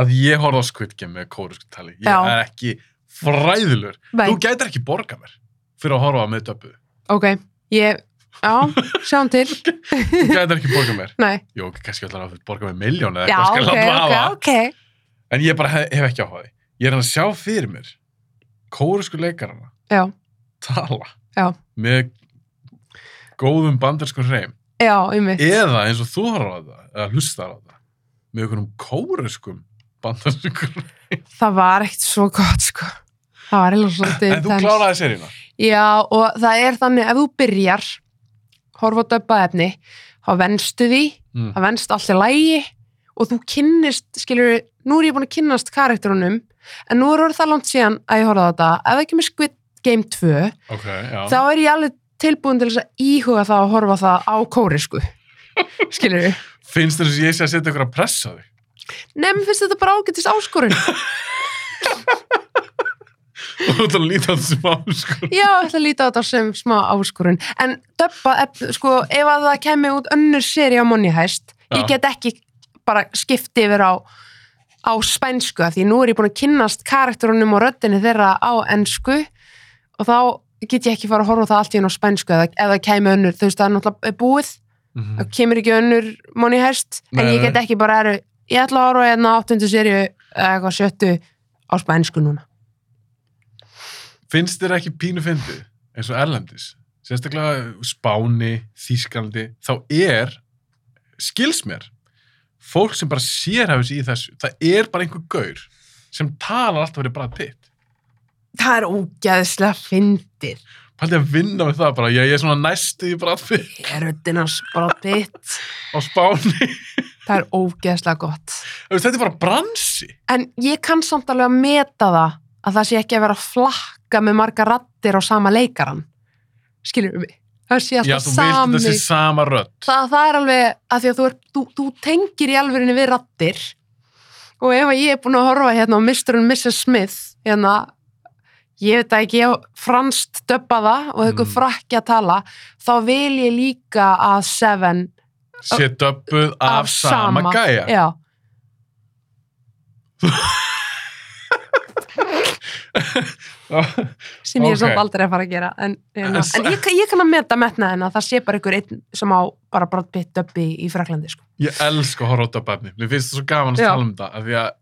Speaker 1: að ég horfði á Squid Game með kóresku tali ég
Speaker 2: Já.
Speaker 1: er ekki fræðilur
Speaker 2: Nei.
Speaker 1: þú gætir ekki borga mér fyrir að horfa með döpu
Speaker 2: ok, ég, já, sjáum til
Speaker 1: þú gætir ekki borga mér
Speaker 2: nei,
Speaker 1: Jó, kannski ætlar að borga mér miljón eða
Speaker 2: já,
Speaker 1: eitthvað skal
Speaker 2: ok,
Speaker 1: láta
Speaker 2: ok,
Speaker 1: hafa.
Speaker 2: ok
Speaker 1: en ég bara hef, hef ekki áhuga á því ég er hann að sjá fyrir mér kóresku leikarana
Speaker 2: já,
Speaker 1: tala
Speaker 2: Já.
Speaker 1: með góðum bandarsku hreim
Speaker 2: já, einmitt
Speaker 1: eða eins og þú horfði á það eða hlustar á það með einhverjum kóreskum bandarsku
Speaker 2: það var ekkert svo gott, sko það var eða svolítið
Speaker 1: en þú
Speaker 2: intense.
Speaker 1: kláraði seríuna
Speaker 2: Já, og það er þannig, ef þú byrjar horfa á döbbað efni, þá venstu því,
Speaker 1: Mm.
Speaker 2: það venst allir lægi og þú kynnist, skilur nú er ég búin að kynnast karakterunum en nú er orðið það langt síðan að ég horfa á þetta ef það kemur Squid Game 2
Speaker 1: ok, já
Speaker 2: þá er ég alveg tilbúin til þess að íhuga það að horfa á það á kórisku skilur við
Speaker 1: finnst þér eins og ég sé að setja ykkur að pressa á þig
Speaker 2: nefn finnst þetta bara ágætist áskorun
Speaker 1: og þú ert að líta á þessu máli sko.
Speaker 2: Já, ég ætla að líta á þetta sem smá áskorun en döbba, ef- sko, ef að það kemur út önnur seri á Money Heist ég
Speaker 1: Já.
Speaker 2: get ekki bara skipti yfir á, á spænsku af því nú er ég búin að kynnast karakterunum og röddinni þeirra á ensku og þá get ég ekki fara að horfa á það allt í enn á spænsku ef, ef það kemur önnur, þú veist það er náttúrulega búið
Speaker 1: Mhm.
Speaker 2: það kemur ekki önnur Money Heist en
Speaker 1: Nei,
Speaker 2: ég get
Speaker 1: nei.
Speaker 2: ekki bara eru, ég ætla að horfa á hérna áttundu seri eitthvað sjöttu á spænsku núna
Speaker 1: finnst þér ekki pínu fyndið eins og erlendis sérstaklega Spáni, Þískalandi þá er skils mér fólk sem bara sérhæfis í þessu það er bara einhver gaur sem talar alltaf verið bara pitt
Speaker 2: það er ógeðslega fyndið
Speaker 1: Paldi að vinna með það bara, ég, ég er svona næstu í bratfi
Speaker 2: er röddinans bara pitt
Speaker 1: á Spáni.
Speaker 2: það er ógeðslega gott
Speaker 1: Þú veist, Þetta er bara bransi.
Speaker 2: en ég kann samt alveg að meta það að það sé ekki að vera að flakka með marga rattir á sama leikaran skilur við mig það sé
Speaker 1: Já,
Speaker 2: alltaf
Speaker 1: þú vilt
Speaker 2: sami
Speaker 1: þetta sé sama rödd.
Speaker 2: það, það er alveg að því að þú, er, þú, þú tengir í alvörinni við rattir og ef að ég er búin að horfa hérna á Mr. and Mrs. Smith hérna ég veit það ekki, ég á franskt döbbaða og eitthvað
Speaker 1: Mm.
Speaker 2: frakki að tala þá vil ég líka að Seven
Speaker 1: Sé döbbuð af, sama, gæja.
Speaker 2: já, sem ég er
Speaker 1: Ok.
Speaker 2: samt aldrei að fara að gera en, en,
Speaker 1: En s-
Speaker 2: en ég, ég kann að meta metna en að það sé bara einhver einn sem á bara brott pitt uppi í Fraklandi sko.
Speaker 1: Ég elska að horfa á döbbefni. Mér finnst það svo gaman að
Speaker 2: Já.
Speaker 1: tala um þetta. af Því að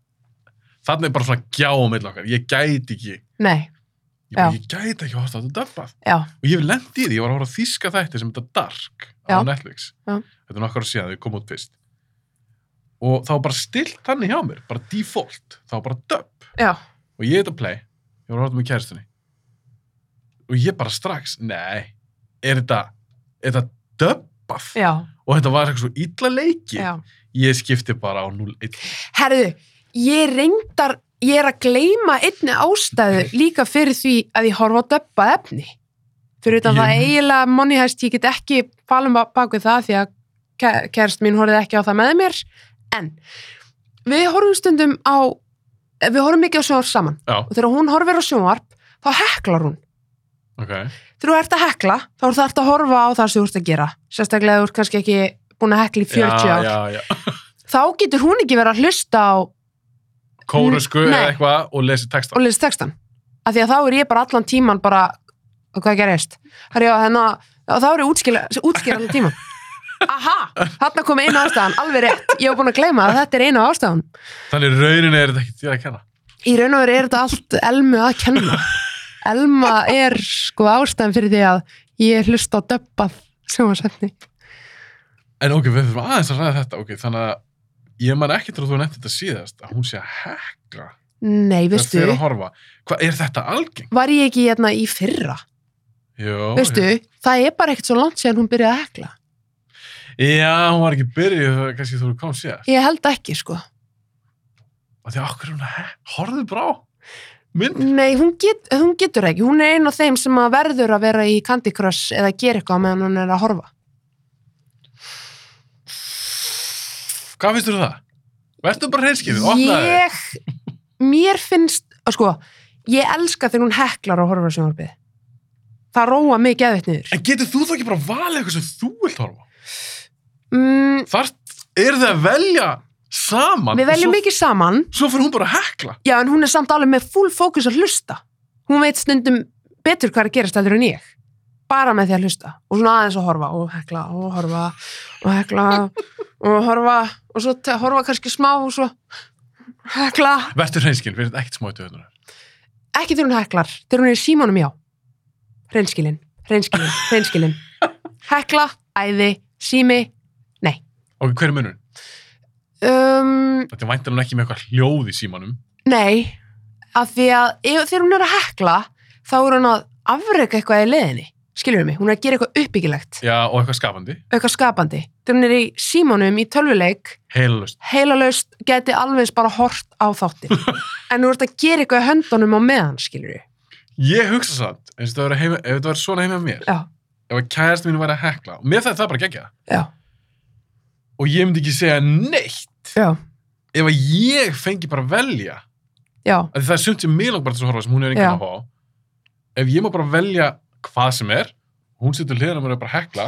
Speaker 1: þarna er bara svona gjá á milli okkar. Ég gæti ekki.
Speaker 2: nei,
Speaker 1: Ég, bara,
Speaker 2: Já.
Speaker 1: ég gæti ekki að horfa á þetta döbbað.
Speaker 2: já,
Speaker 1: Og ég hef lent í því, ég var að horfa á þíska þætti sem þetta Dark á
Speaker 2: Já.
Speaker 1: Netflix.
Speaker 2: Já.
Speaker 1: Þetta er nokkar að síðan, þau kom út fyrst. Og þá var bara stilt þannig hjá mér, bara default. Þá var bara döbb.
Speaker 2: já,
Speaker 1: og ég heit að play, ég var að horfa með kæristunni og ég bara strax, nei, er þetta, er þetta döbbað?
Speaker 2: já,
Speaker 1: Og þetta var eitthvað svo illa leiki.
Speaker 2: já.
Speaker 1: Ég skipti bara á 0-1.
Speaker 2: Herðu, ég reyndar, ég er að gleyma einni ástæðu líka fyrir því að ég horfa á döbba efni. Fyrir utan
Speaker 1: Ég-
Speaker 2: það eiginlega moneyhæst, ég get ekki falum bak við það því að kæ- kærist mín horfið ekki á það með mér. En við horfum stundum á, við horfum mikið á sjónvarp saman
Speaker 1: Já,
Speaker 2: og þegar hún horfir á sjónvarp, þá heklar hún
Speaker 1: ok.
Speaker 2: þegar þú ert að hekla, þá er það að horfa á það sem þú ert að gera. Sérstaklega ef þú ert kannski ekki búin að hekla í 40
Speaker 1: já,
Speaker 2: ár.
Speaker 1: Já, já,
Speaker 2: Þá getur hún ekki verið að hlusta á
Speaker 1: Kórusku
Speaker 2: Nei.
Speaker 1: eða eitthvað og lesi texta.
Speaker 2: og lesi textan. Af því að þá er ég bara allan tíman bara, og hvað gerist? Herri, já, þannig að þá er ég útskýra, útskýra allan tíman. Aha, þarna kom einu ástæðan, alveg rétt. Ég var búin að gleyma að þetta er einu ástæðan.
Speaker 1: Þannig rauninni er þetta ekki þér að kenna.
Speaker 2: Í raun og veru er þetta allt Elmu að kenna. Elma er sko ástæðan fyrir því að ég hlusta á döbbað sjónvarsefni.
Speaker 1: En ok, við þurfum aðeins að ræða þetta, ok, þannig að ég man ekki til að þú nefnt þetta síðast, að hún sé að hekla
Speaker 2: Nei,
Speaker 1: þegar
Speaker 2: veistu,
Speaker 1: þið eru að horfa. Hvað, er þetta algeng?
Speaker 2: var ég ekki hérna í fyrra?
Speaker 1: Jó.
Speaker 2: veistu, það er bara ekkert svo langt síðan hún byrjaði að hekla.
Speaker 1: Já, hún var ekki byrjuð, þegar- kannski þú kom síðast.
Speaker 2: Ég held ekki, sko.
Speaker 1: Og því, okkur er hún að hekla, horfðu brá, mynd.
Speaker 2: Nei, hún, get, hún getur ekki. Hún er ein af þeim sem að verður að vera í Candy Crush eða gera eitthvað á meðan hún er að horfa.
Speaker 1: Hvað finnst þú það? Vertu bara hreinskilin, opnaði. Yeah.
Speaker 2: Ég, mér finnst, að sko, ég elska þegar hún heklar og horfa á sjónvarpið. Það róa mig geðveitt niður.
Speaker 1: En getur þú þá ekki bara valið eitthvað sem þú vilt horfa?
Speaker 2: Mm,
Speaker 1: Þar er það að velja saman.
Speaker 2: við veljum
Speaker 1: og
Speaker 2: mikið saman,
Speaker 1: Svo, svo fyrir hún bara að hekla.
Speaker 2: já, en hún er samt alveg með full fókus að hlusta. Hún veit stundum betur hvað er að gerast heldur en ég. Bara með því að hlusta. Og svona aðeins að horfa og hekla og horfa og hekla og horfa og svo te- horfa kannski smá og svo hekla.
Speaker 1: Vertu hreinskilin, við erum ekkert smá í döðunar.
Speaker 2: ekki þegar hún heklar, þegar hún er í símanum já reynskilin, reynskilin, reynskilin hekla, æði, sími
Speaker 1: Ok, hver er munur?
Speaker 2: um,
Speaker 1: Þetta væntar hún ekki með eitthvað hljóð í símanum.
Speaker 2: nei af því að ef, þegar hún er að hekla þá er hún að afreka eitthvað í leðinni skilur mig, hún er að gera eitthvað uppbyggilegt
Speaker 1: Já, og eitthvað skapandi.
Speaker 2: eitthvað skapandi, þegar hún er í símanum í tölvuleik,
Speaker 1: Heilalust.
Speaker 2: heilalaust geti alveg eins bara hort á þáttin en þú ert að gera eitthvað í höndunum á meðan skilur við,
Speaker 1: Ég hugsa samt, eins og þetta væri heima, ef þetta var svona heima hjá mér,
Speaker 2: já,
Speaker 1: ef að kærasti mín væri að hekla, og mér það það bara gegja,
Speaker 2: já,
Speaker 1: og ég myndi ekki segja neitt
Speaker 2: já,
Speaker 1: ef að ég fengi bara að velja,
Speaker 2: já.
Speaker 1: af því það er sumt sem mig langar bara til að horfa sem hún er
Speaker 2: Já.
Speaker 1: einhvern að fá, ef ég má bara velja hvað sem er, hún setur hliðan á mér og er bara að hekla,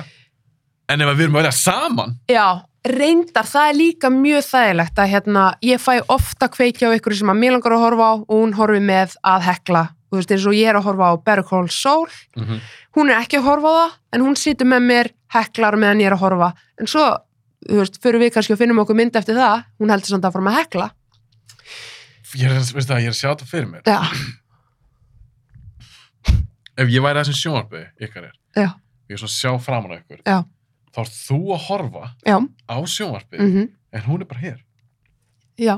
Speaker 1: en ef að við erum að velja saman,
Speaker 2: Já, reyndar, það er líka mjög þægilegt að hérna, ég fæ ofta kveikja á ykkur sem að mér langar að horfa á og hún horfi með að hekla. Þú veist, eins og ég er að horfa á Better Call Saul,
Speaker 1: Mhm.
Speaker 2: hún er ekki að horfa á það, en hún situr með mér, heklar meðan ég er að horfa. En svo, þú veist, fyrir við kannski og finnum okkur mynd eftir það, hún heldur samt að fara með að hekla.
Speaker 1: ég er, veistu það, ég er að sjá þetta fyrir mér.
Speaker 2: Já,
Speaker 1: Ef ég væri að þessum sjónarbi, ykkar er,
Speaker 2: Já.
Speaker 1: ég er svo að sjá framan á ykkur,
Speaker 2: Já.
Speaker 1: þá er þú að horfa
Speaker 2: já,
Speaker 1: á sjónvarpið,
Speaker 2: mhm,
Speaker 1: en hún er bara hér.
Speaker 2: já.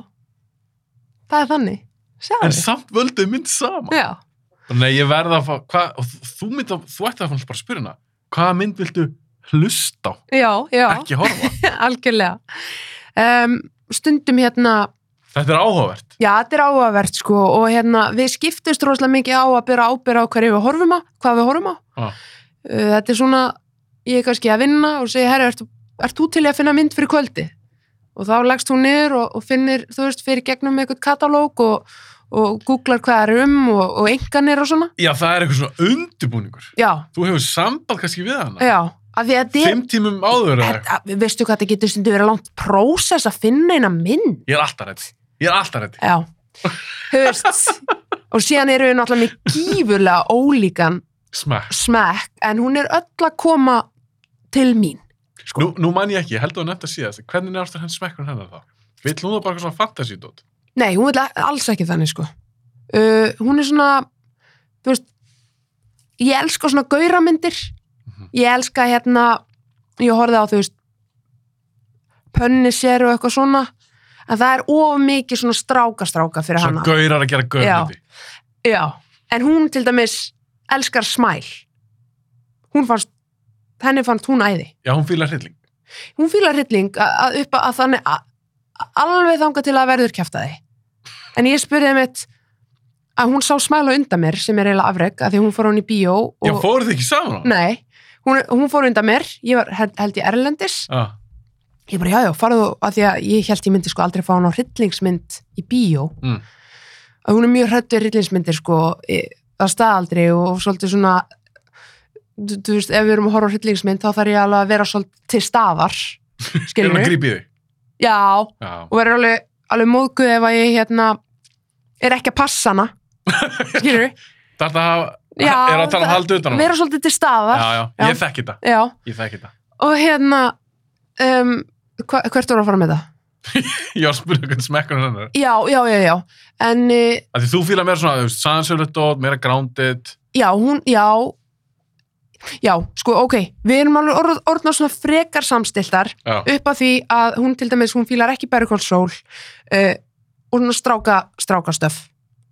Speaker 2: Það er þannig. Sjáðu.
Speaker 1: En samt völduðu mynd saman.
Speaker 2: Já,
Speaker 1: Nei, ég verða að fá, hvað, og þú- þú mynd að, þú ætti að fannst bara að spyrja hana, hvaða mynd viltu hlusta á,
Speaker 2: já, já,
Speaker 1: ekki horfa?
Speaker 2: algjörlega. Um, stundum hérna,
Speaker 1: Þetta er áhugavert.
Speaker 2: Já, þetta er áhugavert sko og hérna, við skiptumst rosalega mikið á að byrja ábyrja á hverju við horfum á, hvað við horfum á.
Speaker 1: Já.
Speaker 2: Uh, Þetta er svona, ég er kannski að vinna og segja, herri, ert, ert þú til í að finna mynd fyrir kvöldi? Og þá leggst hún niður og, og finnir, þú veist, fyrir gegnum eitthvað katalóg og, og googlar hvað er um og, og enganir og svona.
Speaker 1: Já, það er eitthvað svona undirbúningur.
Speaker 2: Já,
Speaker 1: Þú hefur samband kannski við hana.
Speaker 2: já, af því að þetta er,
Speaker 1: Fimm tímum áður eða eitthvað.
Speaker 2: þetta, veistu hvað þetta getur stundu verið langt prósess að finna eina mynd?
Speaker 1: Ég er alltaf rétt. Ég er alltaf rétt.
Speaker 2: Já, höfst og síðan eru við náttúrulega með gífurlega ólíkan
Speaker 1: Smekk.
Speaker 2: smekk en hún er öll að koma til mín sko.
Speaker 1: Nú, nú man ég ekki, ég held að hún nefnt að síðast, hvernig er aftur henn smekkur hennar þá? Vill hún það bara eitthvað svona fantasídót?
Speaker 2: Nei, hún vil alls ekki þannig sko. uh, hún er svona þú veist ég elska svona gauramindir
Speaker 1: Mhm.
Speaker 2: ég elska hérna ég horfði á þú veist pönnisir og eitthvað svona en það er of mikið svona stráka-stráka fyrir
Speaker 1: Svona
Speaker 2: hana
Speaker 1: gaurar að gera gaurmyndi.
Speaker 2: Já, en hún til dæmis elskar smæl hún fannst henni fannst hún æði
Speaker 1: Já, hún fýlar hrylling.
Speaker 2: hún fílar hrylling að- að upp að þannig að- að alveg þanga til að verður kjaftaði en ég spurði mitt að hún sá smæla undan mér sem er eiginlega afreg að því hún fór hún í bíó
Speaker 1: Já,
Speaker 2: og,
Speaker 1: fóruð þið ekki saman á?
Speaker 2: nei, hún, hún fór undan mér ég var held, held ég erlendis
Speaker 1: Ah,
Speaker 2: ég bara já já, farðu að því að ég held ég myndi sko aldrei fá hún á hryllingsmynd í bíó
Speaker 1: Mm.
Speaker 2: að hún er mjög hrættu hryllingsmyndir sko í- að staðaldri og svolítið svona þú þú veist, ef við erum að horfa á hryllingsmynd þá þarf ég alveg að vera svolítið til staðar
Speaker 1: er hún að
Speaker 2: skilur,
Speaker 1: grípa í þig?
Speaker 2: já
Speaker 1: Já.
Speaker 2: og verður alveg, alveg móðguð ef að ég hérna, er ekki að passa hana skilur
Speaker 1: Þetta er að tala um haldu utan á
Speaker 2: vera svolítið til staðar
Speaker 1: Já, já,
Speaker 2: Já.
Speaker 1: ég þekki þetta.
Speaker 2: Já,
Speaker 1: Ég þekki þetta.
Speaker 2: og hérna um, hva, hvert voru að fara með það?
Speaker 1: Ég var að spyrja um hvernig smekkurinn hennar.
Speaker 2: já, já, já, já en eh,
Speaker 1: Af Því þú fýlar meira svona, þú veist, sannsöflut og meira grounded.
Speaker 2: já, hún, já já, sko, ok við erum alveg orð, orðnað svona frekar samstiltar
Speaker 1: Já,
Speaker 2: upp að því að hún til dæmis hún fílar ekki Bergkóld Sól uh, og svona stráka, strákastöf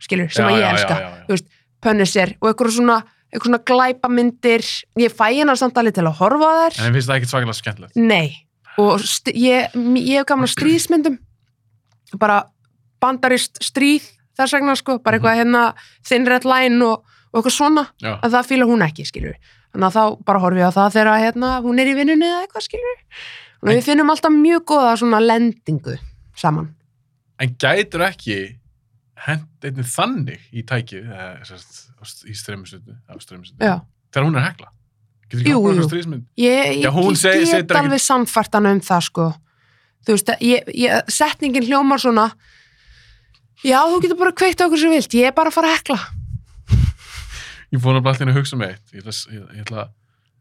Speaker 2: skilur, sem
Speaker 1: já,
Speaker 2: að
Speaker 1: já,
Speaker 2: ég elska
Speaker 1: Já, já, já.
Speaker 2: Punisher og eitthvað svona, eitthvað svona glæpamyndir ég fæ hennar samt alveg til að horfa á
Speaker 1: En
Speaker 2: þær
Speaker 1: ég finnst það ekkit svakilega skemmtilegt.
Speaker 2: nei og st- ég, ég hef gaman á stríðsmyndum bara bandarist stríð þess vegna sko, bara eitthvað hérna Thin Red Line og, og eitthvað svona
Speaker 1: Já.
Speaker 2: en það fíla hún ekki, skilur þannig að þá bara horfi ég á það þegar að, hérna, hún er í vinnunni eða eitthvað, skilur og við finnum alltaf mjög góða svona lendingu saman
Speaker 1: En gætur ekki hent einnig þannig í tækið, eða, sem sagt, á st- í streymisöndu, á streymisöndu.
Speaker 2: Já.
Speaker 1: Þegar hún er að hekla. Getur ekki
Speaker 2: Jú,
Speaker 1: hópað
Speaker 2: jú.
Speaker 1: svona stríðismynd?
Speaker 2: Ég, ég,
Speaker 1: Já, hún
Speaker 2: ég
Speaker 1: seg-
Speaker 2: get
Speaker 1: setur ekki-
Speaker 2: alveg samfært hana um það sko þú veist, ég, ég, setningin hljómar svona já, þú getur bara kveikt á okkur sem þú vilt, ég er bara að fara að hekla
Speaker 1: Ég fór nefnilega allir að hugsa með eitt. Ég ætla, að- ég, ég ætla að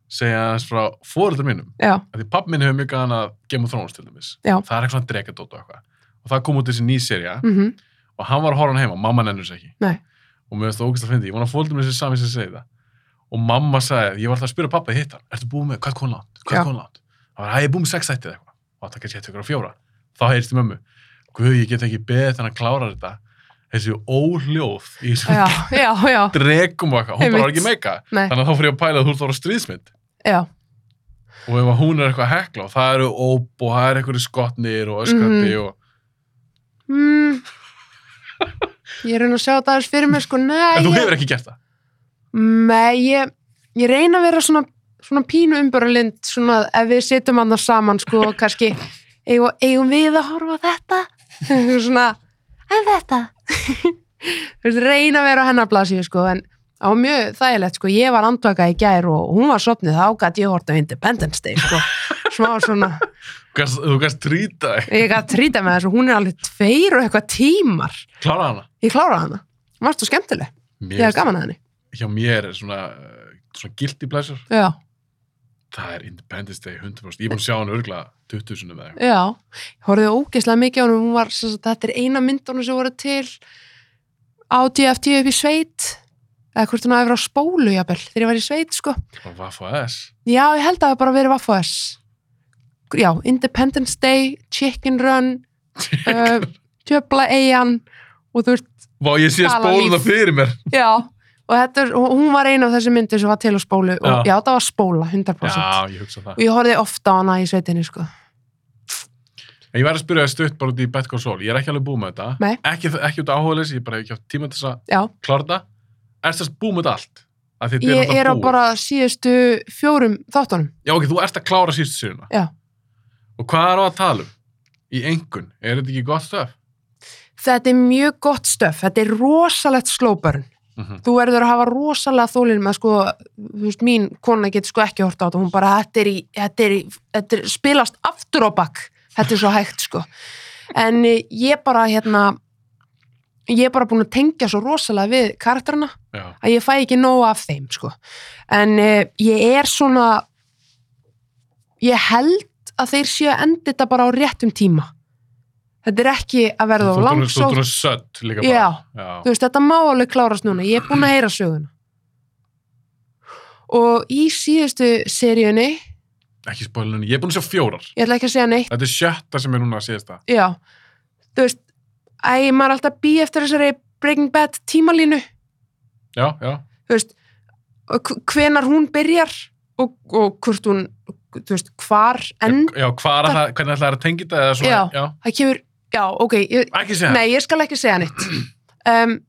Speaker 1: segja aðeins frá fóreldar mínum.
Speaker 2: já,
Speaker 1: Af Því papp minn hefur mjög gaman að Game of Thrones til dæmis.
Speaker 2: Já.
Speaker 1: Það er eitthvað svona drekadótt og eitthvað. Og það kom út þessi ný serja
Speaker 2: mhm,
Speaker 1: og hann var að horfa hann heima, mamma nennur sér ekki.
Speaker 2: Nei.
Speaker 1: Og mér finnst það ógæst að finna því. Ég vona að fóldum þessi sami sem segi það. Og mamma sagði, ég var alltaf að spyrja pappa að hitta hann. Ertu búið með, hvað kom langt? Hvað
Speaker 2: Já.
Speaker 1: kom langt? Það var, að ég er búið með sex þætti eða eitthvað. Og það kannski hætti ykkur á fjóra. Þá heyrst ég mömmu, guð, ég get ekki beðið þannig að klára þetta. Þessi óljóð í þessum
Speaker 2: já, já, já
Speaker 1: dregum og eitthvað. Hún bara var ekki
Speaker 2: Einmitt.
Speaker 1: meika.
Speaker 2: Nei.
Speaker 1: Þannig að þá fyrir ég að pæla að þú ert að horfa á stríðsmynd
Speaker 2: já,
Speaker 1: og ef að hún er eitthvað að hekla og það eru óp og það eru eitthvað skotnir og öskrandi
Speaker 2: Mhm.
Speaker 1: og
Speaker 2: mm. ég reyna að sjá þetta aðeins fyrir mig sko, nei
Speaker 1: en þú
Speaker 2: ég,
Speaker 1: hefur ekki gert það
Speaker 2: nei, ég, ég reyna að vera svona, svona pínu umböralind svona ef við sitjum hann saman sko, kannski, eigum, eigum við að horfa á þetta svona, en þetta Þú veist, reyna að vera á hennar blaðsíu sko, en það var mjög þægilegt sko, ég var andvaka í gær og hún var sopnið þá gæti ég hort á Independence Day sko, smá svona
Speaker 1: Þú gast- þú kannst trýta þig,
Speaker 2: ég gæti trýta með þessu, hún er alveg tveir og eitthvað tímar,
Speaker 1: klára hana
Speaker 2: ég kláraði hana varst þú skemmtileg,
Speaker 1: mér,
Speaker 2: ég hef gaman að henni
Speaker 1: hjá mér er svona, uh, svona guilty pleasure,
Speaker 2: já,
Speaker 1: það er Independence Day 100% ég er búin að sjá hann örgla 2000 með
Speaker 2: já, ég horfði ógeðslega mikið á henni, hún var, sem sagt, þetta er eina myndunum sem voru til á DFT upp í sveit eða hvort hún hafi verið á spólu jafnvel, þegar ég var í sveit sko,
Speaker 1: eitthvað og vaff og s
Speaker 2: já, ég held að það hafi bara verið Vaffo S já, Independence Day Chicken Run uh, Tjöbla Eyjan og þú veist
Speaker 1: Vá, ég sé
Speaker 2: Tala
Speaker 1: spóluna
Speaker 2: líf.
Speaker 1: fyrir mér
Speaker 2: Já, og þetta, er- og hún var eina af þessi myndir sem var til á spólu og já,
Speaker 1: Já.
Speaker 2: það var spóla, 100%
Speaker 1: já, ég hugsa það
Speaker 2: og ég horfði ofta á hana í sveitinni sko.
Speaker 1: en ég verði að spyrja það stutt bara út í Betko Sol ég er ekki alveg búið með þetta
Speaker 2: Nei.
Speaker 1: ekki, ekki út af áhugaðlis, ég bara hef ekki haft tíma til þess að
Speaker 2: Já,
Speaker 1: klára þetta er þess búið með þetta allt Af því þetta
Speaker 2: ég
Speaker 1: náttúrulega
Speaker 2: er á
Speaker 1: búið.
Speaker 2: bara síðustu fjórum þáttunum
Speaker 1: Já, ok, þú ert að klára sístu síðuna.
Speaker 2: Já.
Speaker 1: Og hvað er á að tala um? Í engun, er þetta ekki gott stöf?
Speaker 2: Þetta er mjög gott stöf, þetta er rosalegt slóbörn
Speaker 1: Mm -hmm.
Speaker 2: þú verður að hafa rosalega þólinn með sko, þú veist, mín kona getur sko ekki horta á þetta, hún bara, þetta er í, þetta er í, þetta er spilast aftur á bakk, þetta er svo hægt sko. En eh, ég bara, hérna, ég er bara búin að tengja svo rosalega við karakterina
Speaker 1: Já,
Speaker 2: að ég fæ ekki nóg af þeim sko. en uh, ég er svona ég held að þeir séu að endi þetta bara á réttum tíma þetta er ekki að verða á
Speaker 1: Þú
Speaker 2: langsótt
Speaker 1: ert sött líka
Speaker 2: Já.
Speaker 1: bara. Já.
Speaker 2: þú veist, þetta má alveg klárast núna ég er búin að heyra söguna og í síðustu seríunni,
Speaker 1: Ekki spólunni, ég er búin að sjá fjórar.
Speaker 2: ég ætla ekki að segja neitt
Speaker 1: Þetta er sjötta sem er núna að séðast það.
Speaker 2: já, þú veist æ, maður er alltaf bí eftir þessari Breaking Bad tímalínu
Speaker 1: Já, já.
Speaker 2: þú veist, hvenar hún byrjar og, og hvort hún, þú veist, hvar en
Speaker 1: já, hvað er það, hvernig ætlaði að tengja þetta eða svona,
Speaker 2: Já.
Speaker 1: já,
Speaker 2: það kemur, já, ok, ég,
Speaker 1: ekki segja.
Speaker 2: nei, ég skal ekki segja nýtt. Um,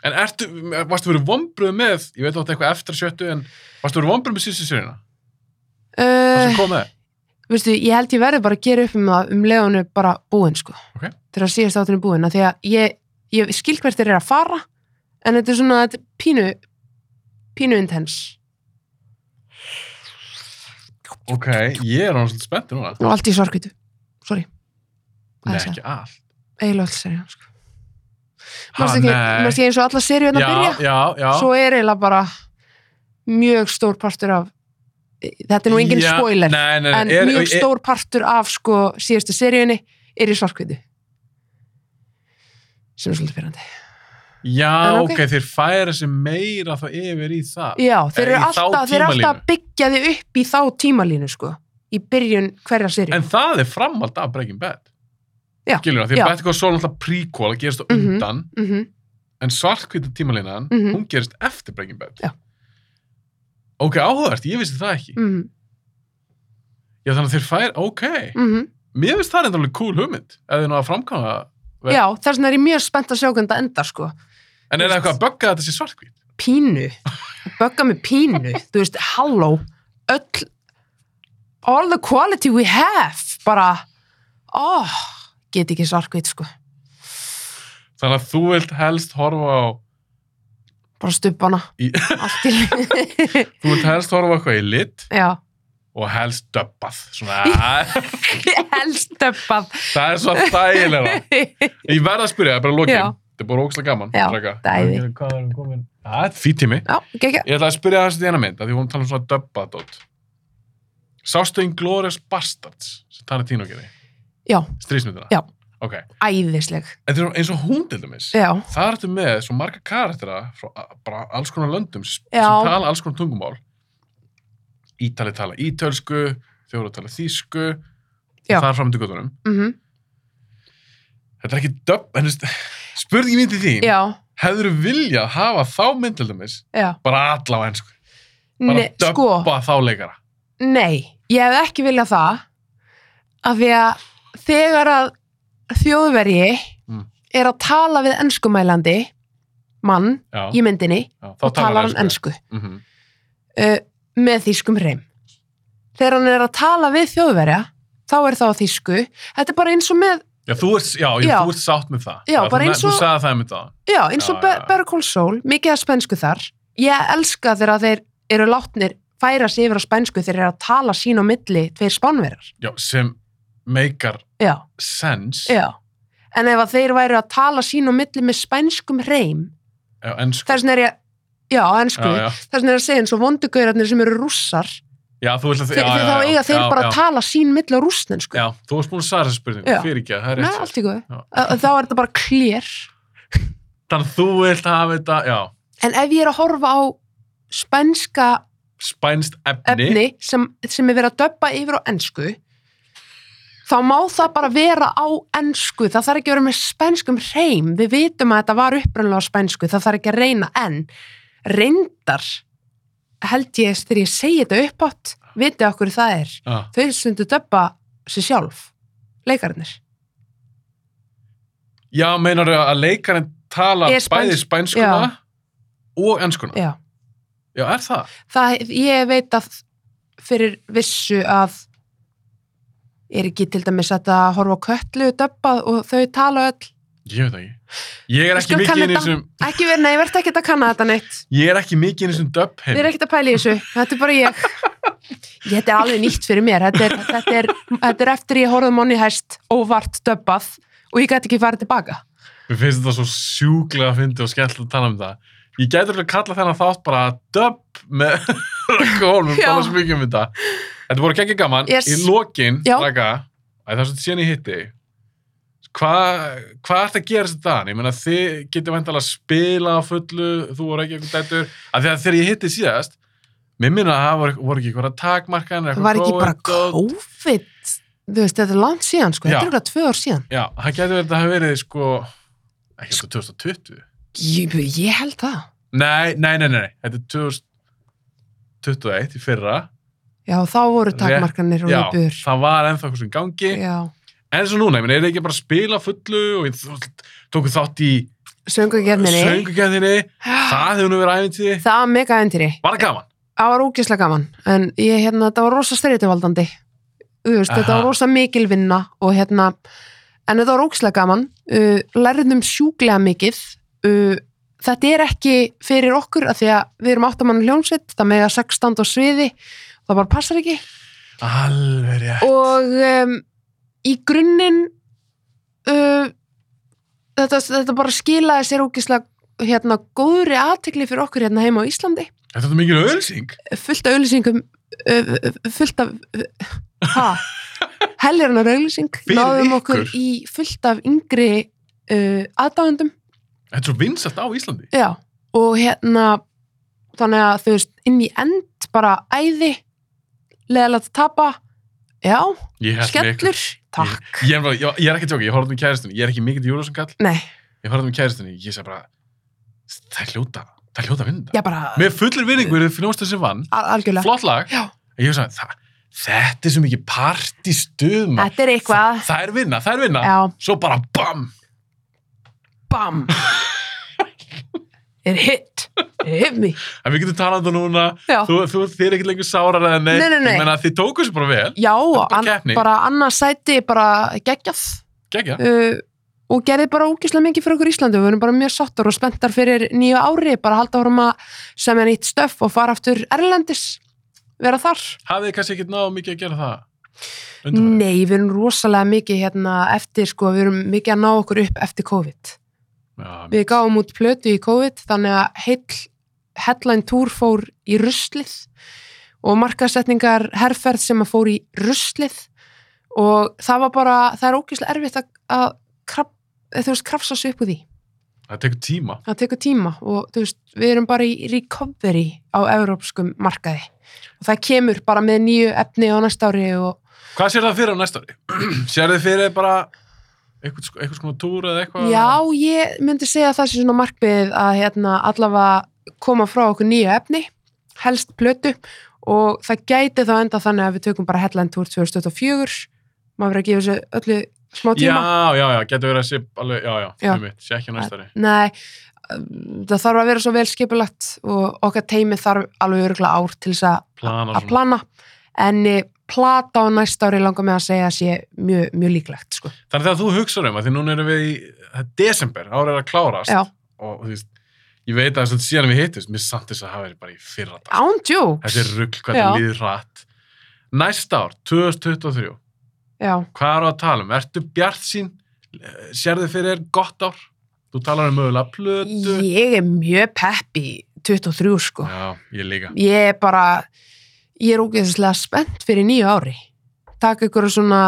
Speaker 1: En ertu, varstu verið vombröð með, ég veit átt eitthvað eftir sjöttu, en varstu verið vombröð með síðustu sérina? Það
Speaker 2: uh,
Speaker 1: sem kom með?
Speaker 2: veistu, ég held ég verði bara að gera upp um það um leiðinu bara búin, sko.
Speaker 1: Ok.
Speaker 2: Þegar síðast áttunni búin, af því að ég, ég skil hvert þeir eru að fara, en þetta er svona, þetta er pínu, pínu intense.
Speaker 1: Ok, ég er hann svolítið spenntið núna.
Speaker 2: Og allt í sorgvítu, sorry, Það
Speaker 1: Nei,
Speaker 2: er
Speaker 1: ekki allt.
Speaker 2: eiginlega allt serið, sko.
Speaker 1: Ha,
Speaker 2: Mást ekki, mást ég eins og alla serið að Hérna byrja?
Speaker 1: Já, já, já.
Speaker 2: svo er eiginlega bara mjög stór partur af þetta er nú engin
Speaker 1: Já,
Speaker 2: spoiler
Speaker 1: Nei, nei,
Speaker 2: en
Speaker 1: Eh, er,
Speaker 2: mjög
Speaker 1: er-
Speaker 2: stór partur af sko síðustu seríunni er í svarkviti sem er svolítið fyrrandi
Speaker 1: Já,
Speaker 2: En
Speaker 1: ok,
Speaker 2: ok.
Speaker 1: þeir færa sig meira þá yfir í það.
Speaker 2: já, þeir
Speaker 1: Eh, Í
Speaker 2: eru
Speaker 1: þá
Speaker 2: alltaf, þeir eru alltaf að
Speaker 1: tímalínu.
Speaker 2: byggja þið upp í þá tímalínu sko í byrjun hverja seríu
Speaker 1: En það er framhald af Breaking Bad.
Speaker 2: Já,
Speaker 1: Skiljum það, því
Speaker 2: já.
Speaker 1: að Better Call Saul er alltaf prequel að gerist á
Speaker 2: Mhm.
Speaker 1: undan,
Speaker 2: Mhm.
Speaker 1: en svartkvita tímalínan,
Speaker 2: Mhm.
Speaker 1: hún gerist eftir Breaking Bad.
Speaker 2: Já.
Speaker 1: Ok, áhugavert, ég vissi það ekki.
Speaker 2: mhm,
Speaker 1: Já, þannig að þeir færa, ok.
Speaker 2: mhm.
Speaker 1: Mér finnst það reyndarlega cool hugmynd, eða nú að framkvæma. Vel.
Speaker 2: já, þess vegna er ég mjög spennt að sjá hvernig það endar sko
Speaker 1: En er það eitthvað að bögga þetta sé svartkvít?
Speaker 2: pínu bögga með pínu, þú veist, halló öll all the quality we have bara, oh get ekki svarkveit sko,
Speaker 1: Þannig að þú vilt helst horfa á,
Speaker 2: bara stubbana
Speaker 1: Í-
Speaker 2: allt í lagi.
Speaker 1: þú vilt helst horfa á eitthvað í lit
Speaker 2: já,
Speaker 1: og helst döbbað. Svona,
Speaker 2: helst stubbað
Speaker 1: það er svo þægilega. Ég verð að spyrja, það er bara
Speaker 2: Já.
Speaker 1: lokin. Þetta er bara ógæslega gaman.
Speaker 2: Já,
Speaker 1: strákar.
Speaker 2: dæði.
Speaker 1: Hvað erum komin? Það er fýt tími.
Speaker 2: já, ekki,
Speaker 1: Ég ætla að spyrja þess að þína mynd, af því hún tala um svona döbbadót. Sástu Inglourious Bastards, sem Tarantino gerði?
Speaker 2: Já.
Speaker 1: Strísmyndina?
Speaker 2: Já.
Speaker 1: Ok.
Speaker 2: æðisleg
Speaker 1: En þeir eru eins og hún til dæmis.
Speaker 2: já,
Speaker 1: Það ertu með svo marga karaktera frá a- bara alls konar löndum s- sem
Speaker 2: Já.
Speaker 1: tala alls konar tungumál. Ítali tala ítölsku, þjóru tala þýsku,
Speaker 2: Já.
Speaker 1: og það er framöndu göttunum.
Speaker 2: mhm,
Speaker 1: Þetta er ekki döbb, en þú veist, spurningi mín til þín,
Speaker 2: já,
Speaker 1: hefur viljað hafa þá mynd til dæmis
Speaker 2: já
Speaker 1: bara alla á ennsku, bara
Speaker 2: ne,
Speaker 1: döbba
Speaker 2: sko,
Speaker 1: þá leikara.
Speaker 2: nei ég hef ekki viljað það af því að þegar að þjóðverji
Speaker 1: Mm.
Speaker 2: er að tala við enskumælandi mann
Speaker 1: Já,
Speaker 2: í myndinni
Speaker 1: já,
Speaker 2: og talar hann ensku
Speaker 1: Mm
Speaker 2: uh, með þýskum reym þegar hann er að tala við þjóðverja þá er það á þýsku þetta er bara eins og með,
Speaker 1: Já, þú ert, já, já,
Speaker 2: Já.
Speaker 1: þú ert sátt með það.
Speaker 2: Já,
Speaker 1: þú
Speaker 2: bara
Speaker 1: ne-
Speaker 2: eins og-
Speaker 1: Þú sagði það með það.
Speaker 2: já, eins og
Speaker 1: Já,
Speaker 2: Be-
Speaker 1: já.
Speaker 2: Better Call Saul, mikið að spænsku þar ég elska þegar þeir eru látnir færa sig yfir á spænsku þegar þeir eru að tala sín á milli tveir spánverjar
Speaker 1: Já, sem meikar
Speaker 2: já,
Speaker 1: sens
Speaker 2: já en ef að þeir væru að tala sín á milli með spænskum reym
Speaker 1: á ensku.
Speaker 2: þess vegna er ég, já, ensku
Speaker 1: Já, já.
Speaker 2: þess vegna er ég að segja eins og vondugaurarnir sem eru rússar
Speaker 1: Já, þú vilt að... já,
Speaker 2: þeir,
Speaker 1: já,
Speaker 2: þeir þá
Speaker 1: já,
Speaker 2: eiga þeir
Speaker 1: já,
Speaker 2: bara
Speaker 1: já.
Speaker 2: að tala sín milli á rússnensku
Speaker 1: Já, þú varst búin að svara þessu spurningu,
Speaker 2: Já.
Speaker 1: fyrir ekki að það er
Speaker 2: Nei,
Speaker 1: rétt.
Speaker 2: allt í góðu.
Speaker 1: Já.
Speaker 2: Ö- Þá er þetta bara klér.
Speaker 1: Þannig að þú vilt hafa þetta, já,
Speaker 2: En ef ég er að horfa á spænska
Speaker 1: spænst efni.
Speaker 2: efni sem, sem er verið að döbba yfir á ensku, þá má það bara vera á ensku. Það þarf ekki að vera með spænskum hreim. Við vitum að þetta var upprunnilega á spænsku. Það þarf ekki að reyna en reyndar held ég þegar ég segi þetta uppátt, vitið okkur það er.
Speaker 1: Já.
Speaker 2: Þau stundu döbba sér sjálf, leikarinnir.
Speaker 1: Já, meinar þau að leikarinn tala
Speaker 2: Er spæns-
Speaker 1: bæði spænskuna og enskuna?
Speaker 2: Já.
Speaker 1: Já, er það?
Speaker 2: það, ég veit að fyrir vissu að er ekki til dæmis hægt að horfa á köllu döbbað og þau tala öll
Speaker 1: Ég veit það ekki. Ég er
Speaker 2: Við
Speaker 1: ekki
Speaker 2: skulum
Speaker 1: mikið
Speaker 2: kanna
Speaker 1: inn í
Speaker 2: þetta.
Speaker 1: þessum,
Speaker 2: ekki verið, nei, verður ekki að kanna þetta neitt
Speaker 1: ég er ekki mikið inn í þessum döpp
Speaker 2: við erum ekkert að pæla í þessu, þetta er bara ég þetta er alveg nýtt fyrir mér þetta er, þetta er, þetta er eftir ég horfði monni hæst óvart döbbað og ég gæti ekki farið tilbaka
Speaker 1: Mér finnst þetta svo sjúklega fyndi og skemmtilegt að tala um það. Ég gæti alveg að kalla þennan þátt bara döpp með rökkólum,
Speaker 2: Já.
Speaker 1: tala svo mikið um þetta. Þetta voru ekki gaman.
Speaker 2: Yes.
Speaker 1: Í lokin,
Speaker 2: Já.
Speaker 1: Raka, að það er svolítið síðan ég hitti, þig. hvað hva ert að gera þetta þannig? Ég meina, þið getur vantalega að spila á fullu, þú voru ekki eitthvað dættur. Af því að þegar ég hitti síðast, mér minna að það voru, voru ekki eitthvað takmarkan,
Speaker 2: það var ekki bara COVID þú veist, þetta er langt síðan sko, þetta
Speaker 1: Já.
Speaker 2: er eitthvað tvö ár síðan
Speaker 1: Já, það getur verið að það hafi verið, sko, ekki sko, alltaf 2020.
Speaker 2: ég, ég held það
Speaker 1: Nei, nei, nei, nei, nei. þetta er 2000 21 í fyrra
Speaker 2: Já, þá voru
Speaker 1: Rétt-
Speaker 2: takmarkanir og
Speaker 1: já,
Speaker 2: nýbur.
Speaker 1: það var ennþá eitthvað sem gangi
Speaker 2: Já,
Speaker 1: en eins og núna, ég meina, er ekki bara að spila fullu og ég þú- tóku þátt í
Speaker 2: söngugerðinni.
Speaker 1: söngugjæðinni
Speaker 2: Það
Speaker 1: það hefur nú verið æfintíði,
Speaker 2: var mega endri.
Speaker 1: var það gaman
Speaker 2: Það var ógislega gaman. En ég, hérna, þetta var rosa styrjutuvaldandi. Þú veist, þetta
Speaker 1: Aha.
Speaker 2: var rosa mikil vinna og hérna, en þetta var ógislega gaman. Uh, lærðum sjúklega mikið. Uh, þetta er ekki fyrir okkur að því að við erum áttamann hljómsveit, það mega sex stand á sviði, það bara passar ekki.
Speaker 1: alveg rétt
Speaker 2: og um, í grunninn uh, þetta, þetta bara skilaði sér ógislega hérna góðri aðtekli fyrir okkur hérna heima á Íslandi
Speaker 1: þetta er mikil ölsing
Speaker 2: fullt af auðlýsingum uh, fullt af uh, ha, helgirnar auðlýsing
Speaker 1: Fyrir
Speaker 2: náðum okkur
Speaker 1: ykkur?
Speaker 2: í fullt af yngri uh, aðdáðendum
Speaker 1: þetta er svo vinsalt á Íslandi
Speaker 2: Já, og hérna þannig að þú veist, inn í end bara æði leðalegt að tapa já,
Speaker 1: ég, held með ykkur.
Speaker 2: skellur, takk
Speaker 1: ég, er bara- ég, ég er ekki að tjóka, ég horfði um kæristinu ég er ekki mikill Júlásson kall,
Speaker 2: Nei,
Speaker 1: ég horfði um kæristinu ég sagði bara, það er hljóta það er hljóta að vinna
Speaker 2: já bara
Speaker 1: með fullir vinningu eru fljósta sem vann
Speaker 2: Al- algjörlega
Speaker 1: flott lag,
Speaker 2: Já.
Speaker 1: en ég sagði það þetta er svo mikið partistuðum
Speaker 2: þetta er eitthvað
Speaker 1: það er vinna, það er vinna
Speaker 2: já,
Speaker 1: svo bara bam
Speaker 2: bam er hit hit me
Speaker 1: en við getum talað um það núna
Speaker 2: já,
Speaker 1: þú, þú, þið er ekkert lengur sárar eða neitt
Speaker 2: Nei, nei, nei.
Speaker 1: ég meina þið tókuð sér bara vel
Speaker 2: já
Speaker 1: bara
Speaker 2: bara,
Speaker 1: keppni.
Speaker 2: an, bara annars sæti bara geggjað
Speaker 1: Gekja.
Speaker 2: uh, og gerði bara ógislega mikið fyrir okkur í Íslandi við erum bara mjög sáttar og spenntar fyrir nýju ári bara halda árum að semja nýtt stöf og fara aftur Erlendis vera þar
Speaker 1: hafið þið kannski ekkert náðu mikið að gera það undanfarið?
Speaker 2: nei, við erum rosalega mikið hérna eftir sko, við erum mikið að ná okkur upp eftir COVID
Speaker 1: Já,
Speaker 2: við gáum út plötu í COVID þannig að heill headline tour fór í ruslið og markasetningar herrferð sem að fór í ruslið og það var bara, það er ógeðslega erfitt að, að kraf, þú veist, krafsa sig upp úr því
Speaker 1: það tekur tíma
Speaker 2: það tekur tíma og þú veist, við erum bara í recovery á európskum markaði og það kemur bara með nýju efni á næsta ári og
Speaker 1: Hvað sér það fyrir á næsta ári? sér þið fyrir bara eitthvað, sko- eitthvað svona túr eða eitthvað?
Speaker 2: Já, ég myndi segja að það sé svona markmið að hérna, allavega koma frá okkur nýja efni, helst plötu og það gæti þá enda þannig að við tökum bara Headline Tour 2024 maður verið að gefa þessu öllu smá
Speaker 1: Já,
Speaker 2: tíma.
Speaker 1: já, já, getur verið að sé alveg, já, já,
Speaker 2: Já.
Speaker 1: fyrir mitt, sé ekki á næsta ári.
Speaker 2: Nei, um, það þarf að vera svo vel skipulagt og okkar teimi þarf alveg örgla ár til þess að-
Speaker 1: Plana
Speaker 2: að
Speaker 1: svona.
Speaker 2: plana en eh, plata á næsta ári langar með að segja að sé mjög, mjög líklegt sko.
Speaker 1: Þannig þegar þú hugsaður um að því núna erum við í það er desember, ára er að klárast
Speaker 2: Já,
Speaker 1: og þú veist, ég veit að þess að síðan við hittist, mér samt þess að hafa verið bara í fyrra dag.
Speaker 2: án jokes
Speaker 1: Þessi rugl, hvað það
Speaker 2: Já.
Speaker 1: líður rætt. Næsta ár, 2023,
Speaker 2: Já,
Speaker 1: hvað eru að tala um? Ertu bjart sín? Sér þið fyrir gott ár? Þú talar um mögulega plötu?
Speaker 2: ég er mjög pepp í 23 sko
Speaker 1: Já, ég líka.
Speaker 2: ég er bara ég er ógeðslega spennt fyrir nýju ári taka ykkur svona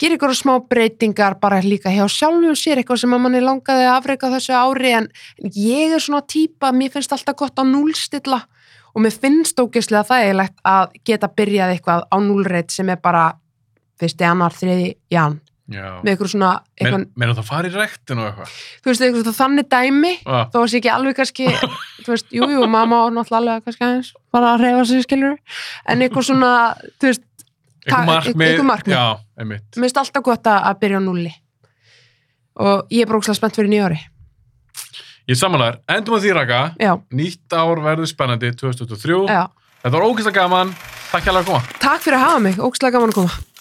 Speaker 2: gera ykkur smá breytingar bara líka hjá sjálfum sér eitthvað sem að manni langaði að afreika á þessu ári en ég er svona típa, mér finnst alltaf gott að núlstilla og mér finnst ógeðslega þægilegt að geta byrjað eitthvað á núlreitt sem er bara fyrst í annar, þriði, jan
Speaker 1: Já.
Speaker 2: með ykkur svona, eitthvað,
Speaker 1: Men, menn að það fari í rektin og eitthvað.
Speaker 2: þú veist, eitthvað svona þannig dæmi
Speaker 1: Ah,
Speaker 2: þó að sé ekki alveg kannski þú veist, jú, jú, mamma og náttúrulega alveg kannski aðeins bara að reyfa sig, skilur en eitthvað svona, þú veist, Ta-
Speaker 1: Eitthvað markmið.
Speaker 2: eitthvað markmið.
Speaker 1: Já, einmitt.
Speaker 2: mér finnst alltaf gott að að byrja á núli og ég er brókslega spennt fyrir nýjóri
Speaker 1: Ég samanlegar, endum að því raka.
Speaker 2: já,
Speaker 1: Nýtt ár verður spennandi 2023.
Speaker 2: já,
Speaker 1: Þetta var ógeðslega gaman. Takk hjá að koma.
Speaker 2: takk fyrir að hafa mig, ókslega gaman að koma